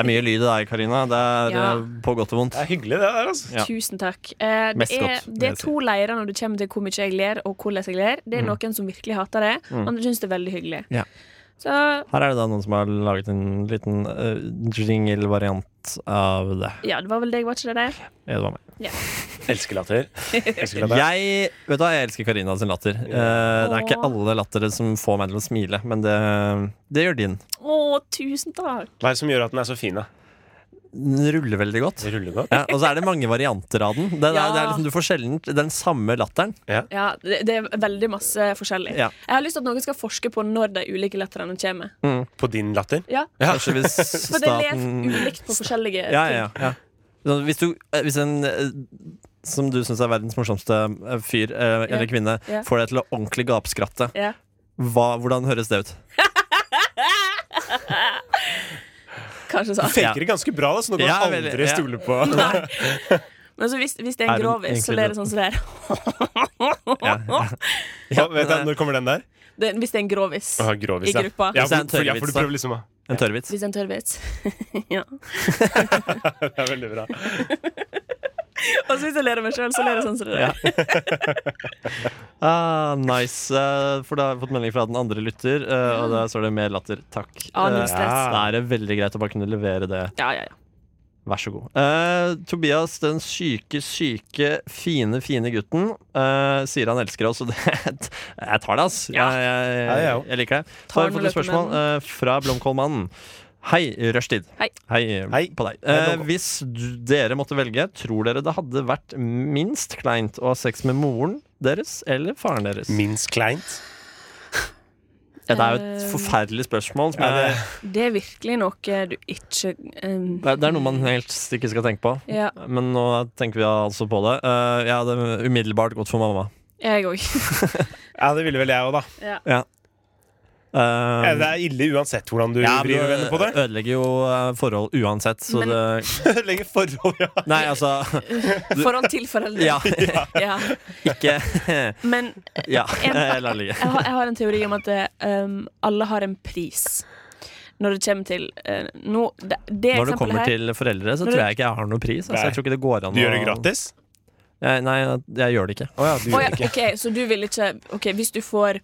Speaker 2: er mye lyd i deg, Karina. Det er
Speaker 3: Ja.
Speaker 2: eh, på godt og vondt.
Speaker 4: Det er hyggelig, det der, altså.
Speaker 2: Ja.
Speaker 3: Tusen takk. Eh, det,
Speaker 2: Mest
Speaker 3: er,
Speaker 2: godt, vil
Speaker 3: det
Speaker 2: jeg Mm.
Speaker 3: er to leirer når det kommer til hvor mye jeg ler, og hvordan jeg ler. Det er noen som virkelig hater det, andre syns det er veldig hyggelig.
Speaker 2: Ja.
Speaker 3: Så
Speaker 2: Her er det da noen som har laget en liten eh, jingle-variant av det.
Speaker 3: ja, det var vel deg, var ikke det det?
Speaker 2: Ja, det var meg.
Speaker 4: Elsker latter. Elsker latter.
Speaker 2: Jeg, vet du, hva, jeg elsker Karina sin latter. Eh, det er ikke alle lattere som får meg til å smile, men det, det gjør din.
Speaker 3: Å, tusen takk!
Speaker 4: Hva er det som gjør at den er så fin, da?
Speaker 2: Den ruller veldig godt.
Speaker 4: Det ruller godt.
Speaker 2: Ja, og så er det mange varianter av den. Det, er, det er liksom, du får sjelden den samme latteren.
Speaker 3: Ja, det, det er veldig masse forskjellig.
Speaker 2: Ja.
Speaker 3: Jeg har lyst til at noen skal forske på når de ulike letterne kommer.
Speaker 4: På din latter.
Speaker 3: Ja,
Speaker 2: Kanskje hvis
Speaker 3: [laughs] For det ler
Speaker 2: staten
Speaker 3: ulikt på forskjellige
Speaker 2: ja, ja, ja. Så Hvis, du, eh, hvis en eh, som du syns er verdens morsomste eh, fyr eh, eller
Speaker 3: Ja.
Speaker 2: kvinne,
Speaker 3: Ja.
Speaker 2: får deg til å ordentlig gapskratte,
Speaker 3: ting. Ja.
Speaker 2: hva, hvordan høres det ut?
Speaker 3: Kanskje sånn.
Speaker 2: Ja.
Speaker 4: Faker det ganske bra, da, så nå kan
Speaker 2: Ja,
Speaker 4: du
Speaker 2: veldig,
Speaker 4: aldri
Speaker 2: ja.
Speaker 4: stole på.
Speaker 3: Men så hvis, hvis det er
Speaker 2: Er
Speaker 3: en
Speaker 2: hun
Speaker 3: grovis, så
Speaker 2: egentlig
Speaker 3: ler det sånn som det er.
Speaker 4: Hva- vet jeg, når kommer den der?
Speaker 3: [laughs] Det, hvis det er en grovis.
Speaker 4: Åh, grovis,
Speaker 3: I gruppa.
Speaker 4: Ja,
Speaker 2: Hvis det er en
Speaker 4: for, ja,
Speaker 2: tørrvits,
Speaker 4: for du
Speaker 2: da.
Speaker 4: prøver liksom å
Speaker 2: En tørrvits?
Speaker 3: Hvis det er en tørrvits. [laughs] ja.
Speaker 4: Det er veldig bra.
Speaker 3: Og så hvis jeg ler av meg sjøl, så ler jeg sånn som det er.
Speaker 2: [laughs] Ah, nice. Eh, For da har jeg fått melding fra den andre lytter, eh, og der står det 'mer latter'. Takk.
Speaker 3: Ah,
Speaker 2: Eh,
Speaker 3: null stress.
Speaker 2: Da er det veldig greit å bare kunne levere det.
Speaker 3: Ja, ja, ja.
Speaker 2: Vær så god. Eh, Tobias, den syke, syke, fine, fine gutten, eh, sier han elsker oss, og det Jeg tar det, ass.
Speaker 3: Ja.
Speaker 2: Jeg, jeg,
Speaker 4: Ja, jeg
Speaker 2: jeg,
Speaker 4: òg.
Speaker 2: liker det. Så
Speaker 3: Tar
Speaker 2: har jeg fått
Speaker 3: den
Speaker 2: et spørsmål eh, fra Blomkålmannen. Hei, rushtid.
Speaker 3: Hei.
Speaker 4: Hei.
Speaker 2: på deg.
Speaker 4: Hei,
Speaker 2: Eh,
Speaker 4: Blomkål.
Speaker 2: hvis du, dere måtte velge, tror dere det hadde vært minst kleint å ha sex med moren deres eller faren deres?
Speaker 4: Minst kleint.
Speaker 2: Ja, det er jo
Speaker 3: Eh.
Speaker 2: et forferdelig spørsmål. Som
Speaker 4: Ja,
Speaker 2: er,
Speaker 4: det-
Speaker 3: Det er virkelig noe du ikke um,
Speaker 2: det, er- det er noe man helt ikke skal tenke på.
Speaker 3: Ja,
Speaker 2: Men nå tenker vi altså på det. Eh, jeg hadde umiddelbart gått for mamma.
Speaker 3: jeg òg. [laughs]
Speaker 4: Ja, det ville vel jeg òg, da.
Speaker 2: Eh,
Speaker 4: Det er ille uansett hvordan du
Speaker 2: ja, men
Speaker 4: vrir og vender på det.
Speaker 2: ødelegger jo eh, forhold uansett, så
Speaker 3: Men-
Speaker 2: [laughs] det
Speaker 4: Legge forhold, ja.
Speaker 2: Nei,
Speaker 3: [laughs]
Speaker 2: altså
Speaker 3: Forhold til foreldre.
Speaker 2: Ja,
Speaker 3: [laughs] Ja.
Speaker 2: ikke
Speaker 3: [laughs] Men
Speaker 2: Ja,
Speaker 3: En-
Speaker 2: eh, la ligge.
Speaker 3: jeg har, jeg har en teori om at eh, um, alle har en pris når det kommer til eh, nå, det, det
Speaker 2: Når det
Speaker 3: eksempelet
Speaker 2: kommer
Speaker 3: her,
Speaker 2: til foreldre, så
Speaker 3: Når
Speaker 2: tror
Speaker 3: du-
Speaker 2: jeg ikke jeg har noen pris. Altså,
Speaker 4: Nei.
Speaker 2: jeg tror ikke det går an
Speaker 4: Du gjør
Speaker 2: å-
Speaker 4: det gratis?
Speaker 2: Jeg, nei, jeg gjør det ikke.
Speaker 4: Å ja, du
Speaker 3: Å ja, ok, Så du vil ikke Ok, Hvis du får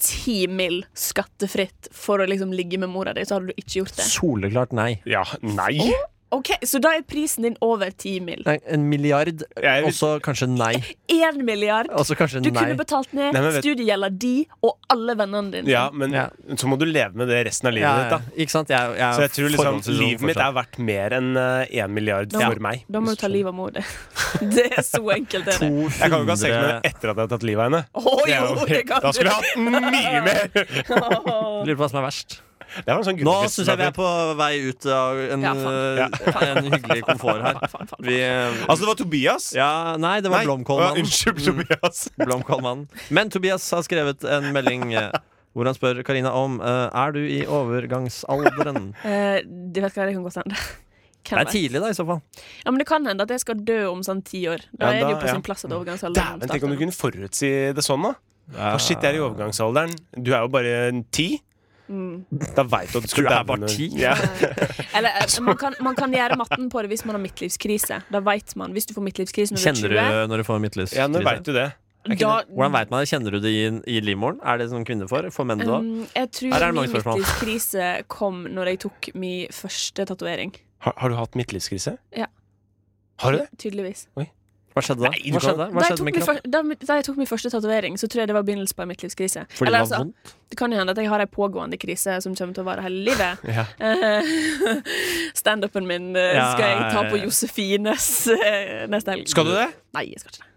Speaker 3: ti mill. skattefritt for å liksom ligge med mora di, så hadde du ikke gjort det?
Speaker 2: Soleklart nei.
Speaker 4: Ja, nei.
Speaker 3: Ok, Så da er prisen din over ti mill.
Speaker 2: nei en milliard,
Speaker 4: Jeg
Speaker 2: og så kanskje nei.
Speaker 3: Én milliard!
Speaker 2: Og så kanskje
Speaker 3: Du
Speaker 2: nei.
Speaker 3: kunne betalt ned
Speaker 4: Nei, men vet-
Speaker 3: studiegjelda di og alle vennene dine.
Speaker 4: Ja, men
Speaker 2: Ja.
Speaker 4: så må du leve med det resten av livet
Speaker 2: ja,
Speaker 4: ditt,
Speaker 2: ja.
Speaker 4: da.
Speaker 2: Ikke sant? Jeg, jeg,
Speaker 4: Så jeg tror liksom
Speaker 2: forholdsvis ung
Speaker 4: livet mitt
Speaker 2: fortsatt.
Speaker 4: er verdt mer enn én milliard
Speaker 3: Ja.
Speaker 4: for meg.
Speaker 3: Da må du ta livet av mor di. [laughs] Det er så enkelt, det er det.
Speaker 4: Jeg kan jo ikke ha sex med henne etter at jeg har tatt livet av henne.
Speaker 3: Å
Speaker 4: Det er
Speaker 3: jo,
Speaker 4: jo-
Speaker 3: det kan
Speaker 4: da
Speaker 3: du!
Speaker 4: skulle jeg hatt mye mer!
Speaker 2: Lurer på hva som er verst.
Speaker 4: Det var en sånn
Speaker 2: Nå
Speaker 4: grunnliste
Speaker 2: syns jeg vi er på vei ut av en,
Speaker 3: Ja, faen.
Speaker 2: eh, [laughs] en hyggelig komfort her.
Speaker 3: Faen, faen, faen.
Speaker 2: Vi, eh,
Speaker 4: Altså, det var Tobias.
Speaker 2: ja, nei, det var
Speaker 4: Nei, å,
Speaker 2: Blomkålmannen.
Speaker 4: Unnskyld, Tobias.
Speaker 2: Blomkålmannen. Men Tobias har skrevet en melding eh, hvor han spør Karina om eh, Er du i
Speaker 3: [laughs]
Speaker 2: overgangsalderen.
Speaker 3: Eh, Du vet hva, det kan godt hende.
Speaker 2: Det
Speaker 3: Hvem
Speaker 2: er
Speaker 3: vet?
Speaker 2: tidlig, da, i så fall.
Speaker 3: Ja, men det kan hende at jeg skal dø om sånn ti år. Da
Speaker 4: Ja,
Speaker 3: er det
Speaker 4: da-
Speaker 3: jo på
Speaker 4: ja. Mm.
Speaker 3: sin plass at overgangsalderen
Speaker 4: Dæven, tenk om du
Speaker 3: starter.
Speaker 4: kunne forutsi det sånn, da. Å, shit, jeg er i overgangsalderen. Du er jo bare ti. Da veit du at du skal
Speaker 2: Du er
Speaker 4: daue
Speaker 2: bare
Speaker 4: når-
Speaker 2: ti?
Speaker 4: Mm. Ja.
Speaker 3: Eller,
Speaker 2: [laughs]
Speaker 3: eh, man, kan, man kan gjøre matten på det hvis man har midtlivskrise. Da vet man. Hvis du får midtlivskrise når du
Speaker 2: Kjenner
Speaker 3: er 20,
Speaker 2: du når du får midtlivskrise?
Speaker 4: ja, nå veit du det.
Speaker 3: da
Speaker 2: Hvordan vet man det? Kjenner du det i, i livmoren? Er det sånn kvinner får? Får menn det òg?
Speaker 3: um, Jeg tror
Speaker 2: Her er det mange
Speaker 3: min
Speaker 2: spørsmål.
Speaker 3: midtlivskrise kom når jeg tok min første tatovering.
Speaker 4: Har, har du hatt midtlivskrise?
Speaker 3: Ja.
Speaker 4: Har du det?
Speaker 3: Tydeligvis.
Speaker 2: Hva skjedde da?
Speaker 4: Nei, du
Speaker 2: Hva
Speaker 4: kan-
Speaker 2: skjedde, Hva
Speaker 3: Da jeg,
Speaker 2: skjedde
Speaker 3: tok
Speaker 2: med
Speaker 3: min
Speaker 2: kroppen?
Speaker 3: fyr- da, mi- da jeg tok min første tatovering, så tror jeg det var begynnelsen på en midtlivskrise.
Speaker 2: Fordi
Speaker 3: Eller,
Speaker 2: det
Speaker 3: altså,
Speaker 2: var vondt?
Speaker 3: det kan jo hende at jeg har ei pågående krise som kommer til å vare hele
Speaker 2: [laughs]
Speaker 3: livet.
Speaker 4: Ja.
Speaker 3: Eh, [laughs] Standupen min eh,
Speaker 2: Ja,
Speaker 3: skal jeg ta
Speaker 2: ja,
Speaker 3: på
Speaker 2: ja.
Speaker 3: Josefines eh, neste helg.
Speaker 4: Skal du det?
Speaker 3: Nei, jeg skal ikke det.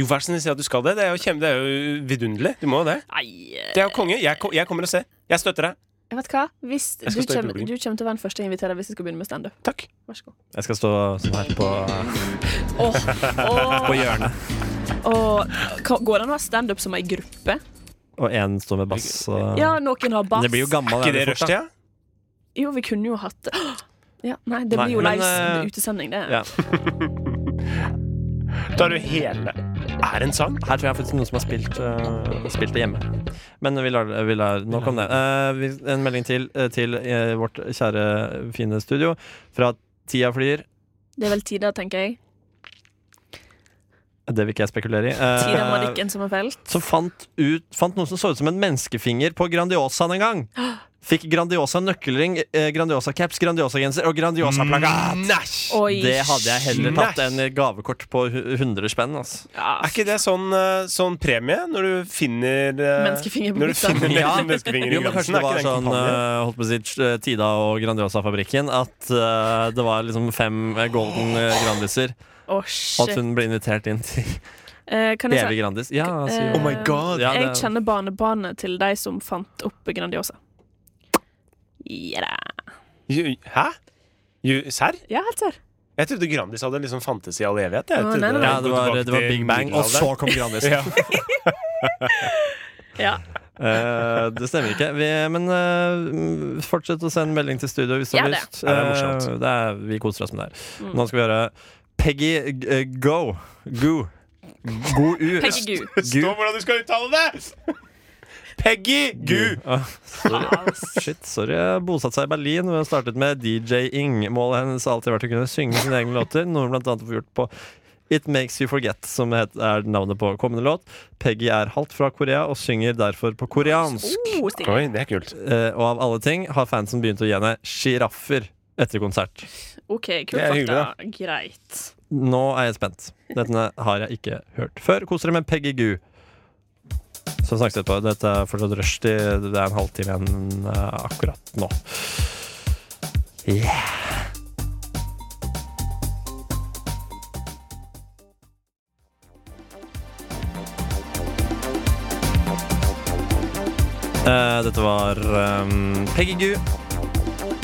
Speaker 4: Jo, vær så snill, si at du skal det. Det er jo, kjempe, det er jo vidunderlig. Du må jo det.
Speaker 3: Nei, eh,
Speaker 4: Det er jo konge. Jeg, ko- jeg kommer og ser. Jeg støtter deg.
Speaker 3: jeg vet hva? Hvis du,
Speaker 4: Jeg skal stå i
Speaker 3: kommer,
Speaker 4: publikum.
Speaker 3: du kommer til å være den første jeg inviterer hvis jeg skal begynne med standup.
Speaker 4: Takk.
Speaker 3: Vær så god.
Speaker 2: Jeg skal stå sånn her på,
Speaker 3: Åh, åh,
Speaker 2: på hjørnet,
Speaker 3: åh. Ka- Går det an å ha standup som ei gruppe?
Speaker 2: og én står med bass. Og...
Speaker 3: Ja, noen har bass.
Speaker 2: Det blir jo gammel
Speaker 4: Ikke det
Speaker 2: veldig fort, da.
Speaker 4: rushtida?
Speaker 3: Jo, vi kunne jo hatt det. Ja, nei, det
Speaker 2: Nei,
Speaker 3: blir jo
Speaker 2: men,
Speaker 3: live
Speaker 2: eh,
Speaker 3: utesending, det.
Speaker 2: Ja.
Speaker 4: Tar du hele
Speaker 1: er en sang.
Speaker 2: Her tror jeg faktisk noen som har spilt, eh, spilt det hjemme. Men vi lar, vi lar nok om det. Eh, vi- en melding til eh, til eh, vårt kjære, fine studio fra Tida flyr.
Speaker 3: Det er vel tida, tenker jeg.
Speaker 2: Det vil ikke jeg spekulere i. Eh,
Speaker 3: Tida Madikken som er felt.
Speaker 2: som fant, ut, fant noen som så ut som en menneskefinger på Grandiosaen en gang. Fikk Grandiosa nøkkelring, eh, Grandiosa caps, Grandiosa genser og Grandiosa
Speaker 4: ah, Mm.
Speaker 2: plakat.
Speaker 1: Næsj!
Speaker 3: Oi.
Speaker 2: Det hadde jeg heller tatt
Speaker 1: Snæsj.
Speaker 2: enn gavekort på hu- 100 spenn. Altså.
Speaker 1: Er ikke det sånn, eh, sånn premie når du finner eh,
Speaker 3: Menneskefinger på
Speaker 1: Når du
Speaker 3: gutta.
Speaker 1: finner
Speaker 2: Ja.
Speaker 1: [laughs] menneskefinger
Speaker 2: Jo,
Speaker 1: i
Speaker 2: men
Speaker 1: glansen?
Speaker 2: kanskje det
Speaker 1: Er ikke
Speaker 2: var
Speaker 1: det en
Speaker 2: sånn
Speaker 1: kampanje?
Speaker 2: eh, holdt på å si, eh, Tida og Grandiosa-fabrikken. At eh, det var liksom fem eh, golden eh, Grandiser.
Speaker 3: Å,
Speaker 2: Og at
Speaker 3: shit.
Speaker 2: hun ble invitert inn til
Speaker 3: Eh, kan jeg
Speaker 2: evig
Speaker 3: si
Speaker 2: Grandis. Ja, altså,
Speaker 3: eh, Oh my
Speaker 2: god. Ja,
Speaker 3: jeg
Speaker 2: det-
Speaker 3: kjenner barnebarnet til de som fant opp Grandiosa. Ja da.
Speaker 1: Ju- Hæ? Ju- Serr?
Speaker 3: Ja, helt serr.
Speaker 1: Jeg trodde Grandis hadde liksom fantes i all evighet. Jeg
Speaker 3: Å,
Speaker 1: trodde
Speaker 3: nei, nei,
Speaker 1: det
Speaker 2: ja,
Speaker 1: var-
Speaker 2: det, var,
Speaker 1: tilbake
Speaker 2: det var
Speaker 1: til
Speaker 2: Big Bang, og så
Speaker 1: middelalderen.
Speaker 2: kom Grandis.
Speaker 1: [laughs] Ja.
Speaker 3: Ja.
Speaker 2: Eh, det stemmer ikke. Vi, men eh, mm, fortsett å sende melding til studio hvis du
Speaker 3: Ja,
Speaker 2: har
Speaker 3: det. Mm.
Speaker 2: lyst.
Speaker 1: Ja, det er morsomt.
Speaker 2: Eh, det er, vi koser oss med det her. Nå skal vi høre Peggy eh, Go. Goo. Go U.
Speaker 3: Peggy Goo.
Speaker 1: Det står hvordan du skal uttale det! Peggy Gu.
Speaker 2: Ah, sorry. Shit, sorry. Jeg har bosatt seg i Berlin og startet med DJ-ing. Målet hennes har alltid vært å kunne synge sine egne låter, noe hun blant annet får gjort på It Makes You Forget, som het- er navnet på kommende låt. Peggy er halvt fra Korea og synger derfor på koreansk.
Speaker 3: Oh, stilig.
Speaker 1: Oi, det er kult.
Speaker 2: Eh, og av alle ting har fansen begynt å gi henne sjiraffer etter konsert.
Speaker 3: OK,
Speaker 1: Det
Speaker 3: kult
Speaker 1: er hyggelig,
Speaker 3: fakta. Greit.
Speaker 2: Nå er jeg spent. Dette har jeg ikke hørt før. Kos dere med Peggy Goo. Som snakket etterpå. Dette er fortsatt rushtid. Det er en halvtime igjen eh, akkurat nå. Yeah. Eh, dette var um, Peggy Goo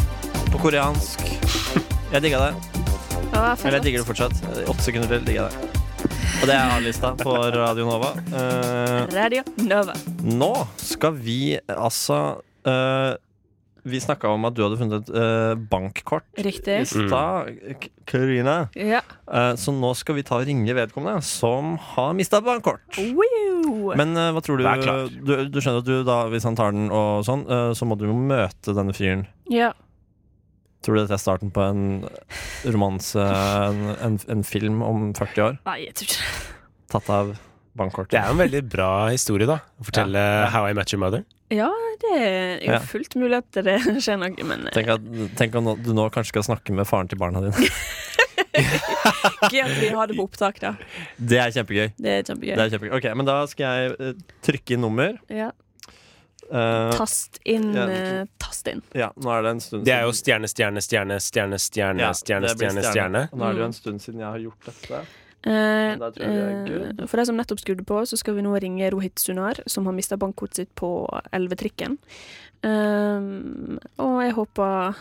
Speaker 2: på koreansk. Jeg digga det.
Speaker 3: Ja, fett.
Speaker 2: Eller jeg digger det fortsatt. Åtte sekunder til digger jeg det. Og det er A-lista på Radio Nova. Eh,
Speaker 3: Radio Nova.
Speaker 2: nå skal vi altså eh, Vi snakka om at du hadde funnet et eh, bankkort i
Speaker 3: Riktig.
Speaker 2: stad, K- Karina.
Speaker 3: Ja.
Speaker 2: Eh, så nå skal vi ta og ringe vedkommende som har mista bankkort.
Speaker 3: Oh. Wow.
Speaker 2: Men eh, hva tror du,
Speaker 1: Vær klar.
Speaker 2: du Du skjønner at du da, hvis han tar den og sånn, eh, så må du jo møte denne fyren.
Speaker 3: Ja.
Speaker 2: Tror du dette er starten på en romanse, en, en, en film om 40 år?
Speaker 3: Nei, jeg tror ikke det.
Speaker 2: Tatt av bankkort.
Speaker 1: Det er jo en veldig bra historie, da. Å fortelle How I Met Your Mother.
Speaker 3: Ja, det er jo
Speaker 2: Ja.
Speaker 3: fullt mulig at det [laughs] skjer noe, men eh, [laughs]
Speaker 2: Tenk, at, tenk om nå- du nå kanskje skal snakke med faren til barna dine.
Speaker 3: gøy at vi har det på opptak, da.
Speaker 2: Det er kjempegøy.
Speaker 3: Det er kjempegøy.
Speaker 2: Det er kjempegøy. Ok, Men da skal jeg eh, trykke inn nummer.
Speaker 3: Ja.
Speaker 2: Eh,
Speaker 3: Tast inn.
Speaker 2: Ja.
Speaker 3: eh, tast inn.
Speaker 2: ja, nå er det en stund
Speaker 1: Det er jo stjerne, stjerne, stjerne, stjerne, stjerne,
Speaker 2: Ja,
Speaker 1: stjerne,
Speaker 2: det blir
Speaker 1: stjerne, stjerne.
Speaker 2: Og Nå er det
Speaker 3: Mm.
Speaker 2: jo en stund siden jeg har gjort dette.
Speaker 3: Eh,
Speaker 2: Da tror jeg vi er
Speaker 3: eh, for de som nettopp skrudde på, så skal vi nå ringe Rohit Sunar, som har mista bankkortet sitt på elvetrikken. Um, og jeg håper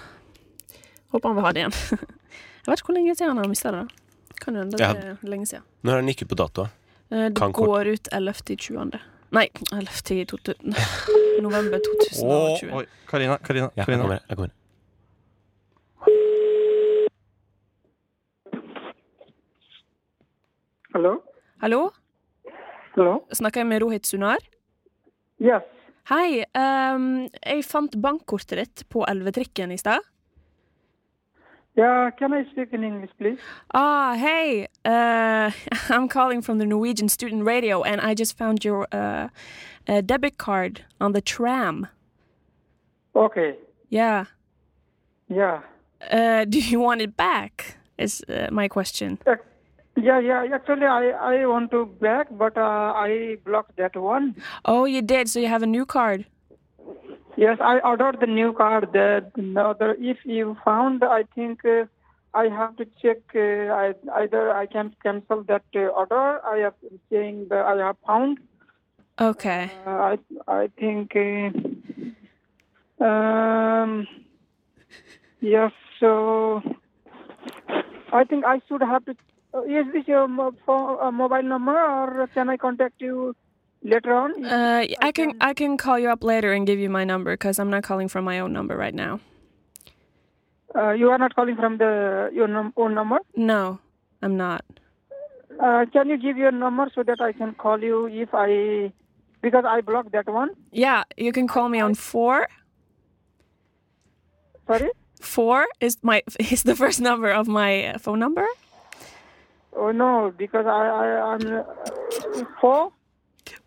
Speaker 3: Håper han vil ha [laughs] det igjen. jeg vet ikke hvor lenge siden han har mista det. da. Kan jo hende det
Speaker 1: Ja.
Speaker 3: er lenge siden.
Speaker 1: Nå er den ikke på datoa.
Speaker 3: Eh, det
Speaker 1: Kan kort-
Speaker 3: går ut 11.20. Nei, 11.20
Speaker 1: [laughs]
Speaker 3: November 2020.
Speaker 2: Oi, Karina, Karina,
Speaker 1: Ja, jeg
Speaker 2: Karina.
Speaker 1: kommer. Jeg kommer.
Speaker 7: Hello?
Speaker 3: Hallo?
Speaker 7: Hello?
Speaker 3: Snakker jeg med Rohit Sunar?
Speaker 7: Yes.
Speaker 3: Hei. ehm, jeg fant bankkortet ditt på elvetrikken i stad.
Speaker 7: Yeah, can I speak in English, please?
Speaker 3: Ah, hey. Uh, [laughs] I'm calling from the Norwegian Student Radio, and I just found your uh, uh, debit card on the tram.
Speaker 7: Okay.
Speaker 3: Yeah.
Speaker 7: Yeah.
Speaker 3: Uh, do you want it back? Is uh, my question.
Speaker 7: Ac- Yeah, yeah. Actually, I, I want to back, but uh, I blocked that one.
Speaker 3: Oh, you did. So you have a new card.
Speaker 7: Yes, I ordered the new card. The, the other, if you found, I think uh, I have to check. Uh, I, either I can cancel that uh, order. I have saying that I have found.
Speaker 3: Okay.
Speaker 7: Uh, I I think uh, um yes so I think I should have to uh, is this your mo- phone, uh, mobile number or can I contact you later on
Speaker 3: Uh, I can I can call you up later and give you my number because I'm not calling from my own number right now.
Speaker 7: uh, you are not calling from the your num- own number
Speaker 3: No, I'm not.
Speaker 7: Uh, can you give your number so that I can call you if I because I blocked that one.
Speaker 3: Yeah, you can call me on four.
Speaker 7: Sorry.
Speaker 3: Four is my [laughs] is the first number of my uh, phone number.
Speaker 7: Oh no, because I I I'm uh, four.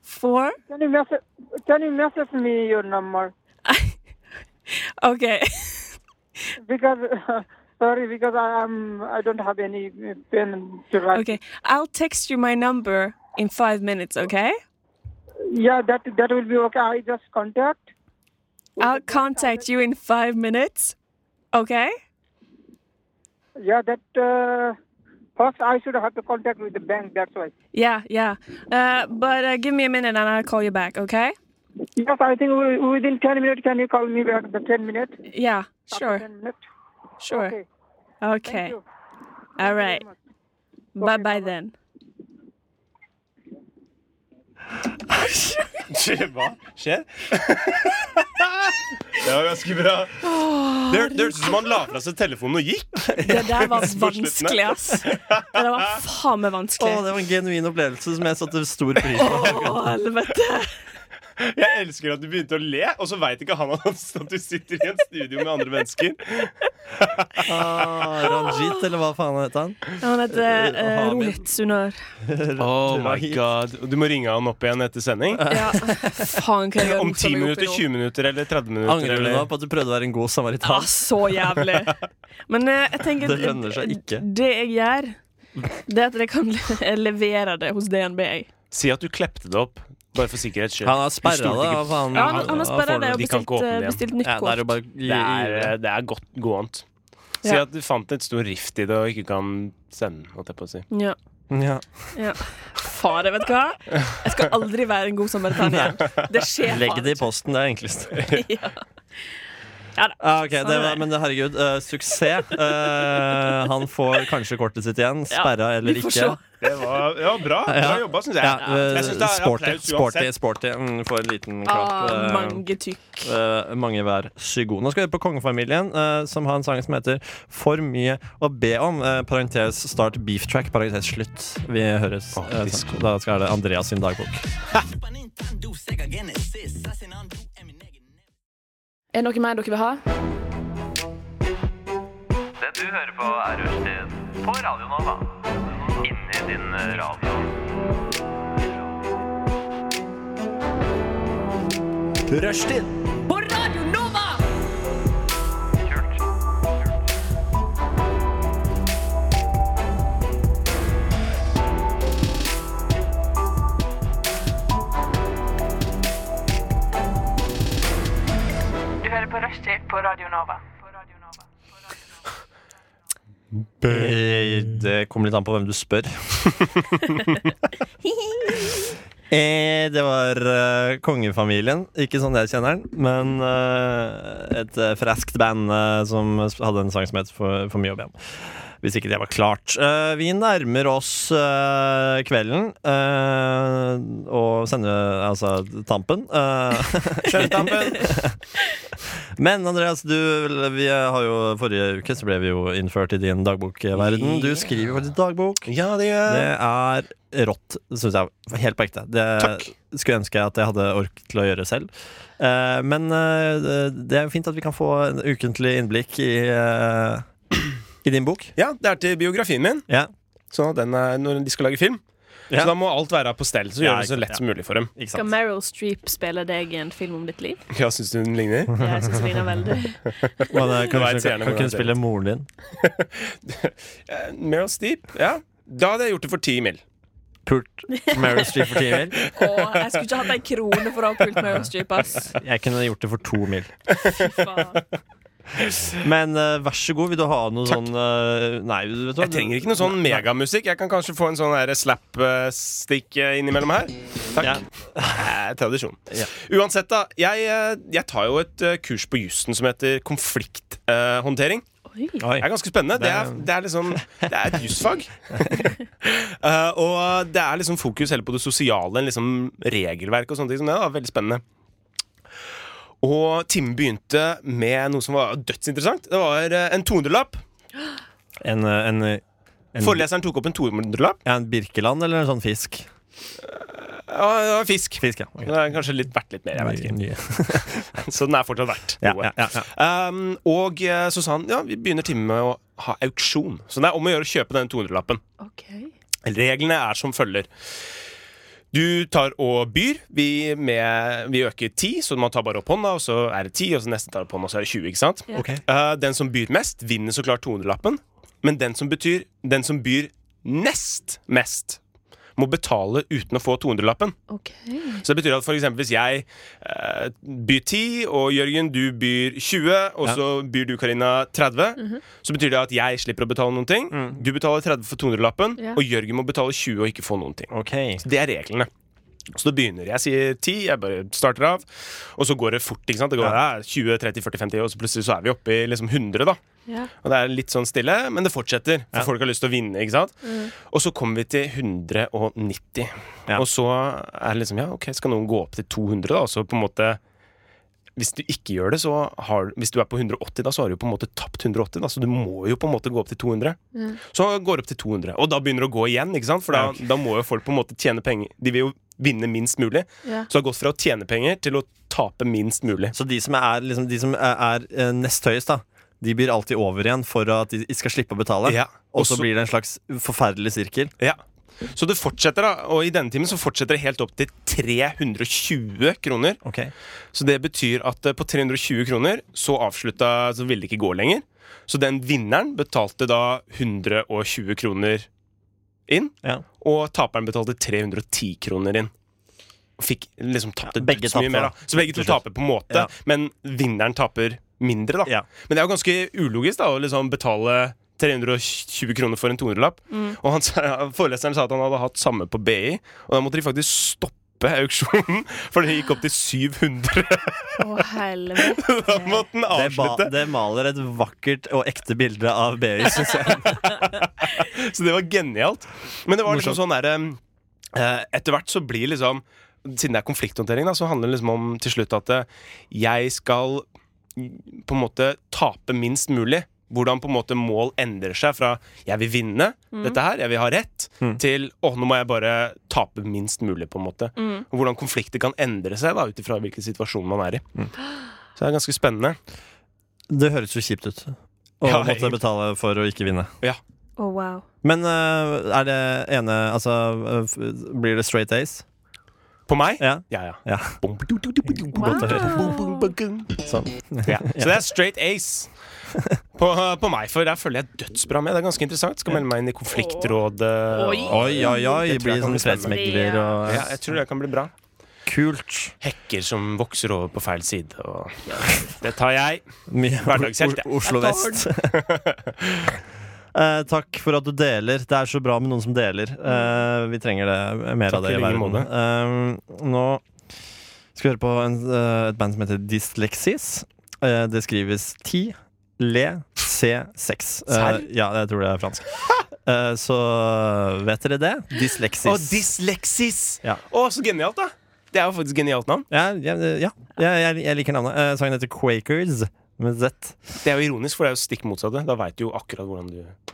Speaker 3: Four. [laughs]
Speaker 7: Can you message Can you message me your number?
Speaker 3: Okay. [laughs]
Speaker 7: Because [laughs] sorry, because I am I don't have any uh, pen to write.
Speaker 3: Okay. I'll text you my number in five minutes. Okay.
Speaker 7: Yeah, that that will be okay. I just contact.
Speaker 3: I'll contact you in five minutes. Okay.
Speaker 7: Yeah, that uh, first I should have to contact with the bank. That's why.
Speaker 3: Yeah, yeah. Uh, but uh, give me a minute and I'll call you back. Okay.
Speaker 7: Yes, I think wi- within ten minutes. Can you call me back? The ten minutes.
Speaker 3: Yeah. Sure.
Speaker 7: Ten minutes.
Speaker 3: Sure.
Speaker 7: Okay.
Speaker 3: Okay.
Speaker 7: you.
Speaker 3: All right.
Speaker 7: much.
Speaker 3: Bye bye [laughs] then.
Speaker 4: Hva skjer? [laughs] Det var ganske bra. Det hør- det hørtes ut som han la fra seg telefonen og gikk.
Speaker 3: Det der
Speaker 2: [laughs]
Speaker 3: var
Speaker 4: På slutten
Speaker 3: vanskelig,
Speaker 4: her.
Speaker 3: ass. Det der var faen meg
Speaker 2: Å,
Speaker 3: vanskelig.
Speaker 2: det var en genuin opplevelse som jeg satte stor pris på.
Speaker 3: Å, helvete.
Speaker 4: Jeg elsker at du begynte å le, og så veit ikke han at du sitter i en studio med andre mennesker.
Speaker 2: Ah, Ranjit, eller hva faen het han?
Speaker 3: Han
Speaker 2: Eh,
Speaker 3: heter uh,
Speaker 2: Hamid.
Speaker 3: Rohit Sunar.
Speaker 4: Oh my god Du må ringe han opp igjen etter sending.
Speaker 2: [laughs]
Speaker 3: Ja, faen hva jeg har
Speaker 4: Om
Speaker 3: rota
Speaker 4: 10
Speaker 3: meg opp
Speaker 4: minutter,
Speaker 3: i nå.
Speaker 4: 20 minutter eller 30 minutter.
Speaker 2: Angrer du nå
Speaker 4: Eller?
Speaker 2: på at du prøvde å være en god
Speaker 3: Ja,
Speaker 2: samaritan?
Speaker 3: så jævlig. Men eh, jeg tenker
Speaker 2: Det lønner seg ikke.
Speaker 3: Det jeg gjør, det er at jeg kan le- levere det hos DNB. jeg.
Speaker 4: Si at du klepte det opp, bare for sikkerhets skyld.
Speaker 2: Han har
Speaker 4: Du
Speaker 2: sperra
Speaker 4: stolte
Speaker 2: det
Speaker 4: ikke
Speaker 2: av han.
Speaker 3: Ja, han, han
Speaker 2: av
Speaker 3: har sperra
Speaker 2: folk.
Speaker 3: det og
Speaker 4: de kan
Speaker 3: bestilt,
Speaker 4: ikke
Speaker 3: eh,
Speaker 4: åpne det igjen.
Speaker 3: bestilt nytt
Speaker 2: Ja, det er jo
Speaker 3: kort.
Speaker 2: bare
Speaker 4: Det er, eh, det er godt gåent. Si
Speaker 3: Ja.
Speaker 4: at du fant et stort rift i det og ikke kan sende, holdt jeg på å si.
Speaker 3: Ja.
Speaker 2: ja.
Speaker 3: Ja. Fader, vet du hva? Jeg skal aldri være en god samaritan
Speaker 2: [laughs]
Speaker 3: igjen. Det skjer
Speaker 2: Legg
Speaker 3: faen
Speaker 2: det i posten, det er enklest.
Speaker 3: ikke. [laughs] Ja. Ja da.
Speaker 2: Ah, ok, det
Speaker 3: Sånn er
Speaker 2: var,
Speaker 3: det.
Speaker 2: men herregud, eh, suksess. Eh, han får kanskje kortet sitt igjen.
Speaker 3: Ja,
Speaker 2: Sperra eller
Speaker 3: vi får
Speaker 2: ikke.
Speaker 4: Det var, det var bra. Bra
Speaker 2: Ja.
Speaker 4: jobba, syns jeg.
Speaker 2: Ja,
Speaker 4: jeg
Speaker 2: eh,
Speaker 4: synes det er
Speaker 2: sporty,
Speaker 4: applaus
Speaker 2: sporty,
Speaker 4: uansett.
Speaker 2: sporty. Mm, Får en liten klapp.
Speaker 3: Ah,
Speaker 2: eh,
Speaker 3: mange tykk.
Speaker 2: eh, mange hver sy god. Nå skal vi høre på Kongefamilien, eh, som har en sang som heter For mye å be om. eh, parentes start beef track, parentes slutt. Vi høres.
Speaker 4: Åh,
Speaker 2: eh,
Speaker 4: disco.
Speaker 2: da skal det Andreas sin dagbok.
Speaker 3: Er det noe mer dere vil ha?
Speaker 8: Det du hører på er Rushtid på Radio Nova. Inni din eh, radio. Rushtid på Radio Nova! Kult.
Speaker 9: Du hører på Rushtid på Radio Nova. På Radio Nova. På Radio Nova.
Speaker 2: Eh, Det kommer litt an på hvem du spør. Eh, det var eh, Kongefamilien. Ikke sånn jeg kjenner den, men eh, et uh, freskt band eh, som hadde en sang som het For, for mye å be om. Hvis ikke det var klart. Eh, vi nærmer oss eh, kvelden eh, og sender altså tampen. Eh, [laughs] Men Andreas, du, vi har jo, forrige uke så ble vi jo innført i din dagbokverden. Du skriver faktisk dagbok.
Speaker 4: Ja, det gjør jeg.
Speaker 2: Det er rått, syns jeg. Helt på ekte. Det
Speaker 4: Takk.
Speaker 2: skulle ønske jeg at jeg hadde ork til å gjøre selv. Eh, men eh, det er jo fint at vi kan få en ukentlig innblikk i, eh, i din bok.
Speaker 4: Ja, det er til biografien min.
Speaker 2: Ja,
Speaker 4: Sånn at den er når de skal lage film.
Speaker 2: Ja.
Speaker 4: Så da må alt være på stell. Så
Speaker 2: Ja,
Speaker 4: gjør det så
Speaker 2: ikke-
Speaker 4: lett
Speaker 2: ja.
Speaker 4: som mulig for dem. [laughs]
Speaker 2: ikke
Speaker 3: Skal
Speaker 2: sant.
Speaker 3: Meryl Streep spille deg i en film om ditt [laughs] liv?
Speaker 4: Ja, syns du den
Speaker 2: [laughs]
Speaker 4: ligner?
Speaker 3: Jeg syns det ligner veldig.
Speaker 2: Men, eh, kan
Speaker 4: Jeg vet
Speaker 2: ikke- kan
Speaker 4: gjerne
Speaker 2: ikke
Speaker 4: hvordan
Speaker 2: hun spille moren din?
Speaker 4: Eh, Meryl Steep, ja. Da hadde jeg gjort det for ti mil.
Speaker 2: Pult Mary Street for ti mil?
Speaker 3: Åh, jeg skulle ikke hatt ei krone for å ha pult Meryl Streep, ass.
Speaker 2: Jeg kunne gjort det for to mil.
Speaker 3: Fy faen.
Speaker 2: Men eh, vær så god, vil du ha noe sånn eh, Nei, vet du hva?
Speaker 4: Jeg trenger ikke noe sånn megamusikk. Jeg kan kanskje få en sånn der slap-stick eh, innimellom her. [laughs] Takk. Eh, tradisjon.
Speaker 2: Ja.
Speaker 4: Uansett, da. Jeg, eh, jeg tar jo et eh, kurs på jussen som heter konflikthåndtering.
Speaker 3: Oi.
Speaker 2: Oi.
Speaker 4: Det er ganske spennende. Det er, det er liksom Det er et jusfag.
Speaker 2: [laughs]
Speaker 4: Eh, og det er liksom fokus heller på det sosiale enn liksom regelverk og sånne ting som det. Da. Veldig spennende. Og timen begynte med noe som var dødsinteressant. Det var eh, en 200-lapp.
Speaker 2: En, eh, en eh, En-
Speaker 4: Foreleseren tok opp en 200-lapp.
Speaker 2: Ja, en Birkeland eller en sånn fisk?
Speaker 4: Ja, det var fisk.
Speaker 2: Fisk, ja.
Speaker 4: Den er kanskje litt, verdt litt mer, jeg vet ikke.
Speaker 2: Nye.
Speaker 4: Så den er fortsatt verdt
Speaker 2: Ja, ja,
Speaker 4: noe.
Speaker 2: ja, ja.
Speaker 4: Um, og eh, så sa han ja, vi begynner timen med å ha auksjon. Så det er om å gjøre å kjøpe den 200-lappen.
Speaker 3: OK.
Speaker 4: Reglene er som følger. Du tar og byr. Vi, med, vi øker ti, så man tar bare opp hånda, og så er det ti, og så neste tar opp hånda, og så er det 20. ikke sant?
Speaker 3: Ja. Ok.
Speaker 4: Eh, den som byr mest, vinner så klart 200-lappen. Men den som, betyr, den som byr nest mest, må betale uten å få 200-lappen.
Speaker 3: ok
Speaker 4: Så det betyr at for eksempel hvis jeg eh, byr 10, og Jørgen, du byr 20, og så byr du, Karina, 30,
Speaker 3: Mhm.
Speaker 4: så betyr det at jeg slipper å betale noen ting. Du betaler 30 for 200-lappen,
Speaker 3: Ja.
Speaker 4: og Jørgen må betale 20 og ikke få noen ting.
Speaker 2: Ok.
Speaker 4: Så det er reglene. Så da begynner jeg. Jeg sier 10, jeg bare starter av, og så går det fort. ikke sant? Det går ja, 20, 30, 40, 50, og så plutselig så er vi oppe i liksom 100, da.
Speaker 3: Ja.
Speaker 4: Og det er litt sånn stille, men det fortsetter. For folk har lyst til å vinne. ikke sant? Og så kommer vi til 190.
Speaker 2: Ja.
Speaker 4: Og så er det liksom Ja, ok, skal noen gå opp til 200, da? Og så på en måte Hvis du ikke gjør det, så har Hvis du er på 180, da, så har du jo på en måte tapt 180, da. Så du må jo på en måte gå opp til 200. Så går det opp til 200, og da begynner det å gå igjen, ikke sant? For da, da må jo folk på en måte tjene penger. De vil jo vinne minst mulig.
Speaker 3: Ja.
Speaker 4: Så det har gått fra å tjene penger til å tape minst mulig.
Speaker 2: Så de som er, liksom, de som er, er eh, nest høyest, da, de blir alltid over igjen for at de skal slippe å betale.
Speaker 4: Ja.
Speaker 2: Og så
Speaker 4: Også-
Speaker 2: blir det en slags forferdelig sirkel.
Speaker 4: Ja. Så det fortsetter, da. Og i denne timen så fortsetter det helt opp til 320 kroner. Så det betyr at eh, på 320 kroner så avslutta Så ville det ikke gå lenger. Så den vinneren betalte da 120 kroner inn.
Speaker 2: Ja.
Speaker 4: Og taperen betalte 310 kroner inn. Og Fikk liksom tapt
Speaker 2: Ja,
Speaker 4: et
Speaker 2: begge
Speaker 4: dødsmye
Speaker 2: tapte,
Speaker 4: mer,
Speaker 2: da.
Speaker 4: da. Så begge to taper på en måte,
Speaker 2: Ja.
Speaker 4: men vinneren taper mindre, da.
Speaker 2: Ja.
Speaker 4: Men det er jo ganske ulogisk da å liksom betale 320 kroner for en 200-lapp. Og han, sa- foreleseren sa at han hadde hatt samme på BI, og da måtte de faktisk stoppe auksjonen, [laughs] for den gikk opp til 700.
Speaker 3: Å, helvete.
Speaker 4: Da måtte den
Speaker 2: Det, ba,
Speaker 4: avslutte.
Speaker 2: det maler et vakkert og ekte bilde av
Speaker 4: [laughs]
Speaker 2: BI, syns jeg.
Speaker 4: Så det var genialt. Men det var liksom sånn derre eh, Etter hvert så blir liksom Siden det er konflikthåndtering, da, så handler det liksom om til slutt at eh, jeg skal mm, på en måte tape minst mulig. Hvordan på en måte mål endrer seg fra 'jeg vil vinne dette her, jeg vil ha rett',
Speaker 2: Mm.
Speaker 4: til 'å, nå må jeg bare tape minst mulig', på en måte. Og hvordan konflikter kan endre seg da ut ifra hvilken situasjon man er i.
Speaker 2: Mm.
Speaker 4: Så det er ganske spennende.
Speaker 2: Det høres jo kjipt ut. Å
Speaker 4: Ja,
Speaker 2: måtte
Speaker 4: egentlig.
Speaker 2: betale for å ikke vinne.
Speaker 3: Å, Oh, wow.
Speaker 2: Men eh, er det ene Altså, eh, f- blir det straight A's?
Speaker 4: På meg?
Speaker 2: Ja.
Speaker 4: Ja, ja.
Speaker 2: Ja.
Speaker 3: Wow.
Speaker 2: Sånn.
Speaker 4: Ja. Så det er straight [laughs] ace på, på meg, for der følger jeg dødsbra med. Det er ganske interessant. Skal melde meg inn i konfliktrådet.
Speaker 3: Oi.
Speaker 2: Oi, oi, oi.
Speaker 4: Det tror
Speaker 2: Blir
Speaker 4: jeg kan
Speaker 2: sånn
Speaker 4: bli spennende.
Speaker 2: fredsmegler og
Speaker 4: Ja, jeg tror det kan bli bra.
Speaker 2: Kult.
Speaker 4: Hekker som vokser over på feil side. Og det tar jeg. [laughs]
Speaker 2: Mye O-
Speaker 4: Hverdagshelt, jeg.
Speaker 2: O- Oslo vest. [laughs] Eh, takk for at du deler. Det er så bra med noen som deler.
Speaker 4: Mm.
Speaker 2: Eh, vi trenger det mer av
Speaker 4: Takk
Speaker 2: det i
Speaker 4: i like
Speaker 2: verden. Eh, nå skal vi høre på en, eh, et band som heter Dyslexis. Eh, det skrives ti, le, c, seks. Eh,
Speaker 4: Serr?
Speaker 2: ja, jeg tror det er
Speaker 4: [laughs]
Speaker 2: fransk. Eh, så eh, vet dere det. Dyslexis.
Speaker 4: Og dysleksis!
Speaker 2: Ja.
Speaker 4: Å, så genialt, da! Det er jo faktisk genialt navn.
Speaker 2: ja, ja, ja. Jeg, jeg, jeg liker navnet. Eh, sangen heter Quakers med Z.
Speaker 4: Det er jo ironisk, for det er jo stikk motsatte. Da veit du jo akkurat hvordan du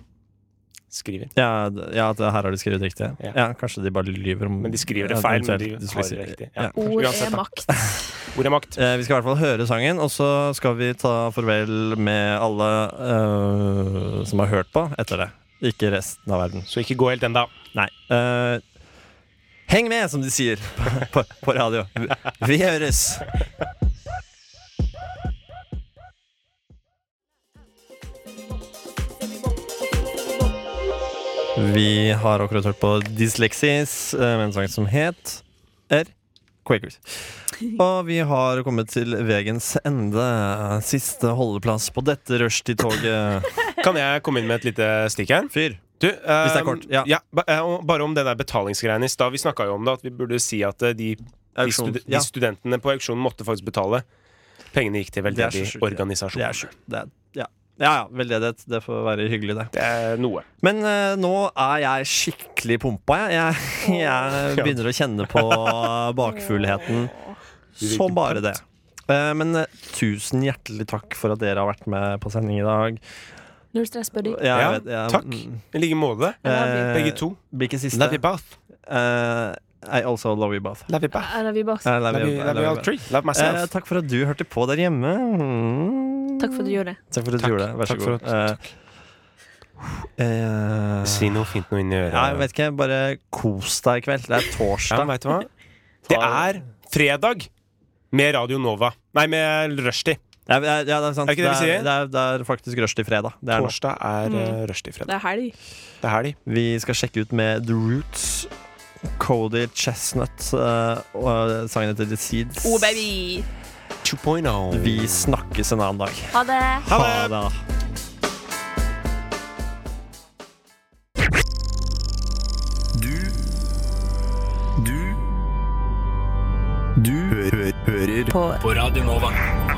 Speaker 4: skriver.
Speaker 2: Ja, d- ja at her har de skrevet riktig. Ja.
Speaker 4: Ja.
Speaker 2: Kanskje de bare lyver om
Speaker 4: Men de skriver
Speaker 2: ja,
Speaker 4: det feil, men de
Speaker 2: eventuelt
Speaker 4: har
Speaker 2: dysleksi.
Speaker 4: det riktig. Ja.
Speaker 3: Ord
Speaker 4: Uansett,
Speaker 3: er
Speaker 4: da.
Speaker 3: makt.
Speaker 4: Ord er makt.
Speaker 2: Eh, vi skal i hvert fall høre sangen, og så skal vi ta farvel med alle eh, som har hørt på etter det. Ikke resten av verden.
Speaker 4: Så ikke gå helt ennå.
Speaker 2: Nei. Eh, heng med, som de sier [laughs] på, på radio. Vi, vi høres! Vi har akkurat hørt på Dyslexis eh, med en sang som het R. Quakers. Og vi har kommet til vegens ende. Siste holdeplass på dette rushtid-toget.
Speaker 4: Kan jeg komme inn med et lite stikk her?
Speaker 2: Fyr.
Speaker 4: Du, eh,
Speaker 2: det er kort, ja.
Speaker 4: ba, eh, og bare om den der betalingsgreiene i stad. Vi snakka jo om det, at vi burde si at eh, de, de,
Speaker 2: Auksjon,
Speaker 4: stud
Speaker 2: ja.
Speaker 4: de studentene på auksjonen måtte faktisk betale. Pengene gikk til
Speaker 2: Det er så
Speaker 4: veldedig
Speaker 2: sjukt, ja.
Speaker 4: organisasjon.
Speaker 2: [laughs] Det er sjukt. Det er, ja. ja ja, veldedighet. Det får være hyggelig, det.
Speaker 4: Det er noe.
Speaker 2: Men eh, nå er jeg skikkelig pumpa, jeg. Jeg, [laughs] jeg begynner å kjenne
Speaker 4: [laughs]
Speaker 2: på bakfullheten som bare det. Eh, Men eh, tusen hjertelig takk for at dere har vært med på sending i dag.
Speaker 3: Null stress, buddy.
Speaker 2: Ja, jeg
Speaker 4: Ja,
Speaker 2: vet, ja,
Speaker 4: takk.
Speaker 2: mm.
Speaker 4: I like måte.
Speaker 2: Eh,
Speaker 3: love
Speaker 4: Begge to.
Speaker 2: Blir ikke siste.
Speaker 4: Love you both.
Speaker 2: Eh, I also love you both.
Speaker 4: Love you both.
Speaker 3: Er vi bak?
Speaker 2: Eh, love
Speaker 4: Love
Speaker 2: you,
Speaker 4: you,
Speaker 2: I
Speaker 4: love
Speaker 2: love
Speaker 4: you all
Speaker 2: you both.
Speaker 4: three. Love myself.
Speaker 2: Eh, takk for at du hørte på der hjemme. Mm.
Speaker 3: Takk for at du gjorde det.
Speaker 2: Takk for at du
Speaker 4: Takk.
Speaker 2: gjorde det. Vær så
Speaker 4: Takk
Speaker 2: god.
Speaker 4: for at-
Speaker 2: Eh, eh,
Speaker 4: Si noe fint noe inn i øret.
Speaker 2: ja, jeg vet ikke, bare kos deg i kveld. Det er
Speaker 4: Ja,
Speaker 2: torsdag.
Speaker 4: vet du hva? Det er fredag med Radio Nova. Nei, med rushtid.
Speaker 2: Ja, ja, ja, det er sant.
Speaker 4: Er ikke det vi
Speaker 2: det,
Speaker 4: sier?
Speaker 2: er, det, er, det er faktisk rushtid fredag. Det er nå.
Speaker 4: Torsdag er mm. rushtid-fredag.
Speaker 3: Det er helg.
Speaker 4: Det er helg.
Speaker 2: Vi skal sjekke ut med The Roots. Cody Chestnut eh, og sangen heter The Seeds.
Speaker 3: Oh, baby!
Speaker 4: 2.0.
Speaker 2: Vi snakkes en annen dag.
Speaker 3: Ha det!
Speaker 4: Ha det!
Speaker 2: da.
Speaker 10: Du Du Du hø hø hører på. på Radio Nova.